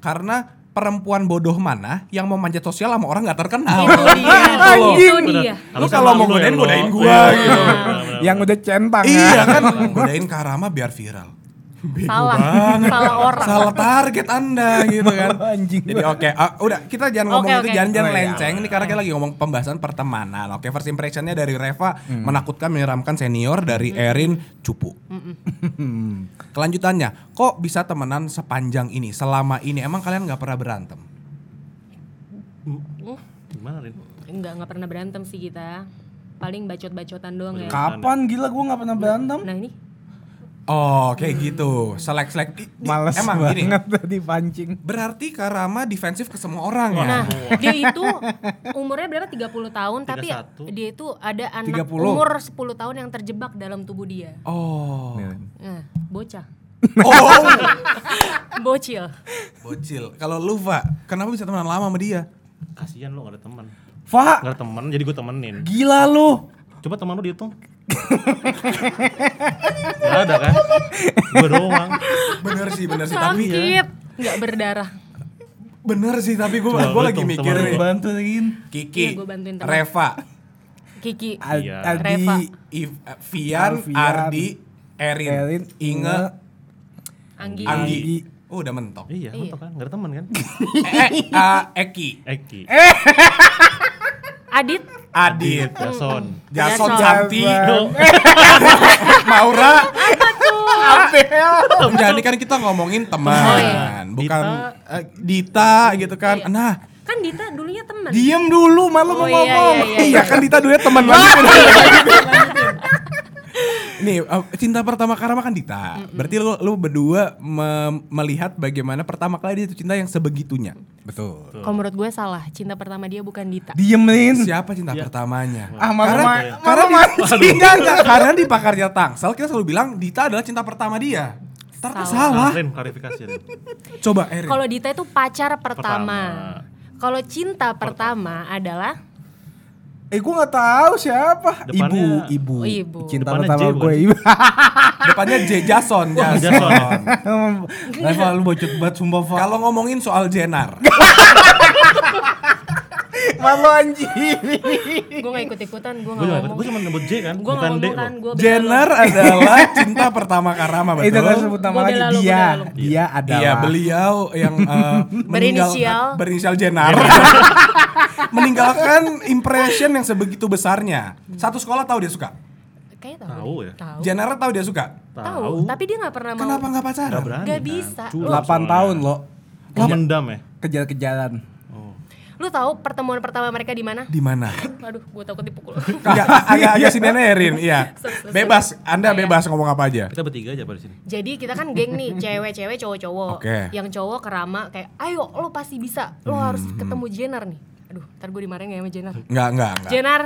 [SPEAKER 1] Karena perempuan bodoh mana yang mau manjat sosial sama orang nggak terkenal.
[SPEAKER 3] Itu dia,
[SPEAKER 1] Gitu loh.
[SPEAKER 3] itu
[SPEAKER 2] Bener.
[SPEAKER 3] dia.
[SPEAKER 1] Lu
[SPEAKER 2] Harusnya
[SPEAKER 1] kalau mau
[SPEAKER 2] malu ya
[SPEAKER 1] godain,
[SPEAKER 2] lo.
[SPEAKER 1] godain gua,
[SPEAKER 2] Iya,
[SPEAKER 1] gitu.
[SPEAKER 2] bener, bener, bener.
[SPEAKER 4] Yang udah centang ya.
[SPEAKER 1] iya kan, godain Karama biar viral. Bego
[SPEAKER 3] Salah,
[SPEAKER 1] banget.
[SPEAKER 3] salah orang.
[SPEAKER 1] Salah target anda gitu kan.
[SPEAKER 4] Anjing.
[SPEAKER 1] Jadi oke, ah, udah kita jangan
[SPEAKER 3] Oke,
[SPEAKER 1] ngomong itu
[SPEAKER 3] oke.
[SPEAKER 1] jangan-jangan
[SPEAKER 4] Oh, iya.
[SPEAKER 1] lenceng. Ini karena kita lagi ngomong pembahasan pertemanan. Oke, first impressionnya dari Reva
[SPEAKER 4] Hmm.
[SPEAKER 1] menakutkan menyeramkan senior dari Erin cupu. Kelanjutannya, kok bisa temenan sepanjang ini, selama ini? Emang kalian nggak pernah berantem?
[SPEAKER 2] Gimana Rin?
[SPEAKER 3] Enggak, enggak pernah berantem sih kita. Paling bacot-bacotan doang ya.
[SPEAKER 4] Kapan gila gue nggak pernah berantem?
[SPEAKER 3] Nah ini,
[SPEAKER 1] Oh, kayak gitu. Selek-selek. Di- di-
[SPEAKER 4] Males
[SPEAKER 1] Emang gini.
[SPEAKER 4] banget tadi pancing.
[SPEAKER 1] Berarti Karama defensif ke semua orang ya?
[SPEAKER 3] nah dia itu umurnya berapa? 30 tahun, tapi
[SPEAKER 2] 31.
[SPEAKER 3] dia itu ada anak
[SPEAKER 4] 30.
[SPEAKER 3] umur 10 tahun yang terjebak dalam tubuh dia.
[SPEAKER 1] Oh.
[SPEAKER 3] Nah, bocah,
[SPEAKER 1] Oh.
[SPEAKER 3] bocil.
[SPEAKER 1] Bocil. Kalau lu, Pak, kenapa bisa temenan lama sama dia?
[SPEAKER 2] Kasihan lo gak ada teman.
[SPEAKER 4] Fa,
[SPEAKER 2] Gak ada teman, jadi gue temenin.
[SPEAKER 4] gila lu.
[SPEAKER 2] Coba teman lu dihitung. gak ada kan? Gue doang.
[SPEAKER 1] Bener sih, bener sih. Tapi
[SPEAKER 3] Sakit, enggak berdarah.
[SPEAKER 1] bener sih, tapi gue
[SPEAKER 2] Coba
[SPEAKER 1] gue
[SPEAKER 2] lu
[SPEAKER 1] lagi
[SPEAKER 2] temen-
[SPEAKER 1] mikir
[SPEAKER 2] temen
[SPEAKER 1] nih.
[SPEAKER 2] lu.
[SPEAKER 4] Bantuin.
[SPEAKER 1] Kiki,
[SPEAKER 3] Iya, gua bantuin temen.
[SPEAKER 1] Reva,
[SPEAKER 3] Kiki,
[SPEAKER 4] Ad-
[SPEAKER 2] Iya.
[SPEAKER 4] Adi,
[SPEAKER 3] Reva.
[SPEAKER 1] If- eh, Vian,
[SPEAKER 4] Alfian,
[SPEAKER 1] Ardi, Erin,
[SPEAKER 4] Erin,
[SPEAKER 1] Inge,
[SPEAKER 3] Anggi,
[SPEAKER 1] Anggi. Oh, udah mentok.
[SPEAKER 2] Iya,
[SPEAKER 3] Iya.
[SPEAKER 2] iya. kan? Gak ada teman kan?
[SPEAKER 1] eh, eh, ah, Eki,
[SPEAKER 2] Eki,
[SPEAKER 3] Adit,
[SPEAKER 1] Adit, Eh,
[SPEAKER 2] Jason, eh,
[SPEAKER 1] Jason
[SPEAKER 3] Jason.
[SPEAKER 1] Santi,
[SPEAKER 2] Yo,
[SPEAKER 1] Maura, Abel. Enggak, ini kan kita ngomongin
[SPEAKER 3] Oh,
[SPEAKER 1] teman,
[SPEAKER 2] iya.
[SPEAKER 1] bukan
[SPEAKER 2] Dita.
[SPEAKER 1] eh, Dita gitu kan. Nah,
[SPEAKER 3] kan Dita dulunya teman.
[SPEAKER 1] diem dulu malu mau
[SPEAKER 3] Oh, iya,
[SPEAKER 1] ngomong.
[SPEAKER 3] iya, iya, iya.
[SPEAKER 1] kan Dita dulunya teman lanjutin. lanjutin. Nih, eh, cinta pertama Karama kan Dita. Berarti lu, lu berdua me- melihat bagaimana pertama kali dia itu cinta yang sebegitunya. Betul.
[SPEAKER 3] Kalau menurut gue salah, cinta pertama dia bukan Dita.
[SPEAKER 4] Diemin.
[SPEAKER 1] Siapa cinta pertamanya?
[SPEAKER 4] Ah, malu
[SPEAKER 1] karena
[SPEAKER 4] ma-
[SPEAKER 1] karena
[SPEAKER 4] malu
[SPEAKER 1] di- enggak, enggak. karena di pakarnya Tangsel kita selalu bilang Dita adalah cinta pertama dia. Ternyata salah.
[SPEAKER 3] Salah.
[SPEAKER 2] Rin klarifikasi Rin.
[SPEAKER 1] Coba Erin.
[SPEAKER 3] Kalau Dita itu pacar pertama.
[SPEAKER 2] Pertama.
[SPEAKER 3] Kalau cinta pertama, adalah
[SPEAKER 4] Eh gue nggak tahu siapa.
[SPEAKER 2] Depannya-
[SPEAKER 4] ibu, ibu.
[SPEAKER 3] Oh, ibu.
[SPEAKER 4] Cinta
[SPEAKER 2] Depannya
[SPEAKER 4] pertama
[SPEAKER 2] J bukan
[SPEAKER 4] gue
[SPEAKER 2] sih?
[SPEAKER 4] ibu.
[SPEAKER 1] Depannya Oh, J Jason,
[SPEAKER 2] Wah,
[SPEAKER 1] Jason.
[SPEAKER 2] Jason.
[SPEAKER 4] Reva lu bocot banget sumpah Fa.
[SPEAKER 1] Kalau ngomongin soal Jenar.
[SPEAKER 4] Marlo anjing.
[SPEAKER 3] gue gak ikut ikutan gue
[SPEAKER 2] Gue
[SPEAKER 3] gak
[SPEAKER 2] cuma,
[SPEAKER 3] ngomong
[SPEAKER 2] gue cuma nyebut J kan,
[SPEAKER 3] gue gak
[SPEAKER 2] bukan D
[SPEAKER 3] ngomong
[SPEAKER 2] loh.
[SPEAKER 3] kan gue
[SPEAKER 1] Jenner adalah cinta pertama Karama
[SPEAKER 4] Eh
[SPEAKER 1] betul.
[SPEAKER 4] jangan sebut nama
[SPEAKER 3] Gua
[SPEAKER 4] lagi
[SPEAKER 3] bela lu,
[SPEAKER 4] dia.
[SPEAKER 3] gua bela lu.
[SPEAKER 4] Dia
[SPEAKER 1] Iya
[SPEAKER 4] adalah
[SPEAKER 1] beliau yang eh, meninggal-
[SPEAKER 3] Berinisial. Iya.
[SPEAKER 1] berinisial Jenner meninggalkan impression yang sebegitu besarnya. Satu sekolah tahu dia suka.
[SPEAKER 2] Tahu
[SPEAKER 3] kayaknya tahu deh.
[SPEAKER 2] ya?
[SPEAKER 3] tahu
[SPEAKER 1] Jenner tahu dia suka.
[SPEAKER 3] tahu tapi dia gak pernah mau
[SPEAKER 1] Kenapa nggak
[SPEAKER 2] Gak
[SPEAKER 1] pacaran?
[SPEAKER 2] berani. kan.
[SPEAKER 3] Gak bisa.
[SPEAKER 2] Culun
[SPEAKER 4] 8
[SPEAKER 2] soalnya.
[SPEAKER 4] tahun loh
[SPEAKER 2] Mendam ya.
[SPEAKER 4] kejar-kejaran.
[SPEAKER 3] lu tahu pertemuan pertama mereka di mana
[SPEAKER 1] Di mana?
[SPEAKER 3] Waduh, gue takut dipukul.
[SPEAKER 1] Enggak, agak agak sinenerin, iya. Bebas, Anda
[SPEAKER 3] Iya.
[SPEAKER 1] bebas ngomong apa aja.
[SPEAKER 2] Kita bertiga aja pada sini.
[SPEAKER 3] Jadi kita kan geng nih, cewek-cewek, cowok-cowok.
[SPEAKER 1] Oke. Hmm,
[SPEAKER 3] Yang cowok kerama kayak, ayo lo pasti bisa, lo harus ketemu Jenner nih. Aduh, ntar gue dimarahin gak sama Jenner.
[SPEAKER 1] Enggak, enggak, enggak.
[SPEAKER 3] Jenner,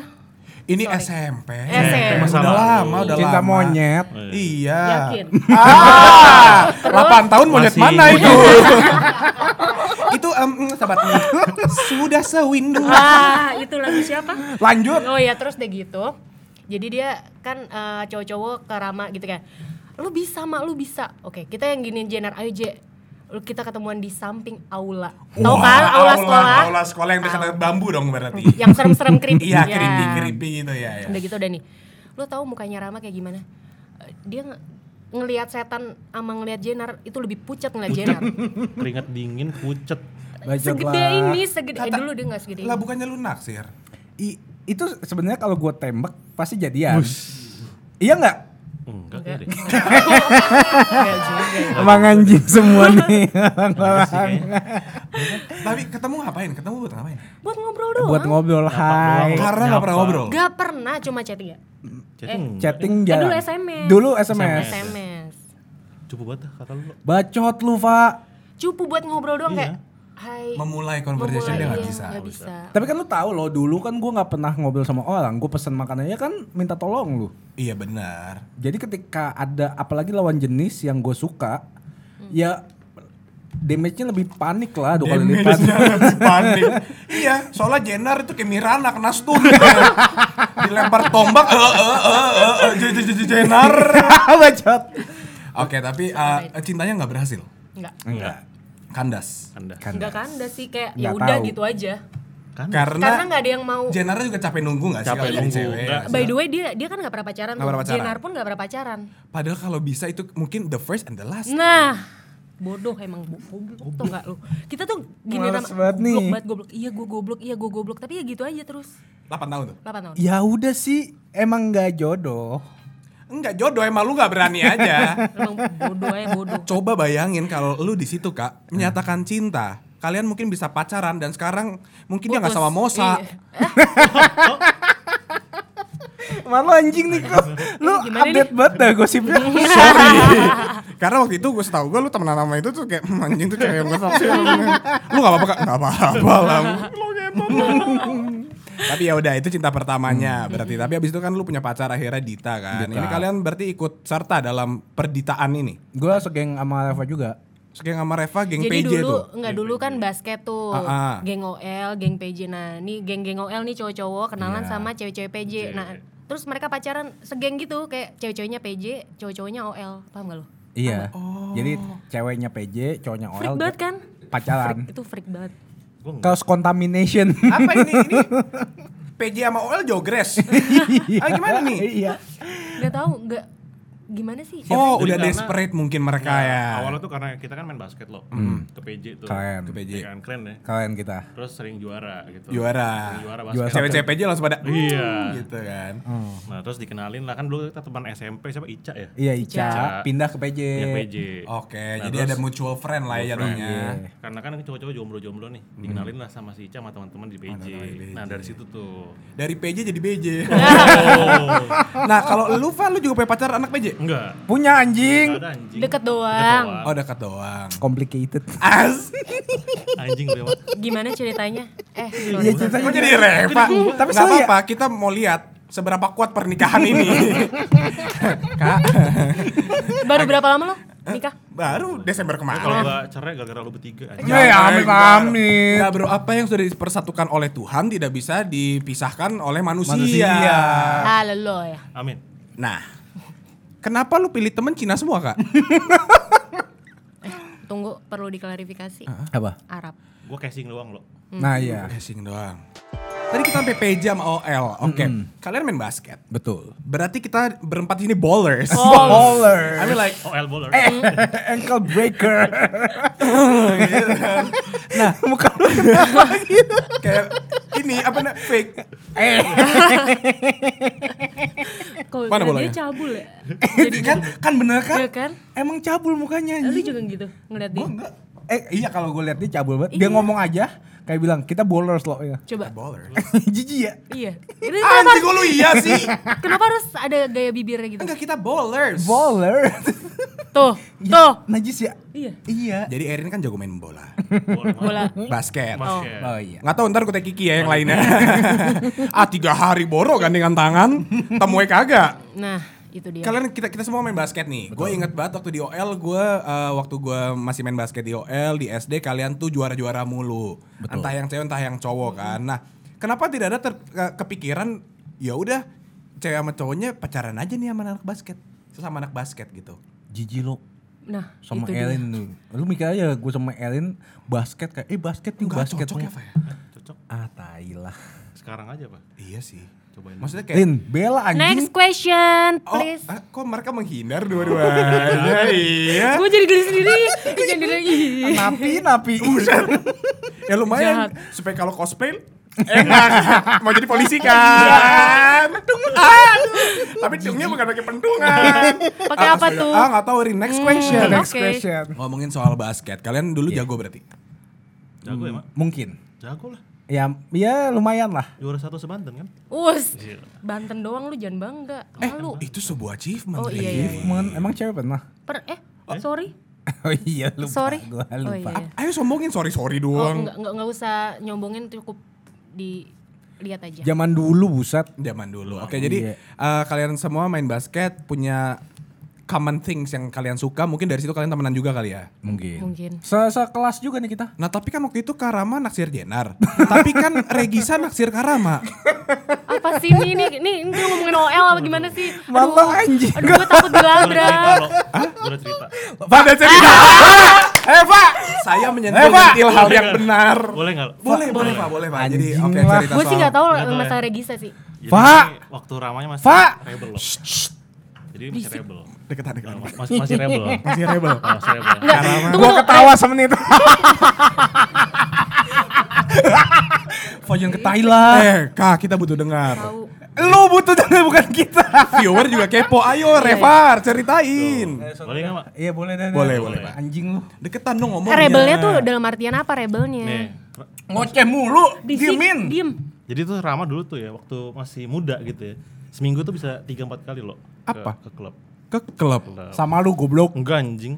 [SPEAKER 1] Ini
[SPEAKER 3] Sorry.
[SPEAKER 1] SMP.
[SPEAKER 3] SMP.
[SPEAKER 1] Udah lama, udah lama.
[SPEAKER 4] Cinta monyet.
[SPEAKER 1] Iya.
[SPEAKER 3] yakin.
[SPEAKER 1] Ah, 8 tahun monyet
[SPEAKER 2] Masih.
[SPEAKER 1] mana itu? itu em, mm, sahabat sudah sewindu.
[SPEAKER 3] Wah, itu lagu siapa?
[SPEAKER 1] Lanjut.
[SPEAKER 3] Oh ya, terus deh gitu. Jadi dia kan eh, cowok-cowok kerama gitu kan. Lu bisa, Mak, lu bisa. Oke, kita yang giniin Jenner, ayo J. Lu kita ketemuan di samping aula. Tahu
[SPEAKER 1] Wah,
[SPEAKER 3] kan aula, sekolah?
[SPEAKER 1] Aula sekolah yang dekat bambu dong berarti.
[SPEAKER 3] Yang serem-serem creepy.
[SPEAKER 1] Iya,
[SPEAKER 3] Ya.
[SPEAKER 1] creepy-creepy gitu ya, ya.
[SPEAKER 3] Udah gitu udah nih. Lo tahu mukanya Rama kayak gimana? Eh, Dia nge- ngelihat setan sama ngelihat Jenner itu lebih pucat ngelihat Jenner.
[SPEAKER 2] Keringat dingin, pucet.
[SPEAKER 3] segede ini, segede eh,
[SPEAKER 1] Kata-
[SPEAKER 3] dulu dia nggak segede
[SPEAKER 1] Lah
[SPEAKER 3] ini.
[SPEAKER 1] bukannya lu naksir.
[SPEAKER 4] I- itu sebenarnya kalau gue tembak pasti jadian. Iya nggak?
[SPEAKER 2] Enggak ya deh.
[SPEAKER 3] Nggak juga.
[SPEAKER 4] Emang anjing semua nih.
[SPEAKER 2] Enggak sih kayaknya.
[SPEAKER 1] Tapi ketemu ngapain? Ketemu buat ngapain?
[SPEAKER 3] Buat ngobrol doang.
[SPEAKER 4] Buat ngobrol hai.
[SPEAKER 2] doang.
[SPEAKER 1] Karena nggak pernah
[SPEAKER 2] Nyapa.
[SPEAKER 1] ngobrol.
[SPEAKER 3] Gak pernah cuma chatting ya.
[SPEAKER 2] Jadi enggak.
[SPEAKER 4] Chatting
[SPEAKER 3] Eh,
[SPEAKER 4] jarang.
[SPEAKER 3] dulu SMS.
[SPEAKER 4] Dulu SMS.
[SPEAKER 3] SMS.
[SPEAKER 2] Cukup banget dah kata lu.
[SPEAKER 4] Bacot lu, Pak.
[SPEAKER 3] Cupu buat ngobrol
[SPEAKER 2] Iya.
[SPEAKER 3] doang kayak hai.
[SPEAKER 1] Memulai conversation dia nggak
[SPEAKER 3] iya,
[SPEAKER 1] bisa.
[SPEAKER 3] nggak bisa.
[SPEAKER 4] Tapi kan lu tahu loh, dulu kan gue nggak pernah ngobrol sama orang. Gue pesen makanannya kan minta tolong lu.
[SPEAKER 1] Iya benar.
[SPEAKER 4] Jadi ketika ada apalagi lawan jenis yang gue suka, ya damage-nya lebih panik
[SPEAKER 1] Iya,
[SPEAKER 4] lah dua kali lipat.
[SPEAKER 1] Damage-nya lebih panik. iya, soalnya Jenner itu kayak Mirana kena stun. Dilempar tombak, eh eh eh eh, eh J- J- J- J- Jenner.
[SPEAKER 4] Bacot.
[SPEAKER 1] Oke, tapi eh, cintanya nggak berhasil.
[SPEAKER 3] Enggak.
[SPEAKER 2] Enggak.
[SPEAKER 1] Kandas.
[SPEAKER 2] Anda.
[SPEAKER 3] Enggak kan udah sih kayak
[SPEAKER 4] Nggak
[SPEAKER 3] ya udah
[SPEAKER 4] tahu.
[SPEAKER 3] gitu aja.
[SPEAKER 2] Kan
[SPEAKER 3] Karena
[SPEAKER 1] Karena
[SPEAKER 3] nggak ada yang mau
[SPEAKER 1] Jenner juga capek nunggu nggak sih
[SPEAKER 2] Capek
[SPEAKER 1] kalau jadi
[SPEAKER 2] nunggu,
[SPEAKER 1] cewek?
[SPEAKER 2] nggak.
[SPEAKER 1] nggak sih?
[SPEAKER 3] By the way dia dia kan nggak pernah pacaran
[SPEAKER 1] Nggak
[SPEAKER 3] tuh.
[SPEAKER 1] pernah pacaran.
[SPEAKER 3] Jenar pun nggak pernah pacaran.
[SPEAKER 1] Padahal kalau bisa itu mungkin the first and the last.
[SPEAKER 3] Nah, bodoh emang bo- goblok tau gak lu. Kita tuh gini
[SPEAKER 4] Males
[SPEAKER 3] Ram,
[SPEAKER 4] banget nih.
[SPEAKER 3] goblok banget goblok. Iya gue goblok, iya gue goblok, tapi ya gitu aja terus.
[SPEAKER 1] 8 tahun tuh.
[SPEAKER 3] 8 tahun.
[SPEAKER 4] Ya udah sih, emang nggak jodoh.
[SPEAKER 1] Enggak jodoh emang lu nggak berani aja.
[SPEAKER 3] Emang bodoh aja bodoh.
[SPEAKER 1] Coba bayangin kalau lu di situ kak menyatakan cinta, kalian mungkin bisa pacaran dan sekarang mungkin dia nggak
[SPEAKER 3] Putus.
[SPEAKER 1] sama Mosa.
[SPEAKER 3] Iya.
[SPEAKER 4] Malu anjing nih kok. Lu
[SPEAKER 3] Gimana
[SPEAKER 4] update banget dah gosipnya.
[SPEAKER 1] Sorry. Karena waktu itu gue setahu gue lu temenan sama itu tuh kayak "Hmm, anjing tuh cewek yang gue sama sih." Lu gak apa-apa kak? Gak apa-apa lah. Tapi ya udah itu cinta pertamanya berarti. Tapi abis itu kan lu punya pacar akhirnya Dita kan. Ini kalian berarti ikut serta dalam perditaan ini.
[SPEAKER 4] gue segeng sama Reva juga.
[SPEAKER 1] Sekian sama Reva geng
[SPEAKER 3] Jadi
[SPEAKER 1] PJ
[SPEAKER 3] dulu
[SPEAKER 1] tuh.
[SPEAKER 3] nggak dulu kan basket tuh,
[SPEAKER 1] Ah, ah.
[SPEAKER 3] geng OL, geng PJ. Nah, ini geng-geng OL nih cowok-cowok kenalan
[SPEAKER 1] Iya.
[SPEAKER 3] sama cewek-cewek PJ. Nah, terus mereka pacaran segeng gitu kayak cewek-ceweknya PJ, cowok-cowoknya OL. Paham gak lu?
[SPEAKER 4] Iya. Jadi ceweknya PJ, cowoknya
[SPEAKER 3] oh. Freak
[SPEAKER 4] OL
[SPEAKER 3] banget kan?
[SPEAKER 4] pacaran.
[SPEAKER 3] Freak, itu freak banget.
[SPEAKER 2] Gua enggak.
[SPEAKER 4] Kaos contamination.
[SPEAKER 1] Apa ini? Ini PJ sama OL jogres. ah, gimana nih?
[SPEAKER 4] iya.
[SPEAKER 3] Gak tahu, gak gimana sih?
[SPEAKER 1] Oh,
[SPEAKER 2] Jadi
[SPEAKER 1] udah
[SPEAKER 2] karena-
[SPEAKER 1] desperate mungkin mereka
[SPEAKER 2] Nah,
[SPEAKER 1] ya.
[SPEAKER 2] Awalnya tuh karena kita kan main basket loh. Ke PJ tuh.
[SPEAKER 4] Keren.
[SPEAKER 1] Ke PJ.
[SPEAKER 2] Ya kan keren ya.
[SPEAKER 4] Kalian kita.
[SPEAKER 2] Terus sering juara gitu.
[SPEAKER 1] Juara.
[SPEAKER 2] Sering juara
[SPEAKER 4] Juara
[SPEAKER 2] basket.
[SPEAKER 1] Cewek-cewek PJ langsung pada
[SPEAKER 2] Iya.
[SPEAKER 1] gitu kan.
[SPEAKER 4] Hmm.
[SPEAKER 2] Nah, terus dikenalin lah kan dulu kita teman SMP siapa Ica ya?
[SPEAKER 4] Iya Ica,
[SPEAKER 2] Ica.
[SPEAKER 4] pindah ke PJ.
[SPEAKER 2] Ya PJ.
[SPEAKER 1] Oke,
[SPEAKER 2] Nah,
[SPEAKER 1] jadi
[SPEAKER 2] terus-
[SPEAKER 1] ada mutual friend lah ya
[SPEAKER 2] Mutual friend,
[SPEAKER 1] jadinya.
[SPEAKER 2] Karena kan cowok-cowok jomblo-jomblo nih, dikenalin lah sama si Ica sama teman-teman di PJ. Nah, dari situ tuh.
[SPEAKER 1] Dari PJ jadi BJ.
[SPEAKER 2] Oh,
[SPEAKER 1] nah, kalau lu Val, lu juga punya pacar anak PJ?
[SPEAKER 2] enggak.
[SPEAKER 4] Punya
[SPEAKER 2] Enggak
[SPEAKER 4] anjing.
[SPEAKER 2] ada anjing.
[SPEAKER 3] Deket doang.
[SPEAKER 1] Oh, dekat doang.
[SPEAKER 4] Complicated.
[SPEAKER 1] Asik.
[SPEAKER 2] Anjing dia mah.
[SPEAKER 3] Gimana ceritanya? Eh, sorry.
[SPEAKER 4] Iya ceritanya.
[SPEAKER 1] Kok jadi Reva? Tapi
[SPEAKER 4] Tapi
[SPEAKER 1] Gak
[SPEAKER 4] sorry ya.
[SPEAKER 1] apa-apa, kita mau lihat seberapa kuat pernikahan ini.
[SPEAKER 3] baru berapa lama lo nikah?
[SPEAKER 1] Baru Desember
[SPEAKER 2] Lu Kalau
[SPEAKER 1] kemarin.
[SPEAKER 2] gak cerai gara-gara lu bertiga
[SPEAKER 1] Iya.
[SPEAKER 2] anjing.
[SPEAKER 4] Ya, amin, amin.
[SPEAKER 1] Nah bro, apa yang sudah dipersatukan oleh Tuhan tidak bisa dipisahkan oleh manusia.
[SPEAKER 4] Manusia.
[SPEAKER 1] Ah.
[SPEAKER 3] Halo lo ya.
[SPEAKER 2] Amin.
[SPEAKER 1] Nah, kenapa lu pilih temen Cina semua kak?
[SPEAKER 3] Tunggu perlu diklarifikasi.
[SPEAKER 4] Apa?
[SPEAKER 1] Ah,
[SPEAKER 3] Arab.
[SPEAKER 2] Gua casing doang lo.
[SPEAKER 4] Nah iya.
[SPEAKER 1] Passing doang. Tadi kita sampai PJ sama OL. Oke. Kalian main basket.
[SPEAKER 4] Hmm. Betul.
[SPEAKER 1] Berarti kita berempat ini ballers.
[SPEAKER 4] Baller.
[SPEAKER 1] I mean like
[SPEAKER 2] OL bowler.
[SPEAKER 1] Eh,
[SPEAKER 4] Ankle breaker.
[SPEAKER 1] nah muka lu kayak ini apa nak fake
[SPEAKER 3] Kalau
[SPEAKER 1] Mana
[SPEAKER 3] kira
[SPEAKER 1] bolanya?
[SPEAKER 3] dia cabul ya.
[SPEAKER 1] Jadi kan kan bener kan?
[SPEAKER 3] Iya kan?
[SPEAKER 4] Emang cabul mukanya.
[SPEAKER 3] Eh, Lu
[SPEAKER 4] anjing.
[SPEAKER 3] juga gitu ngeliat dia.
[SPEAKER 4] Gua enggak. Eh iya kalau gue lihat dia cabul banget.
[SPEAKER 3] Iya.
[SPEAKER 4] Dia ngomong aja kayak bilang kita bowlers loh ya.
[SPEAKER 3] Coba.
[SPEAKER 1] Baller.
[SPEAKER 4] Jijik ya.
[SPEAKER 3] Iya.
[SPEAKER 1] Anjing
[SPEAKER 3] Kenapa,
[SPEAKER 1] kok lu iya sih.
[SPEAKER 3] kenapa harus ada gaya bibirnya gitu?
[SPEAKER 1] Enggak kita ballers.
[SPEAKER 4] Bowler.
[SPEAKER 3] Tuh,
[SPEAKER 4] Ya,
[SPEAKER 3] tuh.
[SPEAKER 4] Najis ya.
[SPEAKER 3] Iya.
[SPEAKER 4] Iya.
[SPEAKER 1] Jadi Erin kan jago main bola,
[SPEAKER 3] Bola.
[SPEAKER 1] basket.
[SPEAKER 2] Basket.
[SPEAKER 4] Oh iya.
[SPEAKER 1] Nggak tahu ntar gue Kiki ya yang lainnya. ah tiga hari boro gandengan tangan, temuai kagak.
[SPEAKER 3] Nah, itu dia.
[SPEAKER 1] Kalian kita kita semua main basket nih. Gue inget banget waktu di OL gue eh, waktu gue masih main basket di OL di SD kalian tuh juara-juara mulu. Entah yang cewek entah yang cowok kan. Nah, kenapa tidak ada ter- ke- kepikiran ya udah cewek sama cowoknya pacaran aja nih sama anak basket sesama anak basket gitu.
[SPEAKER 4] Jijik lo
[SPEAKER 3] Nah,
[SPEAKER 4] sama
[SPEAKER 3] itu dia.
[SPEAKER 4] Elin lu. Lu mikir aja gue sama Elin basket kayak eh basket yuk
[SPEAKER 1] Nggak
[SPEAKER 4] basket.
[SPEAKER 1] cocok
[SPEAKER 4] mulu.
[SPEAKER 1] ya, Fah, ya?
[SPEAKER 2] Cocok.
[SPEAKER 4] Ah tai lah.
[SPEAKER 2] Sekarang aja, Pak.
[SPEAKER 1] Iya sih.
[SPEAKER 2] Cobain.
[SPEAKER 1] Maksudnya kayak
[SPEAKER 4] Lin, bela anjing.
[SPEAKER 3] Next question,
[SPEAKER 1] Oh,
[SPEAKER 3] please.
[SPEAKER 1] ah, kok mereka menghindar dua-duanya? iya.
[SPEAKER 3] Gue jadi geli sendiri. Ih, Jangan diri. ih.
[SPEAKER 4] Napi, napi.
[SPEAKER 1] Ya lumayan
[SPEAKER 3] Jahat.
[SPEAKER 1] supaya kalau cosplay enak mau jadi polisi kan.
[SPEAKER 3] Iya.
[SPEAKER 1] Aduh. Tapi dungnya bukan pakai pendungan.
[SPEAKER 3] Pakai
[SPEAKER 1] Ah,
[SPEAKER 3] apa
[SPEAKER 1] astaga.
[SPEAKER 3] tuh?
[SPEAKER 1] Ah, nggak tahu Rin. Next question.
[SPEAKER 3] Hmm,
[SPEAKER 1] Next Iya.
[SPEAKER 3] oke.
[SPEAKER 1] question. Ngomongin soal basket, kalian dulu jago berarti.
[SPEAKER 2] Jago ya, Mak?
[SPEAKER 4] Mungkin.
[SPEAKER 2] Jago lah.
[SPEAKER 4] Ya, ya lumayan lah.
[SPEAKER 2] Juara satu sebanten kan?
[SPEAKER 3] Us.
[SPEAKER 2] Iya.
[SPEAKER 3] Banten doang lu jangan bangga.
[SPEAKER 1] Eh,
[SPEAKER 3] Malu.
[SPEAKER 1] itu sebuah achievement.
[SPEAKER 3] Oh,
[SPEAKER 1] Rin.
[SPEAKER 3] iya, iya.
[SPEAKER 4] Cuman emang cewek pernah.
[SPEAKER 3] Per eh sorry.
[SPEAKER 4] Oh iya lupa.
[SPEAKER 3] sorry.
[SPEAKER 4] Gua
[SPEAKER 3] Oh
[SPEAKER 4] lupa.
[SPEAKER 3] iya. iya.
[SPEAKER 1] Ayo sombongin sorry sorry
[SPEAKER 3] Oh,
[SPEAKER 1] doang.
[SPEAKER 3] enggak, enggak, enggak usah nyombongin cukup dilihat aja.
[SPEAKER 4] Zaman dulu buset.
[SPEAKER 1] Zaman dulu. Oke, jadi eh, kalian semua main basket punya common things yang kalian suka. Mungkin dari situ kalian temenan juga kali ya.
[SPEAKER 4] Mungkin.
[SPEAKER 3] Mungkin.
[SPEAKER 4] Se Sekelas juga nih kita.
[SPEAKER 1] Nah tapi kan waktu itu Karama naksir Jenar. tapi kan Regisa naksir Karama.
[SPEAKER 3] Apa sih ini ini ini, ini lu ngomongin OL apa gimana sih? Aduh,
[SPEAKER 4] Malah anjing.
[SPEAKER 3] aduh gue takut
[SPEAKER 1] Ah,
[SPEAKER 2] Boleh cerita,
[SPEAKER 3] dilabrak.
[SPEAKER 2] Lo. Boleh cerita.
[SPEAKER 1] Pada cerita.
[SPEAKER 4] Eh,
[SPEAKER 1] Eva, Ah. saya menyentil hal yang benar.
[SPEAKER 2] Boleh nggak? Lo?
[SPEAKER 1] Boleh, boleh Pak, boleh Pak. Jadi
[SPEAKER 4] Anjing
[SPEAKER 1] oke
[SPEAKER 4] lah.
[SPEAKER 1] cerita
[SPEAKER 3] Gue sih
[SPEAKER 1] soal-
[SPEAKER 3] nggak tahu
[SPEAKER 2] Nggak tahu ya.
[SPEAKER 3] masalah Regisa sih.
[SPEAKER 2] Jadi
[SPEAKER 4] Pak!
[SPEAKER 2] Waktu ramanya masih
[SPEAKER 4] Pak!
[SPEAKER 2] rebel loh. Jadi masih rebel.
[SPEAKER 1] Deketan, deketan.
[SPEAKER 2] Mas- Masih masih rebel. Masih rebel. Masih rebel.
[SPEAKER 3] oh,
[SPEAKER 4] Gua
[SPEAKER 3] eh.
[SPEAKER 4] ketawa semenit.
[SPEAKER 1] Fojan ke Thailand. Eh, Kak, kita butuh dengar.
[SPEAKER 3] Tahu.
[SPEAKER 4] Lu butuh dengar bukan kita.
[SPEAKER 1] Viewer juga kepo. Ayo Reva, ceritain.
[SPEAKER 2] Boleh nggak, Pak?
[SPEAKER 4] Iya boleh deh.
[SPEAKER 1] Boleh, boleh, Pak.
[SPEAKER 4] Anjing lu.
[SPEAKER 1] Deketan dong ngomongnya.
[SPEAKER 3] Rebelnya tuh dalam artian apa rebelnya?
[SPEAKER 2] Nih.
[SPEAKER 4] Ngoceh mulu.
[SPEAKER 3] Bisik,
[SPEAKER 4] Diemin.
[SPEAKER 3] Diem.
[SPEAKER 2] Jadi tuh Rama dulu tuh ya waktu masih muda gitu ya. Seminggu tuh bisa 3 4 kali loh ke-
[SPEAKER 1] Apa?
[SPEAKER 2] ke klub.
[SPEAKER 1] ke klub.
[SPEAKER 4] Sama lu goblok.
[SPEAKER 2] Enggak anjing.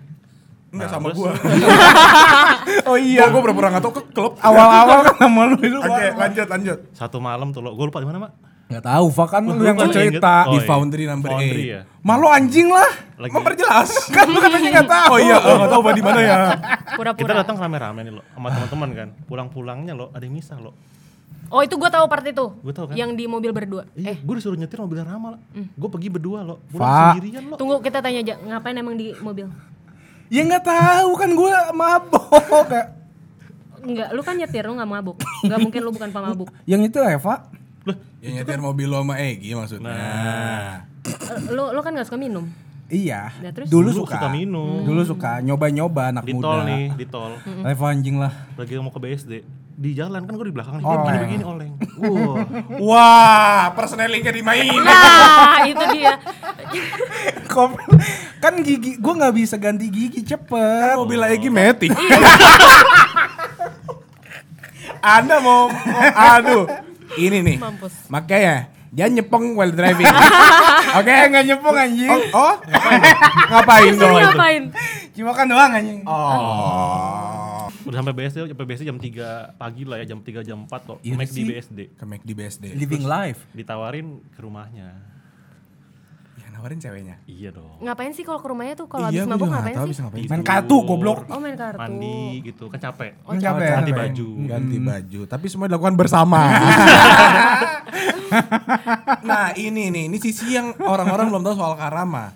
[SPEAKER 1] Enggak
[SPEAKER 2] Nah,
[SPEAKER 1] sama
[SPEAKER 2] terus-
[SPEAKER 1] gua.
[SPEAKER 4] Oh
[SPEAKER 1] Iya, gua pura-pura enggak tahu ke klub.
[SPEAKER 4] Awal-awal kan sama lu itu.
[SPEAKER 1] Oke, lanjut, lanjut.
[SPEAKER 2] Satu malam tuh lo. Gua lupa di mana, Mak?
[SPEAKER 4] Gak tahu, Pak kan lu yang
[SPEAKER 2] Gua
[SPEAKER 4] mau
[SPEAKER 2] inget.
[SPEAKER 4] cerita.
[SPEAKER 2] Oh,
[SPEAKER 1] Di
[SPEAKER 2] iya.
[SPEAKER 1] Foundry number
[SPEAKER 2] Foundry
[SPEAKER 1] eight.
[SPEAKER 2] ya.
[SPEAKER 4] Malu anjing lah.
[SPEAKER 2] Lagi
[SPEAKER 1] Memperjelas.
[SPEAKER 4] Kan lu katanya gak tahu.
[SPEAKER 1] Oh iya, oh, enggak tahu Pak di mana ya.
[SPEAKER 2] kita
[SPEAKER 3] Pura-pura.
[SPEAKER 2] datang rame-rame nih lo
[SPEAKER 1] Ah.
[SPEAKER 2] sama teman-teman kan. Pulang-pulangnya lo ada yang misah lo.
[SPEAKER 3] Oh itu gue tahu part itu.
[SPEAKER 2] Gua tahu kan.
[SPEAKER 3] Yang di mobil berdua.
[SPEAKER 2] Iya, gue disuruh nyetir mobilnya Rama lo. Gue pergi berdua lo.
[SPEAKER 4] Pak.
[SPEAKER 2] Pulang sendirian lo.
[SPEAKER 3] Tunggu kita tanya aja ngapain emang di mobil?
[SPEAKER 4] Ya gak tahu kan gue mabok. Kayak,
[SPEAKER 3] Enggak, lu kan nyetir lu nggak mabuk. Enggak mungkin lu bukan pemabuk.
[SPEAKER 4] Yang itu ya, Eva.
[SPEAKER 2] Loh,
[SPEAKER 1] Yang nyetir mobil lo sama Egi maksudnya. Nah.
[SPEAKER 3] Eh, Lu lu kan nggak suka minum.
[SPEAKER 4] Iya.
[SPEAKER 3] Nah, terus?
[SPEAKER 4] Dulu,
[SPEAKER 2] dulu
[SPEAKER 4] suka.
[SPEAKER 2] kita minum.
[SPEAKER 4] Dulu suka nyoba-nyoba anak
[SPEAKER 2] Di
[SPEAKER 4] muda.
[SPEAKER 2] tol nih, di tol.
[SPEAKER 4] Eva anjing lah.
[SPEAKER 2] Lagi mau ke BSD. Di jalan kan gue di belakang nih, dia begini-begini oleng. Wah.
[SPEAKER 1] Wah, personelingnya dimainin.
[SPEAKER 3] Nah, itu dia.
[SPEAKER 4] Kom- kan gigi gue nggak bisa ganti gigi cepet.
[SPEAKER 1] mobil lagi metik. Anda mau, mau- aduh, ini nih.
[SPEAKER 3] Mampus.
[SPEAKER 1] Makanya jangan nyepong while driving. Oke,
[SPEAKER 4] nggak nyepong anjing.
[SPEAKER 1] Oh, oh? ngapain
[SPEAKER 3] Lu
[SPEAKER 1] dong?
[SPEAKER 3] ngapain?
[SPEAKER 4] Cuma kan doang anjing.
[SPEAKER 1] Oh.
[SPEAKER 2] Udah sampai BSD, sampai BSD jam 3 pagi lah ya, jam 3 jam 4 kok.
[SPEAKER 4] Iya
[SPEAKER 2] Make di
[SPEAKER 4] sih.
[SPEAKER 2] BSD.
[SPEAKER 1] Ke McD BSD.
[SPEAKER 4] Living life.
[SPEAKER 2] Ditawarin ke rumahnya.
[SPEAKER 1] Ya nawarin ceweknya.
[SPEAKER 2] Iya dong.
[SPEAKER 3] Ngapain sih kalau ke rumahnya tuh kalau
[SPEAKER 1] Iya, gua
[SPEAKER 3] habis mabuk
[SPEAKER 1] juga nggak
[SPEAKER 3] ngapain
[SPEAKER 1] tahu
[SPEAKER 3] sih?
[SPEAKER 1] bisa ngapain.
[SPEAKER 4] Main kartu,
[SPEAKER 2] Tidur,
[SPEAKER 4] goblok.
[SPEAKER 3] Oh, main kartu.
[SPEAKER 2] Mandi gitu, kan capek.
[SPEAKER 3] Oh,
[SPEAKER 4] Capek.
[SPEAKER 2] Ganti
[SPEAKER 4] capek.
[SPEAKER 2] baju.
[SPEAKER 1] Ganti baju, tapi semua dilakukan bersama. nah ini nih, ini sisi yang orang-orang belum tahu soal Karama.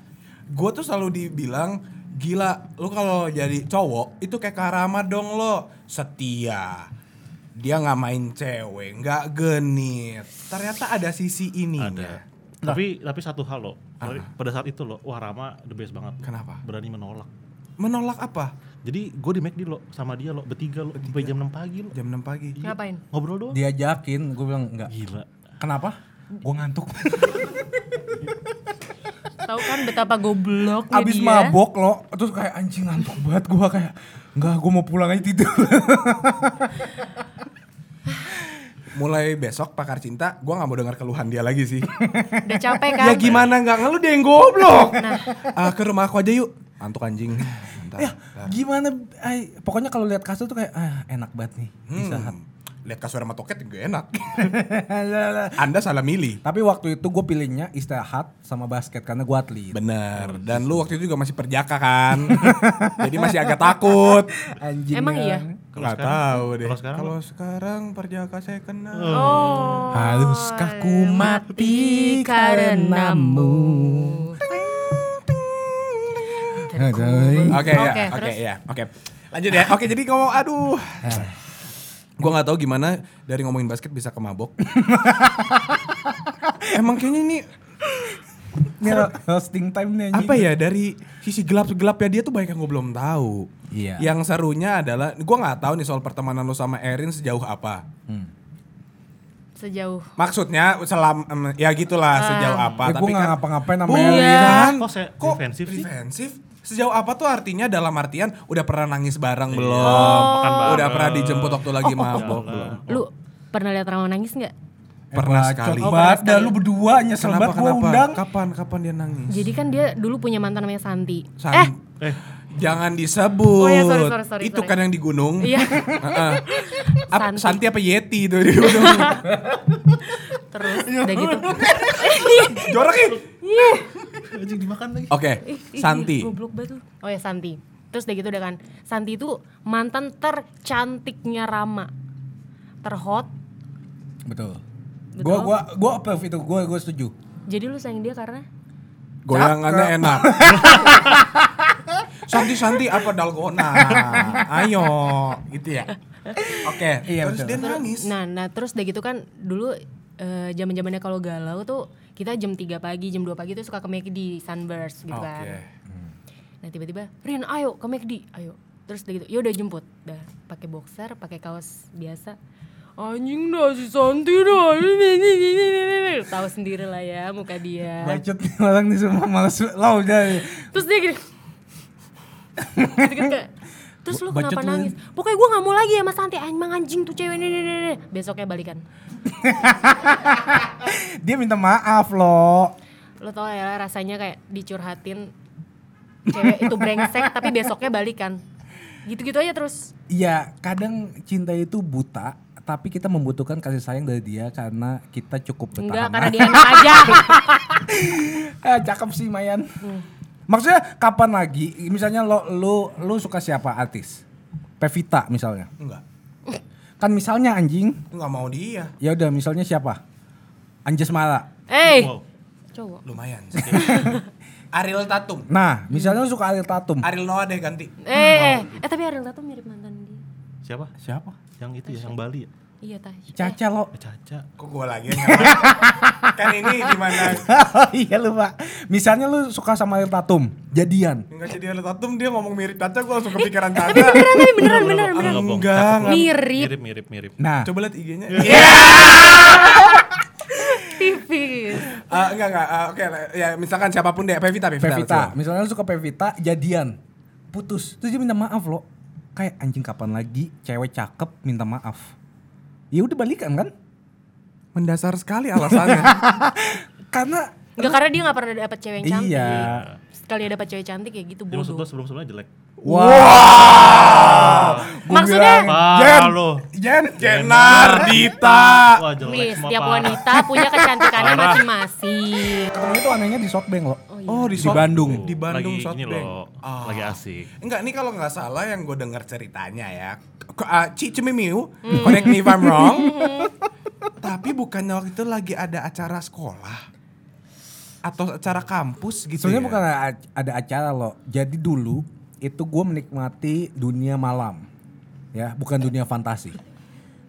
[SPEAKER 1] Gue tuh selalu dibilang, gila, lu kalau jadi cowok itu kayak Karama dong lo, setia. dia nggak main cewek, nggak genit. Ternyata ada sisi ini.
[SPEAKER 2] Ada. Tapi tapi satu hal loh. Tapi Pada saat itu loh, wah Rama the best banget.
[SPEAKER 1] Kenapa?
[SPEAKER 2] Berani menolak.
[SPEAKER 1] Menolak apa?
[SPEAKER 2] Jadi gue di McD lo sama dia lo bertiga lo sampai jam 6 pagi lo.
[SPEAKER 1] Jam 6 pagi.
[SPEAKER 3] Ngapain?
[SPEAKER 2] Ngobrol doang.
[SPEAKER 4] Diajakin, gue bilang enggak.
[SPEAKER 2] Gila.
[SPEAKER 1] Kenapa? Gue ngantuk.
[SPEAKER 3] Tahu kan betapa gobloknya
[SPEAKER 4] Abis
[SPEAKER 3] dia.
[SPEAKER 4] mabok lo, terus kayak anjing ngantuk banget gue kayak enggak gue mau pulang aja tidur.
[SPEAKER 1] Mulai besok pakar cinta, gue nggak mau dengar keluhan dia lagi sih.
[SPEAKER 3] Udah capek kan?
[SPEAKER 1] ya gimana nggak ngeluh deh yang goblok. Ah, ke rumah aku aja yuk. Antuk anjing. Bentar,
[SPEAKER 4] ya
[SPEAKER 1] bentar.
[SPEAKER 4] gimana? ay, pokoknya kalau lihat kasur tuh kayak ah enak banget nih istirahat.
[SPEAKER 1] Hmm. Lihat kasur sama toket juga enak. Anda salah milih.
[SPEAKER 4] Tapi waktu itu gue pilihnya istirahat sama basket karena gue atlet.
[SPEAKER 1] Bener. Dan lu waktu itu juga masih perjaka kan. Jadi masih agak takut.
[SPEAKER 4] Anjing. kan.
[SPEAKER 3] Emang iya?
[SPEAKER 2] Kalau
[SPEAKER 1] Gak
[SPEAKER 2] sekarang-
[SPEAKER 1] tahu deh.
[SPEAKER 2] kalau sekarang
[SPEAKER 1] Kalau sekarang perjaka saya kenal.
[SPEAKER 3] Oh.
[SPEAKER 4] Haruskah ku mati karenamu?
[SPEAKER 1] Oke ya,
[SPEAKER 3] Oke,
[SPEAKER 1] oke
[SPEAKER 3] terus?
[SPEAKER 1] ya, oke. Lanjut ya. Oke, jadi ngomong aduh.
[SPEAKER 4] Eh.
[SPEAKER 1] Gua nggak tahu gimana dari ngomongin basket bisa ke mabok. Emang kayaknya ini
[SPEAKER 4] Ini roasting time nih anjing.
[SPEAKER 1] apa ya dari sisi gelap-gelapnya dia tuh banyak yang gue belum tahu.
[SPEAKER 4] Iya.
[SPEAKER 1] Yang serunya adalah gua nggak tahu nih soal pertemanan lo sama Erin sejauh apa.
[SPEAKER 3] Sejauh.
[SPEAKER 1] Maksudnya selam em, ya gitulah sejauh apa.
[SPEAKER 4] Ya, gue
[SPEAKER 1] Tapi
[SPEAKER 4] nggak
[SPEAKER 1] kan
[SPEAKER 4] ngapa-ngapain sama
[SPEAKER 1] Bukan.
[SPEAKER 4] Erin.
[SPEAKER 2] Iya. Kok saya defensif sih?
[SPEAKER 1] gitu kan? defensif? Sejauh apa tuh artinya dalam artian udah pernah nangis bareng belum?
[SPEAKER 2] Iya, makan
[SPEAKER 1] Udah
[SPEAKER 2] bareng. Oh,
[SPEAKER 1] pernah dijemput waktu lagi mabok
[SPEAKER 2] Jalan.
[SPEAKER 1] belum?
[SPEAKER 3] Lu pernah lihat Rama nangis nggak?
[SPEAKER 1] Oh, Pernah
[SPEAKER 4] Bacot
[SPEAKER 1] sekali.
[SPEAKER 4] banget dah lu berdua nyesel
[SPEAKER 1] Kenapa
[SPEAKER 4] banget gue
[SPEAKER 1] kenapa?
[SPEAKER 4] undang.
[SPEAKER 1] Kapan kapan dia nangis?
[SPEAKER 3] Jadi kan dia dulu punya mantan namanya Santi.
[SPEAKER 1] San-
[SPEAKER 3] Eh,
[SPEAKER 2] Eh,
[SPEAKER 1] jangan disebut.
[SPEAKER 3] Oh iya, sorry, sorry, sorry,
[SPEAKER 1] itu
[SPEAKER 3] sorry.
[SPEAKER 1] kan yang di gunung.
[SPEAKER 3] iya.
[SPEAKER 1] Heeh. Apa-
[SPEAKER 3] Santi.
[SPEAKER 1] Santi apa Yeti itu di gunung?
[SPEAKER 3] Terus
[SPEAKER 4] Ya
[SPEAKER 3] udah gitu.
[SPEAKER 1] Jorok ih.
[SPEAKER 2] anjing dimakan lagi.
[SPEAKER 1] Oke,
[SPEAKER 3] Ih, ih,
[SPEAKER 1] Santi.
[SPEAKER 3] Goblok banget lu. Oh ya Santi. Terus udah gitu udah kan. Santi itu mantan tercantiknya Rama. Terhot.
[SPEAKER 4] Betul.
[SPEAKER 3] Betul.
[SPEAKER 4] Gue gua gua approve itu. Gue gua setuju.
[SPEAKER 3] Jadi lu sayang dia karena
[SPEAKER 1] Goyangannya enak. Santi Santi apa dalgona? Ayo, gitu ya. Oke,
[SPEAKER 4] Iya,
[SPEAKER 1] terus
[SPEAKER 4] betul.
[SPEAKER 1] dia nangis.
[SPEAKER 3] Nah, nah terus udah gitu kan dulu eh, zaman-zamannya kalau galau tuh kita jam 3 pagi, jam 2 pagi tuh suka ke McD Sunburst gitu
[SPEAKER 1] Oke.
[SPEAKER 3] kan. Nah, tiba-tiba, "Rin, ayo ke McD, ayo." Terus udah gitu, "Ya udah jemput." Dah, pakai boxer, pakai kaos biasa. Anjing dah si Santi dah. Tahu sendiri lah ya muka dia.
[SPEAKER 4] Bacot nih orang nih semua males. Lo udah.
[SPEAKER 3] Terus dia gini. Gitu-gitu kayak, Terus lu
[SPEAKER 4] Bacot
[SPEAKER 3] kenapa
[SPEAKER 4] lu, Rin.
[SPEAKER 3] nangis? Pokoknya gue gak mau lagi ya mas Santi Anjing anjing tuh cewek ini, ini, ini, ini." Besoknya balikan
[SPEAKER 4] Dia minta maaf lo.
[SPEAKER 3] lo tau ya rasanya kayak dicurhatin cewek itu brengsek tapi besoknya balikan gitu-gitu aja terus
[SPEAKER 4] Iya, kadang cinta itu buta, tapi kita membutuhkan kasih sayang dari dia karena kita cukup
[SPEAKER 3] enggak
[SPEAKER 4] bertahan.
[SPEAKER 3] karena dia enak aja
[SPEAKER 4] Ah, cakep sih Mayan.
[SPEAKER 3] Hmm.
[SPEAKER 4] Maksudnya kapan lagi? Misalnya lo lo lo suka siapa artis? Pevita misalnya.
[SPEAKER 1] Enggak.
[SPEAKER 4] Kan misalnya anjing.
[SPEAKER 1] Enggak mau dia.
[SPEAKER 4] Ya udah misalnya siapa? Anjas Mara.
[SPEAKER 3] hey
[SPEAKER 2] Wow.
[SPEAKER 3] cowok
[SPEAKER 1] Lumayan sih. Ariel Tatum.
[SPEAKER 4] Nah, misalnya lo suka Ariel Tatum.
[SPEAKER 1] Ariel Noah deh ganti.
[SPEAKER 3] eh eh eh tapi Ariel tuh mirip mantan dia
[SPEAKER 2] Siapa?
[SPEAKER 4] Siapa?
[SPEAKER 2] Yang itu ya, yang Bali ya.
[SPEAKER 3] iya Tasya eh,
[SPEAKER 4] Caca lo.
[SPEAKER 2] Eh, Caca.
[SPEAKER 1] Kok gue lagi yang Kan ini gimana?
[SPEAKER 4] Oh, iya lupa. Misalnya lo suka sama Ariel Tatum, jadian.
[SPEAKER 1] Enggak jadi Ariel Tatum dia ngomong mirip Caca gue langsung kepikiran Caca.
[SPEAKER 3] tapi
[SPEAKER 4] Iya.
[SPEAKER 3] beneran tapi beneran beneran
[SPEAKER 2] Enggak,
[SPEAKER 3] beneran
[SPEAKER 2] bohong.
[SPEAKER 1] Enggak,
[SPEAKER 2] Cakep.
[SPEAKER 3] enggak. Mirip.
[SPEAKER 2] Mirip, mirip, mirip.
[SPEAKER 4] Nah,
[SPEAKER 1] Coba lihat IG-nya.
[SPEAKER 4] Iya.
[SPEAKER 3] tipis
[SPEAKER 1] Eh, enggak enggak. Eh, Oke ya misalkan siapapun deh Pevita Pevita.
[SPEAKER 4] Pevita,
[SPEAKER 1] let's go.
[SPEAKER 4] misalnya lu suka Pevita, jadian, putus, terus dia minta maaf lo, kayak anjing kapan lagi cewek cakep minta maaf, ya udah balikan kan?
[SPEAKER 1] Mendasar sekali alasannya.
[SPEAKER 4] Karena
[SPEAKER 3] enggak karena dia gak pernah dapet cewek yang cantik
[SPEAKER 4] Iya.
[SPEAKER 3] sekali dapet cewek cantik ya gitu
[SPEAKER 2] Jadi maksud lo
[SPEAKER 3] bodoh
[SPEAKER 2] sebelum-sebelumnya jelek.
[SPEAKER 3] maksudnya
[SPEAKER 2] Parah lo.
[SPEAKER 1] Jen Jenardita.
[SPEAKER 2] Wah, jelek
[SPEAKER 3] Miss,
[SPEAKER 2] semua,
[SPEAKER 3] setiap
[SPEAKER 2] parah.
[SPEAKER 3] wanita punya kecantikannya masing-masing
[SPEAKER 4] ketemunya tuh anehnya di Softbank lo.
[SPEAKER 3] iya.
[SPEAKER 1] Oh di,
[SPEAKER 4] Di
[SPEAKER 1] Soft-
[SPEAKER 4] Bandung.
[SPEAKER 1] Di Bandung
[SPEAKER 2] lagi ini
[SPEAKER 1] Softbank.
[SPEAKER 2] loh,
[SPEAKER 1] Ah.
[SPEAKER 2] lagi asik.
[SPEAKER 1] Enggak, nih kalau nggak salah yang gue dengar ceritanya ya. K- Uh, Cicemimiu,
[SPEAKER 2] Hmm.
[SPEAKER 1] correct me if I'm wrong. Tapi bukannya waktu itu lagi ada acara sekolah atau acara kampus gitu
[SPEAKER 4] Sebenarnya
[SPEAKER 1] ya?
[SPEAKER 4] bukan ada, ada acara lo, jadi dulu itu gue menikmati dunia malam, ya bukan dunia fantasi.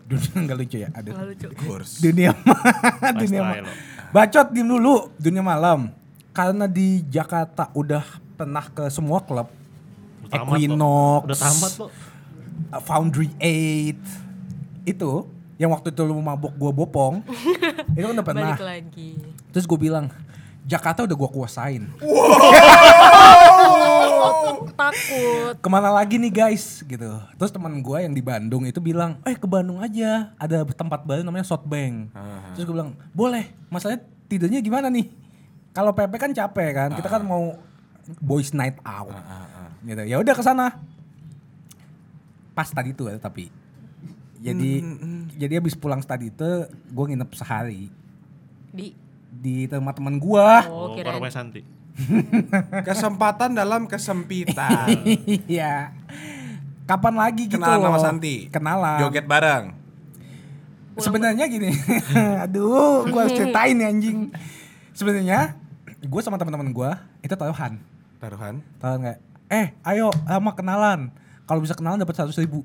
[SPEAKER 4] Dunia nggak lucu ya? Ada.
[SPEAKER 3] Nggak lucu.
[SPEAKER 1] Kurs.
[SPEAKER 4] Dunia ma- dunia ma-
[SPEAKER 2] Lifestyle.
[SPEAKER 4] Bacot diem dulu. Dunia malam. Karena di Jakarta udah pernah ke semua klub.
[SPEAKER 2] Udah tamat lo.
[SPEAKER 4] Equinox.
[SPEAKER 2] Udah tamat lo.
[SPEAKER 4] uh, Foundry 8. Itu yang waktu itu lu mabok gua bopong. itu kan udah pernah.
[SPEAKER 3] Balik lagi.
[SPEAKER 4] Terus gue bilang, Jakarta udah gua kuasain.
[SPEAKER 3] Takut.
[SPEAKER 4] Kemana lagi nih guys gitu. Terus teman gua yang di Bandung itu bilang, eh ke Bandung aja. Ada tempat baru namanya Shotbank. Terus gue bilang, boleh. Masalahnya tidurnya gimana nih? Kalau PP kan capek kan. Kita kan mau boys night out. Gitu. Ya udah ke sana. Pas tadi tuh ya, tapi. Jadi
[SPEAKER 1] Hmm,
[SPEAKER 4] jadi abis pulang tadi itu gue nginep sehari
[SPEAKER 3] Di.
[SPEAKER 4] di tempat teman gua.
[SPEAKER 2] Oh,
[SPEAKER 3] Oh, kirain.
[SPEAKER 2] Koromnya Santi.
[SPEAKER 1] Kesempatan dalam kesempitan.
[SPEAKER 4] Iya. Kapan lagi gitu
[SPEAKER 1] Kenalan sama
[SPEAKER 4] loh.
[SPEAKER 1] Santi.
[SPEAKER 4] Kenalan.
[SPEAKER 1] Joget bareng.
[SPEAKER 4] Sebenarnya gini. Aduh, gua harus ceritain nih anjing. Sebenarnya gue sama teman-teman gua itu taruhan.
[SPEAKER 1] Taruhan.
[SPEAKER 4] Taruhan kayak, "Eh, ayo lama kenalan. Kalau bisa kenalan dapat 100 ribu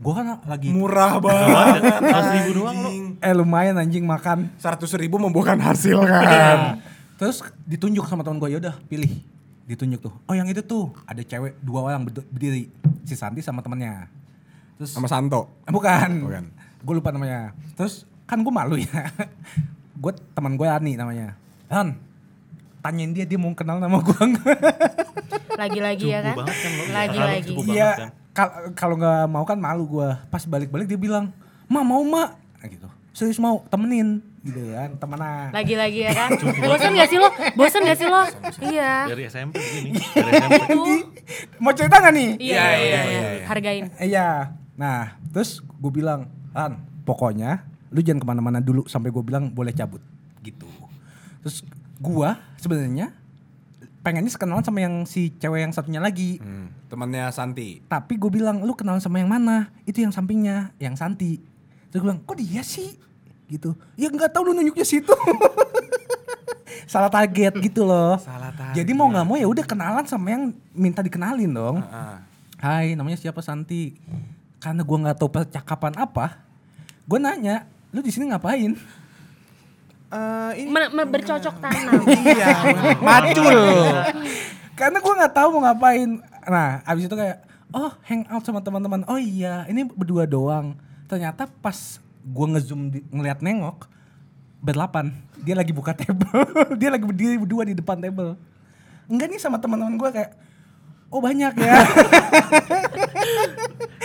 [SPEAKER 4] Gua kan lagi
[SPEAKER 1] Murah banget.
[SPEAKER 2] Seratus ribu doang lo.
[SPEAKER 1] anjing.
[SPEAKER 4] eh lumayan anjing makan.
[SPEAKER 1] Seratus ribu membuahkan hasil
[SPEAKER 4] Iya.
[SPEAKER 1] kan.
[SPEAKER 4] Terus ditunjuk sama teman gue, yaudah pilih. Ditunjuk tuh, oh yang itu tuh ada cewek dua orang berdu- berdiri, si Santi sama temennya. Terus
[SPEAKER 1] Sama Santo.
[SPEAKER 4] Eh, Bukan.
[SPEAKER 1] Bukan.
[SPEAKER 4] Gue lupa namanya. Terus kan gue malu ya. gue teman gue Ani namanya. Han, tanyain dia dia mau kenal nama gue
[SPEAKER 3] Lagi-lagi ya
[SPEAKER 2] Cukup
[SPEAKER 3] kan?
[SPEAKER 2] banget kan lo.
[SPEAKER 3] Lagi-lagi.
[SPEAKER 2] Cukup banget kan.
[SPEAKER 4] Iya. kal- Kalau nggak mau kan malu gue. Pas balik-balik dia bilang, Ma mau ma. Nah, gitu. Serius mau temenin. Gitu kan, temenan.
[SPEAKER 3] Lagi-lagi ya kan? Bosan gak sih lo? Bosan gak sih lo? Iya.
[SPEAKER 2] Dari SMP begini. Dari SMP.
[SPEAKER 3] Tuh.
[SPEAKER 4] Mau cerita gak nih?
[SPEAKER 3] Iya, iya, iya. Hargain.
[SPEAKER 4] Iya. Nah, terus gue bilang, Han, pokoknya lu jangan kemana-mana dulu sampai gue bilang boleh cabut. Gitu. Terus gua sebenarnya pengennya kenalan sama yang si cewek yang satunya lagi.
[SPEAKER 1] Hmm, temannya Santi.
[SPEAKER 4] Tapi gue bilang, lu kenalan sama yang mana? Itu yang sampingnya, yang Santi. Terus gue bilang, kok dia sih? Gitu. Ya nggak tahu lu nunjuknya situ. Salah target gitu loh.
[SPEAKER 1] Salah target.
[SPEAKER 4] Jadi mau nggak mau ya udah kenalan sama yang minta dikenalin dong.
[SPEAKER 1] Ah.
[SPEAKER 4] Hai, namanya siapa Santi? Karena gua nggak tahu percakapan apa, gue nanya, lu di sini ngapain?
[SPEAKER 1] Eh, ini
[SPEAKER 3] Men- men- bercocok tanam.
[SPEAKER 1] iya, macul.
[SPEAKER 4] Karena gua nggak tahu mau ngapain. Nah, abis itu kayak, oh hangout sama teman-teman. Oh iya, ini berdua doang. Ternyata pas gua ngezoom di- ngeliat nengok, berdelapan. Dia lagi buka table, dia lagi berdiri berdua di depan table. Enggak nih sama teman-teman gua kayak, oh banyak ya.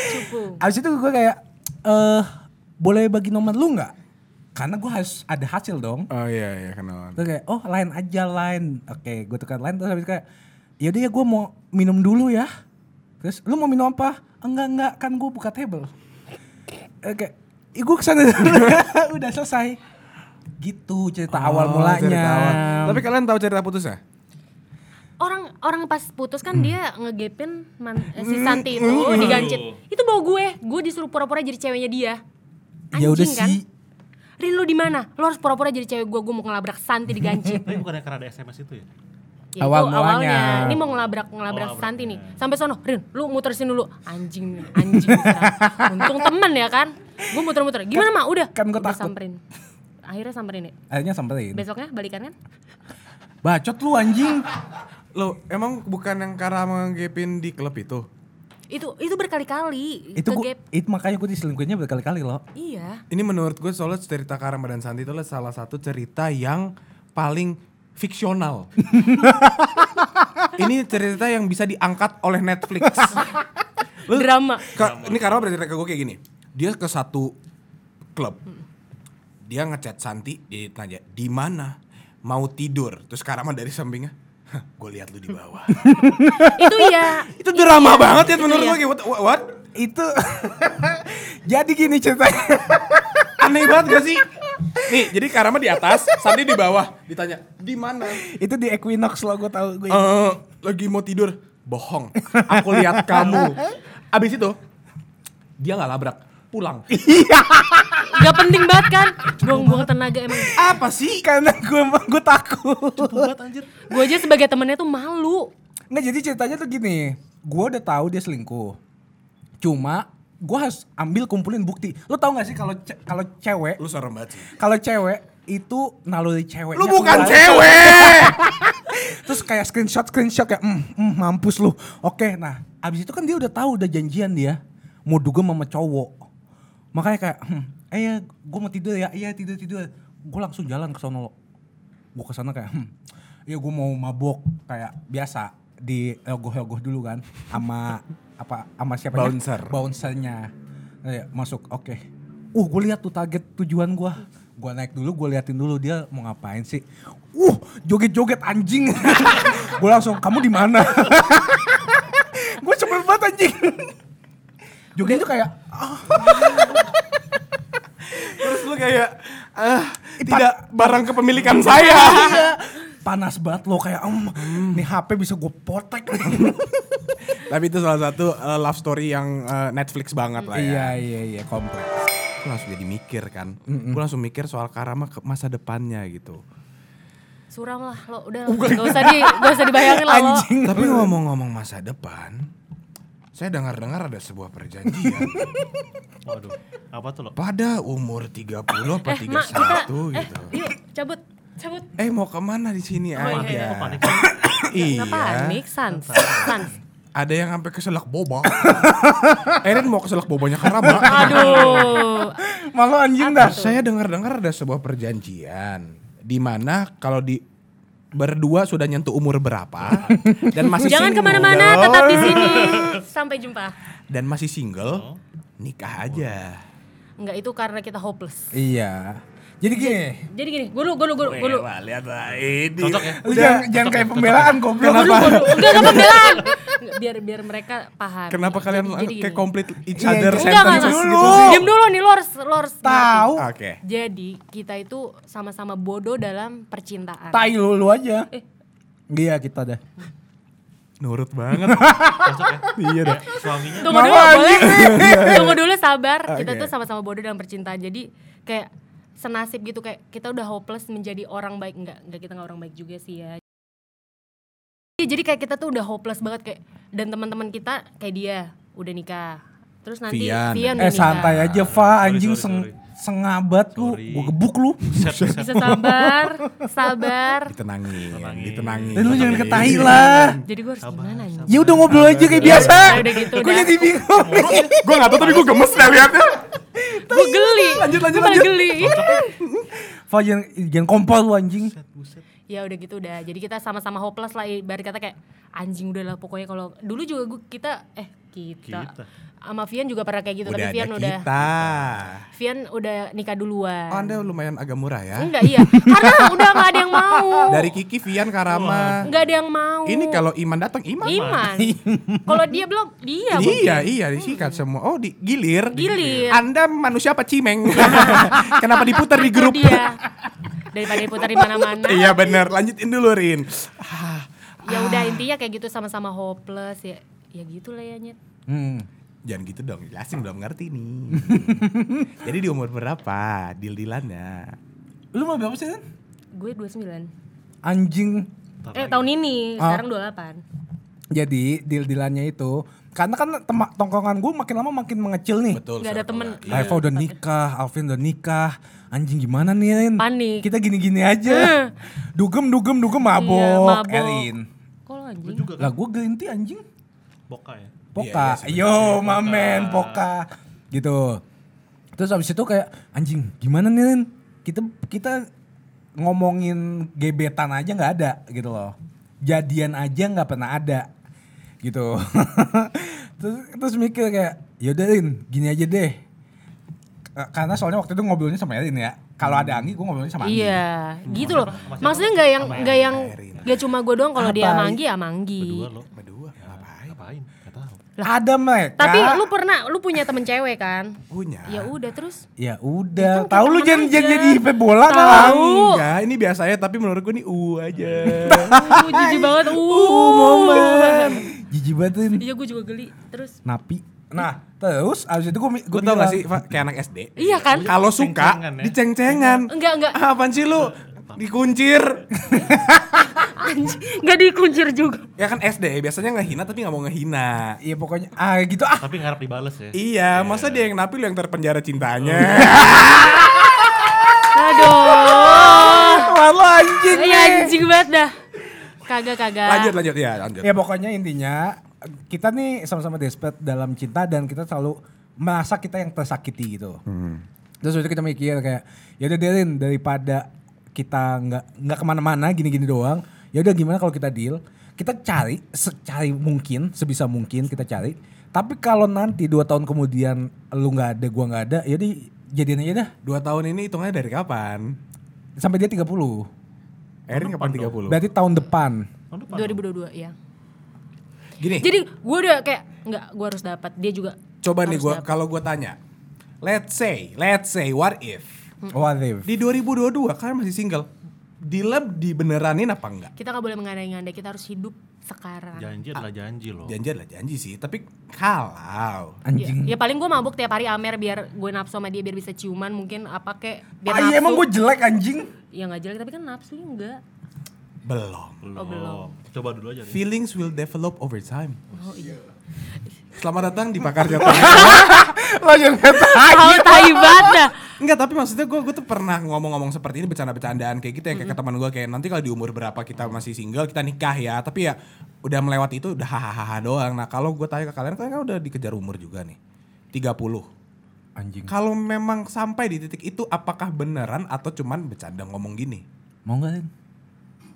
[SPEAKER 3] Cupu.
[SPEAKER 4] Abis itu gue kayak, eh boleh bagi nomor lu nggak? Karena gue harus ada hasil dong.
[SPEAKER 1] Oh iya iya kenalan.
[SPEAKER 4] Terus kayak, oh lain aja lain. Oke, gue tekan lain terus habis itu kayak, yaudah ya gue mau minum dulu ya. Terus lu mau minum apa? Enggak enggak, kan gue buka table. Oke, Ih, gue kesana udah selesai. Gitu cerita awal
[SPEAKER 1] Oh,
[SPEAKER 4] mulanya.
[SPEAKER 1] cerita awal. Tapi kan kalian tahu cerita putusnya?
[SPEAKER 3] Orang orang pas putus kan dia ngegepin man, eh, si Santi itu digancit. Itu bawa gue, gue disuruh pura-pura jadi ceweknya dia.
[SPEAKER 4] Ya udah
[SPEAKER 3] Anjing kan?
[SPEAKER 4] sih.
[SPEAKER 3] Rin lu di mana? Lo harus pura-pura jadi cewek gue, gue mau ngelabrak Santi digancit.
[SPEAKER 2] Tapi bukannya karena ada SMS itu ya?
[SPEAKER 3] Ya, itu
[SPEAKER 4] Awal mulanya.
[SPEAKER 3] Ini mau ngelabrak ngelabrak Santi nih. Sampai sono, Rin, lu muter sini dulu. Anjing, nih, anjing. Sarah. Untung temen ya kan. Gue muter-muter. Gimana mah? Udah.
[SPEAKER 4] kan gua
[SPEAKER 3] Udah
[SPEAKER 4] takut.
[SPEAKER 3] Samperin. Akhirnya samperin ya.
[SPEAKER 4] Akhirnya samperin.
[SPEAKER 3] Besoknya balikan kan?
[SPEAKER 4] Bacot lu anjing.
[SPEAKER 1] Lo emang bukan yang karena menggepin di klub itu?
[SPEAKER 3] Itu itu berkali-kali.
[SPEAKER 4] itu gue,
[SPEAKER 3] kegep.
[SPEAKER 4] itu makanya gue diselingkuhinnya berkali-kali loh.
[SPEAKER 3] Iya.
[SPEAKER 1] Ini menurut gue soalnya cerita Karama dan Santi itu adalah salah satu cerita yang paling fiksional. ini cerita yang bisa diangkat oleh Netflix. Lu-
[SPEAKER 3] Drama.
[SPEAKER 1] Ka- ini Karama bercerita ke gue kayak gini. Dia ke satu klub. Dia ngechat Santi, dia tanya, "Di mana? Mau tidur?" Terus Karama dari sampingnya, "Gue lihat lu di bawah."
[SPEAKER 3] itu ya.
[SPEAKER 1] itu drama banget ya
[SPEAKER 3] Itu
[SPEAKER 1] menurut
[SPEAKER 3] iya.
[SPEAKER 1] gue. kayak, What, what- what?
[SPEAKER 4] itu jadi gini ceritanya
[SPEAKER 1] Aneh banget gak sih? Nih, jadi Karama di atas, Santi di bawah. Ditanya, "Di mana?"
[SPEAKER 4] itu di Equinox lo gue tahu gue
[SPEAKER 1] Eh, lagi mau tidur bohong aku lihat kamu abis itu dia nggak labrak pulang
[SPEAKER 3] Gak penting banget kan? Buang-buang tenaga emang.
[SPEAKER 1] apa sih
[SPEAKER 4] karena gue gue takut
[SPEAKER 3] Gue aja sebagai temennya tuh malu.
[SPEAKER 4] Nah, nggak jadi ceritanya tuh gini gue udah tahu dia selingkuh cuma gue harus ambil kumpulin bukti. Lo tau gak sih kalau ce- kalau cewek
[SPEAKER 1] Lu serem banget sih.
[SPEAKER 4] kalau cewek itu naluri cewek.
[SPEAKER 1] Lu bukan cewek.
[SPEAKER 4] Terus kayak screenshot screenshot kayak mm, mm, mampus lu. Oke, nah abis itu kan dia udah tahu udah janjian dia mau duga sama cowok. Makanya kayak hmm, eh ya, gue mau tidur ya, iya tidur tidur. Gue langsung jalan ke sono. Gue ke sana kayak hmm, iya gue mau mabok kayak biasa di ogoh-ogoh dulu kan sama apa sama siapa ya?
[SPEAKER 1] Bouncer.
[SPEAKER 4] bouncernya Eh, masuk oke uh gue lihat tuh target tujuan gue gue naik dulu gue liatin dulu dia mau ngapain sih uh joget-joget anjing gue langsung kamu di mana gue sebel banget anjing joget itu kayak
[SPEAKER 1] Terus lu kayak ah, tidak barang kepemilikan saya.
[SPEAKER 4] panas banget lo kayak "Em, nih HP bisa gue potek nih."
[SPEAKER 1] Tapi itu salah satu eh, love story yang eh, Netflix banget lah ya.
[SPEAKER 4] iya iya iya kompleks
[SPEAKER 1] Gue langsung jadi mikir kan. Gue langsung mikir soal Karama ke masa depannya gitu.
[SPEAKER 3] Suram lah lo, udah lah. Gak usah di, gak usah dibayangin lah lo.
[SPEAKER 4] anjing
[SPEAKER 1] Tapi ngomong-ngomong masa depan, saya dengar-dengar ada sebuah perjanjian
[SPEAKER 2] Waduh, apa tuh lo?
[SPEAKER 1] pada umur 30 apa
[SPEAKER 3] Eh, Mak, kita,
[SPEAKER 1] 31
[SPEAKER 3] eh,
[SPEAKER 1] gitu.
[SPEAKER 3] yuk cabut, cabut.
[SPEAKER 1] Eh mau kemana di sini
[SPEAKER 3] iya,
[SPEAKER 1] aja?
[SPEAKER 3] iya.
[SPEAKER 2] Kok panik?
[SPEAKER 1] iya.
[SPEAKER 3] Gak panik, sans, sans.
[SPEAKER 1] Ada yang sampai keselak boba. Erin mau keselak bobanya Karama.
[SPEAKER 3] Oh, Aduh,
[SPEAKER 4] malu anjing dah
[SPEAKER 1] Saya dengar-dengar ada sebuah perjanjian di mana kalau di berdua sudah nyentuh umur berapa dan masih
[SPEAKER 3] jangan
[SPEAKER 1] single-
[SPEAKER 3] kemana-mana, tetap di sini. Sampai jumpa.
[SPEAKER 1] dan masih single nikah aja.
[SPEAKER 3] Enggak itu karena kita hopeless.
[SPEAKER 4] iya jadi gini
[SPEAKER 3] Jadi gini, gue dulu, gue dulu, gue dulu.
[SPEAKER 1] Wah, lihat lah ini.
[SPEAKER 2] Cocok ya?
[SPEAKER 4] lu jangan, jangan kayak pembelaan goblok
[SPEAKER 3] Gue dulu, enggak, enggak pembelaan. Enggak, Biar biar mereka paham.
[SPEAKER 1] Kenapa kalian
[SPEAKER 3] Jadi
[SPEAKER 1] kayak
[SPEAKER 3] gini.
[SPEAKER 1] complete each
[SPEAKER 4] Iya,
[SPEAKER 1] other
[SPEAKER 4] iya.
[SPEAKER 3] Enggak, enggak,
[SPEAKER 1] sentences
[SPEAKER 4] enggak.
[SPEAKER 1] gitu?
[SPEAKER 4] Dulu.
[SPEAKER 1] sih?
[SPEAKER 3] Diam dulu nih, lo harus, lo harus ngerti.
[SPEAKER 4] tahu
[SPEAKER 1] Oke.
[SPEAKER 3] Jadi kita itu sama-sama bodoh dalam percintaan.
[SPEAKER 4] tai lu lu aja iya kita dah
[SPEAKER 1] Nurut banget.
[SPEAKER 2] Cocok ya? Iya deh. Suaminya
[SPEAKER 3] Tunggu dulu, boleh? Tunggu dulu sabar. Kita tuh sama-sama bodoh dalam percintaan. Jadi kayak senasib gitu kayak kita udah hopeless menjadi orang baik enggak enggak kita nggak orang baik juga sih ya. Iya, Jadi kayak kita tuh udah hopeless banget kayak dan teman-teman kita kayak dia udah nikah. Terus nanti
[SPEAKER 1] Vian.
[SPEAKER 3] Vian udah
[SPEAKER 4] eh santai
[SPEAKER 3] nikah.
[SPEAKER 4] aja Fa anjing
[SPEAKER 2] sorry,
[SPEAKER 4] seng
[SPEAKER 2] sorry.
[SPEAKER 4] sengabat lu
[SPEAKER 2] Sorry.
[SPEAKER 4] gue gebuk lu
[SPEAKER 2] set, set.
[SPEAKER 3] Bisa sabar, sabar.
[SPEAKER 1] Ditenangin, ditenangin. Gitu.
[SPEAKER 4] dan lu jangan ketai
[SPEAKER 1] Iya,
[SPEAKER 4] lah
[SPEAKER 3] Jadi gue harus gimana nih?
[SPEAKER 4] ya udah ngobrol aja kayak biasa
[SPEAKER 3] udah gitu,
[SPEAKER 4] gue
[SPEAKER 3] udah.
[SPEAKER 4] jadi bingung
[SPEAKER 1] Gue gak tau tapi gue gemes deh liatnya.
[SPEAKER 3] Gue geli.
[SPEAKER 4] Gitu. Lanjut, lanjut,
[SPEAKER 3] Gua malah
[SPEAKER 4] lanjut.
[SPEAKER 3] geli.
[SPEAKER 4] Fa jangan jangan kompor lu anjing
[SPEAKER 3] ya udah gitu udah jadi kita sama-sama hopeless lah ibarat kata kayak anjing udah lah pokoknya kalau dulu juga gua, kita eh kita,
[SPEAKER 2] Kita.
[SPEAKER 3] sama Vian juga pernah kayak gitu
[SPEAKER 1] Udah ada
[SPEAKER 3] tapi Vian udah
[SPEAKER 1] kita.
[SPEAKER 3] Vian udah nikah duluan
[SPEAKER 1] Oh, anda lumayan agak murah ya.
[SPEAKER 3] enggak iya karena udah nggak ada yang mau
[SPEAKER 1] Dari Kiki, Vian, Karama.
[SPEAKER 3] nggak ada yang mau
[SPEAKER 1] Ini kalau Iman datang Iman.
[SPEAKER 3] Iman kalau dia belum dia mungkin. Hmm.
[SPEAKER 1] Iya, iya disikat semua. Oh, di gilir.
[SPEAKER 3] Gilir.
[SPEAKER 1] Anda manusia apa cimeng? Kenapa diputar di
[SPEAKER 3] Itu
[SPEAKER 1] grup?
[SPEAKER 3] dia daripada diputar di mana-mana
[SPEAKER 1] iya benar, lanjutin dulu Rin. Ah,
[SPEAKER 3] ya udah intinya kayak gitu sama-sama hopeless ya ya gitu lah ya nyet
[SPEAKER 4] hmm.
[SPEAKER 1] Jangan gitu dong, jelasin belum ngerti nih. Jadi di umur berapa deal-dealannya?
[SPEAKER 4] lu mau berapa sih Ren?
[SPEAKER 3] gue 29
[SPEAKER 4] anjing
[SPEAKER 3] eh tahun
[SPEAKER 1] Oh.
[SPEAKER 3] ini
[SPEAKER 4] Ah.
[SPEAKER 3] sekarang 28
[SPEAKER 4] jadi deal-dealannya itu karena kan tema- tongkongan gue makin lama makin mengecil nih
[SPEAKER 1] Betul. Iya.
[SPEAKER 3] Nggak ada temen.
[SPEAKER 4] Reva udah nikah, Alvin udah nikah. Anjing gimana nih Rin?
[SPEAKER 3] Panik. Eh.
[SPEAKER 4] Kita gini-gini aja. dugem, dugem, dugem mabok,
[SPEAKER 3] Iya, mabok.
[SPEAKER 4] Erin.
[SPEAKER 3] Kalau anjing.
[SPEAKER 2] juga
[SPEAKER 4] Lah gue ganti anjing.
[SPEAKER 2] boka
[SPEAKER 3] Iya.
[SPEAKER 2] ya.
[SPEAKER 4] Poka. Yo, mamen, poka. Gitu. Terus abis itu kayak anjing gimana nih Rin? Kita kita ngomongin gebetan aja nggak ada gitu loh. Jadian aja nggak pernah ada gitu. terus terus mikir kayak yaudah Rin gini aja deh. Ka- Karena soalnya waktu itu ngobrolnya sama Erin ya. Kalau ada Anggi gue ngobrolnya sama Anggi.
[SPEAKER 3] Iya,
[SPEAKER 2] Hmm.
[SPEAKER 3] gitu loh. Maksudnya nggak yang nggak yang nggak cuma gue doang kalau dia manggi ya manggi.
[SPEAKER 2] Berdua lo. Berdua. Ngapain? Ngapain? Gak tau.
[SPEAKER 4] Ada mereka.
[SPEAKER 3] Tapi lu pernah lu punya temen cewek kan?
[SPEAKER 1] Punya.
[SPEAKER 3] Ya udah terus. Ya
[SPEAKER 4] Ya udah,
[SPEAKER 3] kan
[SPEAKER 4] tahu
[SPEAKER 3] kita
[SPEAKER 4] lu
[SPEAKER 3] temen
[SPEAKER 4] jangan
[SPEAKER 3] aja.
[SPEAKER 4] jangan jadi IP bola
[SPEAKER 3] Tahu.
[SPEAKER 4] kan.
[SPEAKER 1] Enggak, ini biasanya tapi menurut gue nih u aja.
[SPEAKER 4] Iya.
[SPEAKER 3] Uh, jijik banget. Uh,
[SPEAKER 4] Jijik banget Rin.
[SPEAKER 3] Iya gue juga geli. Terus
[SPEAKER 4] Napi. Nah, terus abis itu gue
[SPEAKER 1] Gue tau gak sih, Fa, kayak anak SD.
[SPEAKER 3] iya kan?
[SPEAKER 1] Kalau suka,
[SPEAKER 2] Ceng-cengan ya?
[SPEAKER 1] diceng-cengan.
[SPEAKER 3] Enggak enggak.
[SPEAKER 1] Ah, Apaan sih lu? Dikuncir.
[SPEAKER 3] Anjing, nggak dikuncir juga.
[SPEAKER 1] Ya kan SD, biasanya ngehina tapi nggak mau ngehina.
[SPEAKER 4] Iya pokoknya ah gitu ah.
[SPEAKER 2] Tapi ngarep dibales ya.
[SPEAKER 1] Iya, masa dia yang napi lu yang terpenjara cintanya?
[SPEAKER 3] Aduh.
[SPEAKER 4] Malu anjing
[SPEAKER 3] Iya
[SPEAKER 4] nih.
[SPEAKER 3] anjing banget dah. Kagak kagak.
[SPEAKER 1] lanjut, lanjut. Iya, lanjut.
[SPEAKER 4] Ya pokoknya intinya kita nih sama-sama desperate dalam cinta dan kita selalu merasa kita yang tersakiti gitu.
[SPEAKER 1] Hmm.
[SPEAKER 4] Terus waktu itu kita mikir kayak ya udah dealin daripada kita nggak nggak kemana-mana gini-gini doang. Ya udah gimana kalau kita deal? Kita cari secari mungkin sebisa mungkin kita cari. Tapi kalau nanti dua tahun kemudian lu nggak ada, gua nggak ada, ya udah jadian aja dah.
[SPEAKER 1] Dua tahun ini hitungannya dari kapan?
[SPEAKER 4] Sampai dia 30.
[SPEAKER 1] Erin kapan 30?
[SPEAKER 4] Berarti tahun depan.
[SPEAKER 3] 2022 ya.
[SPEAKER 1] Gini,
[SPEAKER 3] Jadi gue udah kayak nggak gue harus dapat dia juga.
[SPEAKER 1] coba nih
[SPEAKER 3] harus
[SPEAKER 1] gua
[SPEAKER 3] dapat.
[SPEAKER 1] kalau gua tanya. Let's say, let's say what if
[SPEAKER 4] What if?
[SPEAKER 1] di 2022 kalian kan masih single? Dileb dibeneranin apa enggak?
[SPEAKER 3] Kita nggak boleh mengandai-ngandai. Kita harus hidup
[SPEAKER 1] Ya.
[SPEAKER 3] sekarang.
[SPEAKER 2] Janji adalah janji loh.
[SPEAKER 1] Janji adalah janji sih, tapi kalau
[SPEAKER 3] Ya, ya paling gue mabuk tiap hari Amer biar gue nafsu sama dia biar bisa ciuman mungkin apa kek. Biar
[SPEAKER 4] Ah, iya
[SPEAKER 3] nafsu.
[SPEAKER 4] emang gue jelek anjing.
[SPEAKER 3] Ya nggak jelek tapi kan nafsu enggak.
[SPEAKER 1] belum.
[SPEAKER 2] Belum.
[SPEAKER 3] Oh, belum.
[SPEAKER 2] Coba dulu aja nih.
[SPEAKER 1] Feelings will develop over time. Oh iya. Selamat datang di pakar jatuh.
[SPEAKER 4] Lo yang kata.
[SPEAKER 3] Iya, Tahu tai banget dah.
[SPEAKER 1] Enggak, tapi maksudnya gue tuh pernah ngomong-ngomong seperti ini bercanda-bercandaan kayak gitu ya kayak ke teman gue kayak nanti kalau di umur berapa kita masih single kita nikah ya, tapi ya udah melewati itu udah hahaha doang. Nah, kalau gue tanya ke kalian kalian kan udah dikejar umur juga nih. 30.
[SPEAKER 4] Anjing.
[SPEAKER 1] Kalau memang sampai di titik itu apakah beneran atau cuman bercanda ngomong gini?
[SPEAKER 4] Mau gak Lin?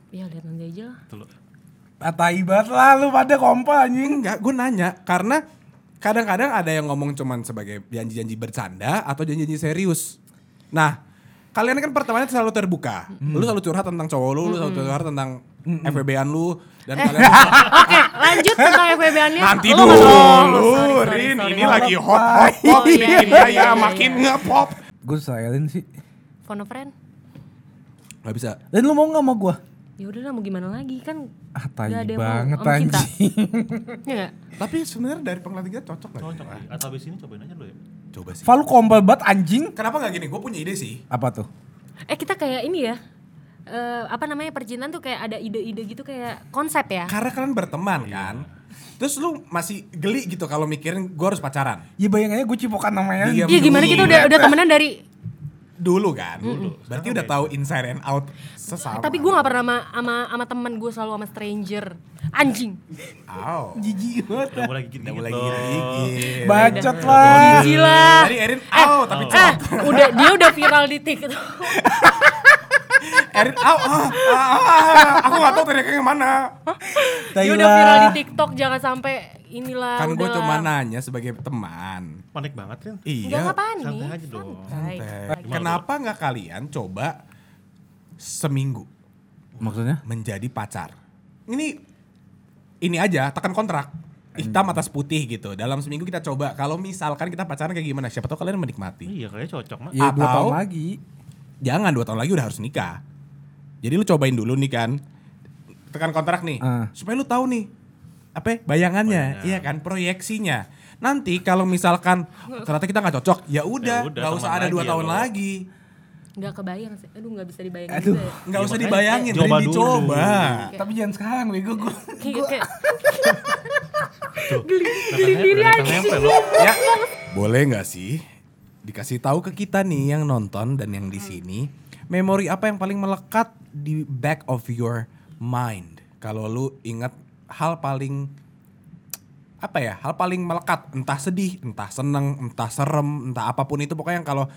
[SPEAKER 3] Ya lihat nanti aja lah.
[SPEAKER 2] Tuh, loh.
[SPEAKER 4] Atai banget Ah, lah lu pada kompa anjing.
[SPEAKER 1] Enggak, gue nanya karena kadang-kadang ada yang ngomong cuman sebagai janji-janji bercanda atau janji-janji serius. Nah, kalian kan pertemanannya selalu terbuka. Lu selalu curhat tentang cowok lu, lu selalu curhat tentang FWB-an lu dan kalian
[SPEAKER 3] Oke Ah, lanjut tentang FWB-annya.
[SPEAKER 1] nanti
[SPEAKER 3] Lu
[SPEAKER 1] dulu.
[SPEAKER 3] nggak- oh, sorry, sorry,
[SPEAKER 1] Rin,
[SPEAKER 3] sorry.
[SPEAKER 1] ini lagi hot hot hot
[SPEAKER 3] Oh, iya,
[SPEAKER 1] bikin
[SPEAKER 3] iya,
[SPEAKER 1] saya
[SPEAKER 3] iya,
[SPEAKER 1] makin ngepop.
[SPEAKER 4] Gue sayalin sih.
[SPEAKER 3] Phone a friend.
[SPEAKER 1] Gak bisa.
[SPEAKER 4] Dan lu mau gak sama gue?
[SPEAKER 3] Ya udah lah mau gimana lagi kan.
[SPEAKER 4] Ah
[SPEAKER 3] Nggak
[SPEAKER 4] tai
[SPEAKER 3] ada yang mau
[SPEAKER 4] banget
[SPEAKER 3] sama kita.
[SPEAKER 4] anjing.
[SPEAKER 3] Ya nggak?
[SPEAKER 1] Tapi sebenarnya dari penglihatan kita cocok gak?
[SPEAKER 2] Cocok. nih. Atau abis ini cobain aja dulu ya.
[SPEAKER 1] Coba sih.
[SPEAKER 4] Fa lu kompa banget anjing.
[SPEAKER 1] Kenapa gak gini? Gue punya ide sih.
[SPEAKER 4] Apa tuh?
[SPEAKER 3] Eh kita kayak ini ya. eh, apa namanya percintaan tuh kayak ada ide-ide gitu kayak konsep ya.
[SPEAKER 1] Karena kalian berteman kan. Terus lu masih geli gitu kalau mikirin gue harus pacaran.
[SPEAKER 4] Ya bayangannya gue cipokan namanya.
[SPEAKER 1] Iya.
[SPEAKER 3] Iya gimana kita udah udah temenan dari
[SPEAKER 1] dulu kan berarti udah tahu inside and out sesama
[SPEAKER 3] tapi gue nggak pernah sama sama, sama teman gue selalu sama stranger anjing
[SPEAKER 1] oh
[SPEAKER 4] Jijik banget.
[SPEAKER 2] Udah mulai gigit
[SPEAKER 1] nggak
[SPEAKER 2] gigit
[SPEAKER 1] boleh
[SPEAKER 2] loh.
[SPEAKER 1] gigit
[SPEAKER 4] Bacot lah.
[SPEAKER 3] gila
[SPEAKER 1] tadi Erin out tapi
[SPEAKER 3] eh udah dia udah viral di TikTok
[SPEAKER 1] Erin out ah, ah, ah, aku nggak tahu teriaknya yang mana
[SPEAKER 4] Tai
[SPEAKER 3] dia udah viral
[SPEAKER 4] lah.
[SPEAKER 3] di TikTok jangan sampai inilah
[SPEAKER 1] kan gue
[SPEAKER 3] udahlah.
[SPEAKER 1] cuma nanya sebagai teman
[SPEAKER 2] Panik banget kan?
[SPEAKER 3] Nggak,
[SPEAKER 1] iya
[SPEAKER 3] nggak panik
[SPEAKER 2] Santai aja dong.
[SPEAKER 3] santai.
[SPEAKER 1] Teh. kenapa nggak kalian coba seminggu
[SPEAKER 4] Maksudnya?
[SPEAKER 1] menjadi pacar ini ini aja tekan kontrak hitam atas putih gitu dalam seminggu kita coba kalau misalkan kita pacaran kayak gimana siapa tahu kalian menikmati
[SPEAKER 2] Iya kayaknya cocok mah.
[SPEAKER 4] Ya dua
[SPEAKER 1] Atau-
[SPEAKER 4] tahun lagi.
[SPEAKER 1] jangan dua tahun lagi udah harus nikah. Jadi lu cobain dulu nih kan, tekan kontrak nih,
[SPEAKER 4] Ah.
[SPEAKER 1] supaya lu tahu nih apa ya, bayangannya, iya kan proyeksinya. Nanti kalau misalkan ternyata kita nggak cocok, ya udah,
[SPEAKER 2] udah,
[SPEAKER 1] nggak usah
[SPEAKER 2] teman
[SPEAKER 1] ada dua
[SPEAKER 2] lagi ya
[SPEAKER 1] tahun
[SPEAKER 2] lo.
[SPEAKER 1] lagi,
[SPEAKER 3] nggak kebayang sih aduh nggak bisa dibayangin
[SPEAKER 4] Aduh.
[SPEAKER 3] juga
[SPEAKER 1] nggak
[SPEAKER 3] ya.
[SPEAKER 2] Ya,
[SPEAKER 1] usah
[SPEAKER 2] makanya
[SPEAKER 1] dibayangin,
[SPEAKER 2] coba
[SPEAKER 1] tapi
[SPEAKER 2] dulu.
[SPEAKER 1] dicoba.
[SPEAKER 4] Tapi jangan sekarang bego gue.
[SPEAKER 3] Kayak- kayak-
[SPEAKER 2] Geli diri
[SPEAKER 1] ya, boleh nggak sih dikasih tahu ke kita nih yang nonton dan yang
[SPEAKER 4] Hmm.
[SPEAKER 1] di sini, memori apa yang paling melekat di back of your mind? Kalau lu ingat hal paling apa ya hal paling melekat entah sedih entah seneng entah serem entah apapun itu pokoknya yang kalau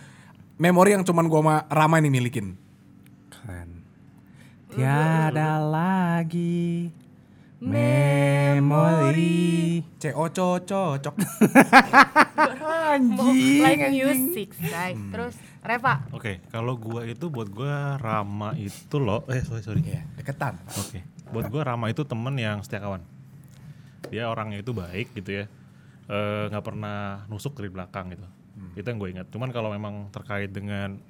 [SPEAKER 1] memori yang cuman gua sama Rama nih milikin
[SPEAKER 4] Keren. Tiada lagi memori.
[SPEAKER 1] CO cocok
[SPEAKER 3] mau live music say. terus Reva
[SPEAKER 2] Oke, kalau gua itu buat gua Rama itu loh. Eh sorry sorry.
[SPEAKER 1] ya deketan
[SPEAKER 2] Oke. Buat gue Rama itu temen yang setia kawan. Dia orangnya itu baik gitu ya. Eh, nggak pernah nusuk dari belakang gitu.
[SPEAKER 1] Hmm.
[SPEAKER 2] Itu yang gue ingat. Cuman kalau memang terkait dengan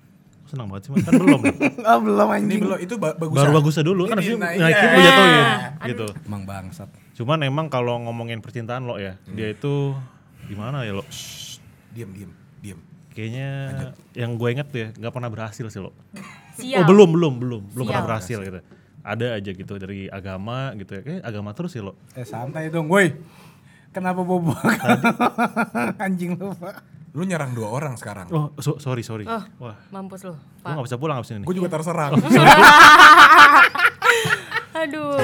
[SPEAKER 2] senang banget sih Mas. kan belum nih.
[SPEAKER 4] Ah belum
[SPEAKER 1] ini
[SPEAKER 4] anjing.
[SPEAKER 1] belum itu ba- bagus ya?
[SPEAKER 2] baru bagusnya dulu
[SPEAKER 1] Ini
[SPEAKER 2] kan habis itu
[SPEAKER 1] naik-
[SPEAKER 2] naikin
[SPEAKER 1] iya.
[SPEAKER 2] gue jatuhin gitu.
[SPEAKER 4] Emang bangsat.
[SPEAKER 2] Cuman emang kalau ngomongin percintaan lo ya,
[SPEAKER 1] Hmm.
[SPEAKER 2] dia itu gimana ya lo? Shh,
[SPEAKER 1] diem diem diem
[SPEAKER 2] Kayaknya yang gue ingat tuh ya nggak pernah berhasil sih lo. Oh
[SPEAKER 3] siap
[SPEAKER 2] belum belum belum belum pernah berhasil
[SPEAKER 3] Sial.
[SPEAKER 2] gitu. ada aja gitu dari agama gitu ya. Kayak agama terus sih lo.
[SPEAKER 4] Eh santai dong, woi. Kenapa bobok? Anjing lu, Pak.
[SPEAKER 1] Lu nyerang dua orang sekarang.
[SPEAKER 2] Oh, so- sorry, sorry.
[SPEAKER 3] Oh.
[SPEAKER 2] Wah,
[SPEAKER 3] Mampus lo,
[SPEAKER 2] gue gak
[SPEAKER 3] Pak.
[SPEAKER 2] bisa pulang abis ini.
[SPEAKER 1] Gue juga terserang.
[SPEAKER 3] Aduh.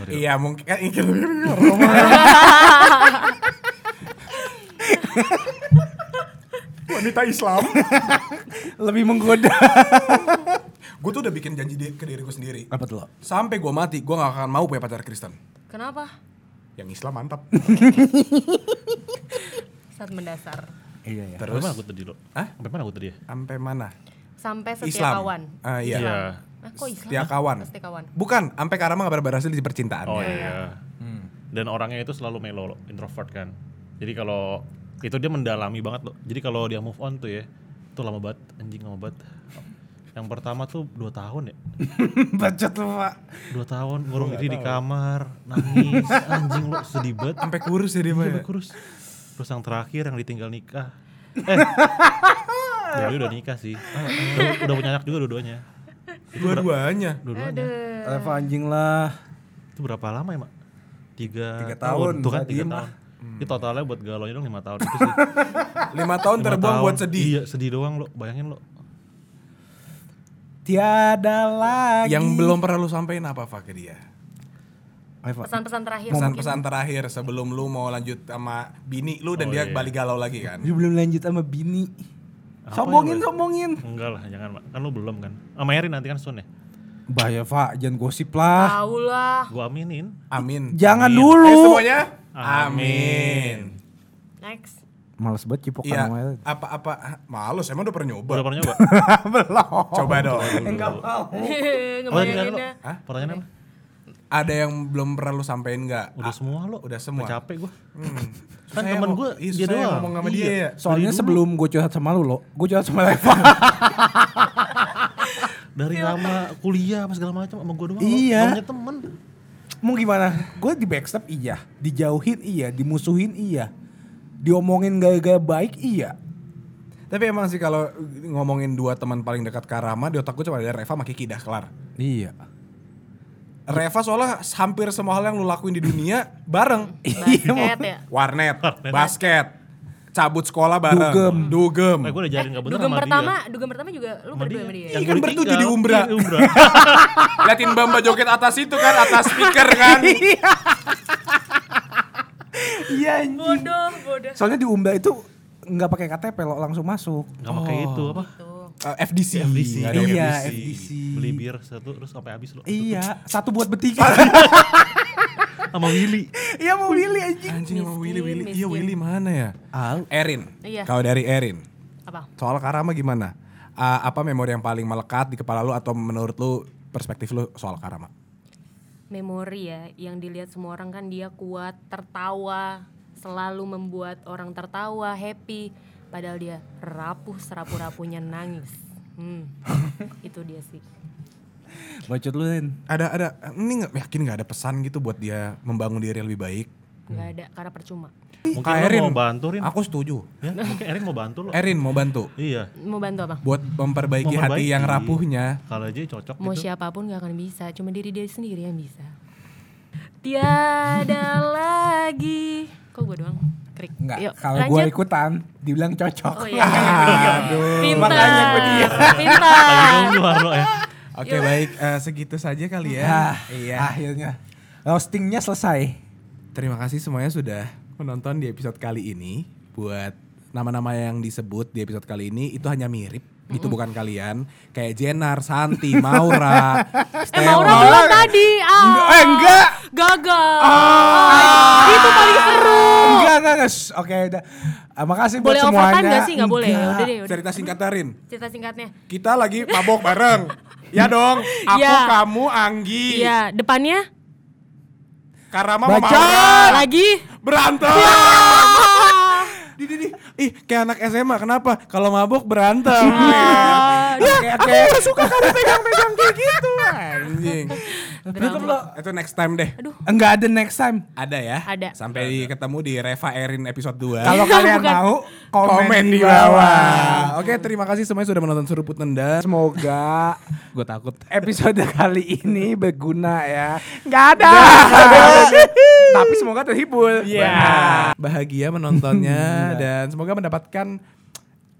[SPEAKER 2] Sorry.
[SPEAKER 1] Iya mungkin kan ini Wanita Islam.
[SPEAKER 4] Lebih menggoda.
[SPEAKER 1] gue tuh udah bikin janji di- ke diri gue sendiri.
[SPEAKER 4] Apa tuh lo?
[SPEAKER 1] Sampai gue mati, gue gak akan mau punya pacar Kristen.
[SPEAKER 3] Kenapa?
[SPEAKER 1] Yang Islam mantap.
[SPEAKER 3] Saat mendasar.
[SPEAKER 4] Iya ya.
[SPEAKER 2] Sampai mana aku tadi lo?
[SPEAKER 1] Hah?
[SPEAKER 2] Sampai mana aku tadi ya?
[SPEAKER 1] Sampai mana?
[SPEAKER 3] Sampai
[SPEAKER 1] Islam.
[SPEAKER 3] setia kawan.
[SPEAKER 1] Ah, iya.
[SPEAKER 2] Iya.
[SPEAKER 3] Ah, kok Islam?
[SPEAKER 1] Setia kawan.
[SPEAKER 3] Setia kawan.
[SPEAKER 1] Bukan, sampai Karama gak berhasil di percintaan.
[SPEAKER 2] Oh iya.
[SPEAKER 1] Hmm.
[SPEAKER 2] Dan orangnya itu selalu melo, lo, introvert kan. Jadi kalau itu dia mendalami banget loh. Jadi kalau dia move on tuh ya, itu lama banget, anjing lama banget. Yang pertama tuh dua tahun ya,
[SPEAKER 4] Bacot lu, Pak.
[SPEAKER 2] dua tahun ngurung diri di kamar, nangis, anjing lo sedih banget.
[SPEAKER 1] Sampai kurus ya dia. Pak, ya?
[SPEAKER 2] Sampai kurus. Terus yang terakhir yang ditinggal nikah. Eh, ya, dia udah nikah sih. Ah, ah, udah, udah punya anak juga dua-duanya. Itu ber-
[SPEAKER 1] Dua-duanya.
[SPEAKER 2] Dua-duanya.
[SPEAKER 4] Level anjing lah.
[SPEAKER 2] Itu berapa lama ya, Mak? Tiga,
[SPEAKER 4] Tiga tahun,
[SPEAKER 2] Tuh kan, tiga
[SPEAKER 1] Iya,
[SPEAKER 4] tadi mah.
[SPEAKER 2] tahun. Ini totalnya buat galonya dong lima tahun itu sih.
[SPEAKER 1] Lima tahun
[SPEAKER 2] Lima
[SPEAKER 1] terbuang
[SPEAKER 2] tahun.
[SPEAKER 1] buat sedih.
[SPEAKER 2] Iya, sedih doang lo. Bayangin lo.
[SPEAKER 4] Tiada lagi.
[SPEAKER 1] Yang belum pernah lu sampein apa Fak ke dia?
[SPEAKER 4] Ayo, Pak.
[SPEAKER 3] Pesan-pesan
[SPEAKER 4] Iya,
[SPEAKER 3] terakhir mungkin.
[SPEAKER 1] Pesan-pesan terakhir sebelum lu mau lanjut sama bini lu dan
[SPEAKER 2] Oh,
[SPEAKER 1] dia
[SPEAKER 2] iya.
[SPEAKER 1] balik galau lagi kan?
[SPEAKER 4] Dia belum lanjut sama bini.
[SPEAKER 2] Apa
[SPEAKER 4] sombongin,
[SPEAKER 2] ya, Boy?
[SPEAKER 4] sombongin.
[SPEAKER 2] Enggak lah, jangan, Mak. Kan lo belum kan. Sama Erin nanti kan soon ya.
[SPEAKER 4] Bahaya, Pak. Jangan gosip lah.
[SPEAKER 3] Tahu lah.
[SPEAKER 2] Gua aminin.
[SPEAKER 1] Amin.
[SPEAKER 4] Jangan
[SPEAKER 1] Eh
[SPEAKER 2] Amin.
[SPEAKER 4] dulu.
[SPEAKER 1] semuanya.
[SPEAKER 2] Amin.
[SPEAKER 1] Amin.
[SPEAKER 3] Next.
[SPEAKER 4] Males banget cipokan
[SPEAKER 1] Iya.
[SPEAKER 4] sama Erin.
[SPEAKER 1] Apa-apa ah, malus emang udah pernah nyoba.
[SPEAKER 2] Udah pernah nyoba?
[SPEAKER 1] Coba dong.
[SPEAKER 4] Enggak mau.
[SPEAKER 2] Oh, tadi kan lo?
[SPEAKER 3] Ngebayanginnya.
[SPEAKER 1] Hah?
[SPEAKER 2] Pertanyaannya apa?
[SPEAKER 1] Ada yang belum pernah lu sampein nggak?
[SPEAKER 2] Udah
[SPEAKER 1] Ah,
[SPEAKER 2] semua lo.
[SPEAKER 1] udah semua.
[SPEAKER 2] Capek gua.
[SPEAKER 1] hmm.
[SPEAKER 2] Kan
[SPEAKER 1] Saya
[SPEAKER 2] temen
[SPEAKER 1] mau-
[SPEAKER 2] gua,
[SPEAKER 1] iya,
[SPEAKER 2] dia
[SPEAKER 1] saya
[SPEAKER 2] doang.
[SPEAKER 1] ngomong sama dia
[SPEAKER 2] Iya.
[SPEAKER 1] ya.
[SPEAKER 4] Soalnya
[SPEAKER 2] Dari dulu.
[SPEAKER 4] sebelum gue curhat sama lu lo, gue curhat sama Reva.
[SPEAKER 2] Dari lama kuliah apa segala macam sama gua doang. lo.
[SPEAKER 4] Iya.
[SPEAKER 2] Gak punya temen.
[SPEAKER 4] Mau gimana? Gue di backstep iya, dijauhin iya, dimusuhin iya, diomongin gaya-gaya baik iya.
[SPEAKER 1] Tapi emang sih kalau ngomongin dua teman paling dekat Karama di otak gue cuma ada Reva sama Kiki dah kelar.
[SPEAKER 4] Iya.
[SPEAKER 1] Reva soalnya hampir semua hal yang lu lakuin di dunia bareng.
[SPEAKER 2] Iya,
[SPEAKER 3] Basket ya.
[SPEAKER 1] Warnet, basket, cabut sekolah bareng,
[SPEAKER 4] Dugem.
[SPEAKER 1] dugem.
[SPEAKER 2] Eh, gua udah jaring gak bener
[SPEAKER 3] Dugem
[SPEAKER 2] sama
[SPEAKER 3] pertama,
[SPEAKER 2] dia.
[SPEAKER 3] dugem pertama juga lu
[SPEAKER 2] Sama
[SPEAKER 3] berdua
[SPEAKER 2] dia.
[SPEAKER 3] sama dia. ya?
[SPEAKER 1] Iya.
[SPEAKER 2] Yang
[SPEAKER 1] kan
[SPEAKER 2] gua
[SPEAKER 1] bertujuh
[SPEAKER 2] ditinggal.
[SPEAKER 1] di Umbra.
[SPEAKER 2] Iya, Umbra.
[SPEAKER 1] Liatin Bamba joget atas itu kan, atas speaker kan.
[SPEAKER 4] Iya anjing.
[SPEAKER 3] Bodoh, bodoh.
[SPEAKER 4] Soalnya di Umda itu nggak pakai KTP lo langsung masuk.
[SPEAKER 2] Gak pakai
[SPEAKER 3] Oh,
[SPEAKER 2] itu apa?
[SPEAKER 3] Tuh.
[SPEAKER 1] Eh, FDC.
[SPEAKER 2] FDC.
[SPEAKER 1] Nggak ada
[SPEAKER 4] Iya,
[SPEAKER 1] FDC.
[SPEAKER 4] FDC.
[SPEAKER 2] Beli bir satu terus sampai habis lo.
[SPEAKER 4] Iya, satu buat bertiga.
[SPEAKER 2] Sama Willy.
[SPEAKER 4] Iya mau Willy anjing.
[SPEAKER 1] Anjing sama
[SPEAKER 3] Miskin,
[SPEAKER 1] Willy, Willy. Iya
[SPEAKER 3] miskin.
[SPEAKER 1] Willy mana ya?
[SPEAKER 4] Al,
[SPEAKER 1] Erin.
[SPEAKER 3] Iya.
[SPEAKER 1] Kalau dari Erin,
[SPEAKER 3] Apa?
[SPEAKER 1] soal Karama gimana? Ah, apa memori yang paling melekat di kepala lu atau menurut lu perspektif lu soal Karama?
[SPEAKER 3] Memori ya, yang dilihat semua orang kan dia kuat, tertawa, selalu membuat orang tertawa, happy. Padahal dia rapuh serapu-rapunya nangis. Hmm. Itu dia sih.
[SPEAKER 4] bacot lu Ren.
[SPEAKER 1] Ada ada ini nggak yakin nggak ada pesan gitu buat dia membangun diri lebih baik?
[SPEAKER 3] Gak ada karena percuma.
[SPEAKER 2] Mungkin
[SPEAKER 1] Kak
[SPEAKER 2] lo
[SPEAKER 1] Erin.
[SPEAKER 2] mau bantu Rin.
[SPEAKER 1] Aku setuju.
[SPEAKER 2] Ya, mungkin Erin mau bantu lo.
[SPEAKER 1] Erin mau bantu
[SPEAKER 2] Iya.
[SPEAKER 3] Mau bantu apa?
[SPEAKER 1] buat memperbaiki, hati
[SPEAKER 2] Memperbaiki.
[SPEAKER 1] yang rapuhnya.
[SPEAKER 2] Kalau aja cocok
[SPEAKER 3] Mau
[SPEAKER 2] gitu.
[SPEAKER 3] siapapun gak akan bisa, cuma diri dia sendiri yang bisa. Tiada lagi. Kok gue doang? Krik.
[SPEAKER 4] Enggak,
[SPEAKER 3] Yuk,
[SPEAKER 4] kalau
[SPEAKER 3] lanjut.
[SPEAKER 4] gue ikutan dibilang cocok.
[SPEAKER 3] Oh iya.
[SPEAKER 1] Aduh.
[SPEAKER 3] Pintar.
[SPEAKER 4] makanya gue diam.
[SPEAKER 2] Lagi
[SPEAKER 3] Pintar.
[SPEAKER 2] nunggu lo ya.
[SPEAKER 1] Oke baik eh, segitu saja kali
[SPEAKER 4] Ah,
[SPEAKER 1] ya. iya.
[SPEAKER 4] Akhirnya roastingnya selesai.
[SPEAKER 1] Terima kasih semuanya sudah menonton di episode kali ini. Buat nama-nama yang disebut di episode kali ini itu hanya mirip. Itu bukan kalian. Kayak Jenar, Santi, Maura,
[SPEAKER 3] Eh Maura
[SPEAKER 1] Stella.
[SPEAKER 3] belum tadi. Ah.
[SPEAKER 1] eh, enggak.
[SPEAKER 3] Gagal. Ah, Itu paling seru.
[SPEAKER 4] Enggak, enggak, enggak. Shh, Oke, udah. Ah, makasih buat
[SPEAKER 3] Oh. Boleh
[SPEAKER 4] semuanya.
[SPEAKER 3] overtime gak sih? Gak boleh. ya? Udah deh, udah.
[SPEAKER 1] Cerita singkat Tarin.
[SPEAKER 3] Cerita singkatnya.
[SPEAKER 1] Kita lagi mabok bareng. Ya dong, aku,
[SPEAKER 3] Iya.
[SPEAKER 1] kamu, Anggi,
[SPEAKER 3] Iya, depannya
[SPEAKER 1] Karama, sama
[SPEAKER 4] Baca.
[SPEAKER 1] Maura.
[SPEAKER 3] lagi.
[SPEAKER 1] Berantem. Di, di, di. Ih, kayak anak SMA. Kenapa? Kalau mabok berantem. Iya.
[SPEAKER 4] Oke, oke.
[SPEAKER 1] suka kamu pegang-pegang kayak gitu. Anjing. Tutup lo. Itu next time deh.
[SPEAKER 3] Aduh.
[SPEAKER 4] Enggak ada next time.
[SPEAKER 1] Ada ya?
[SPEAKER 3] Ada.
[SPEAKER 1] Sampai di- ketemu di Reva Erin episode 2.
[SPEAKER 4] Kalau kalian
[SPEAKER 3] Bukan.
[SPEAKER 4] mau komen,
[SPEAKER 1] Eh? komen
[SPEAKER 4] di
[SPEAKER 1] di
[SPEAKER 4] bawah.
[SPEAKER 1] bawah. Oke, terima kasih semuanya sudah menonton Seruput Nendang.
[SPEAKER 4] Semoga
[SPEAKER 5] Gue takut.
[SPEAKER 4] episode kali ini berguna ya.
[SPEAKER 1] Gak ada.
[SPEAKER 4] Tapi semoga terhibur.
[SPEAKER 1] Benar. Iya. Bahagia menontonnya dan semoga mendapatkan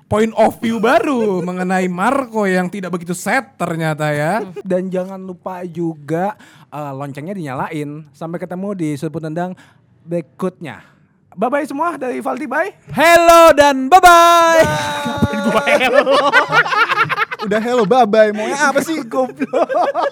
[SPEAKER 1] point of view baru mengenai Marco yang tidak begitu set ternyata ya.
[SPEAKER 4] Dan jangan lupa juga eh, loncengnya dinyalain. Sampai ketemu di sudut tendang berikutnya. Bye bye semua dari Valdi bye.
[SPEAKER 5] Hello dan bye-bye.
[SPEAKER 6] Udah hello bye bye. Maunya apa sih? Goblok.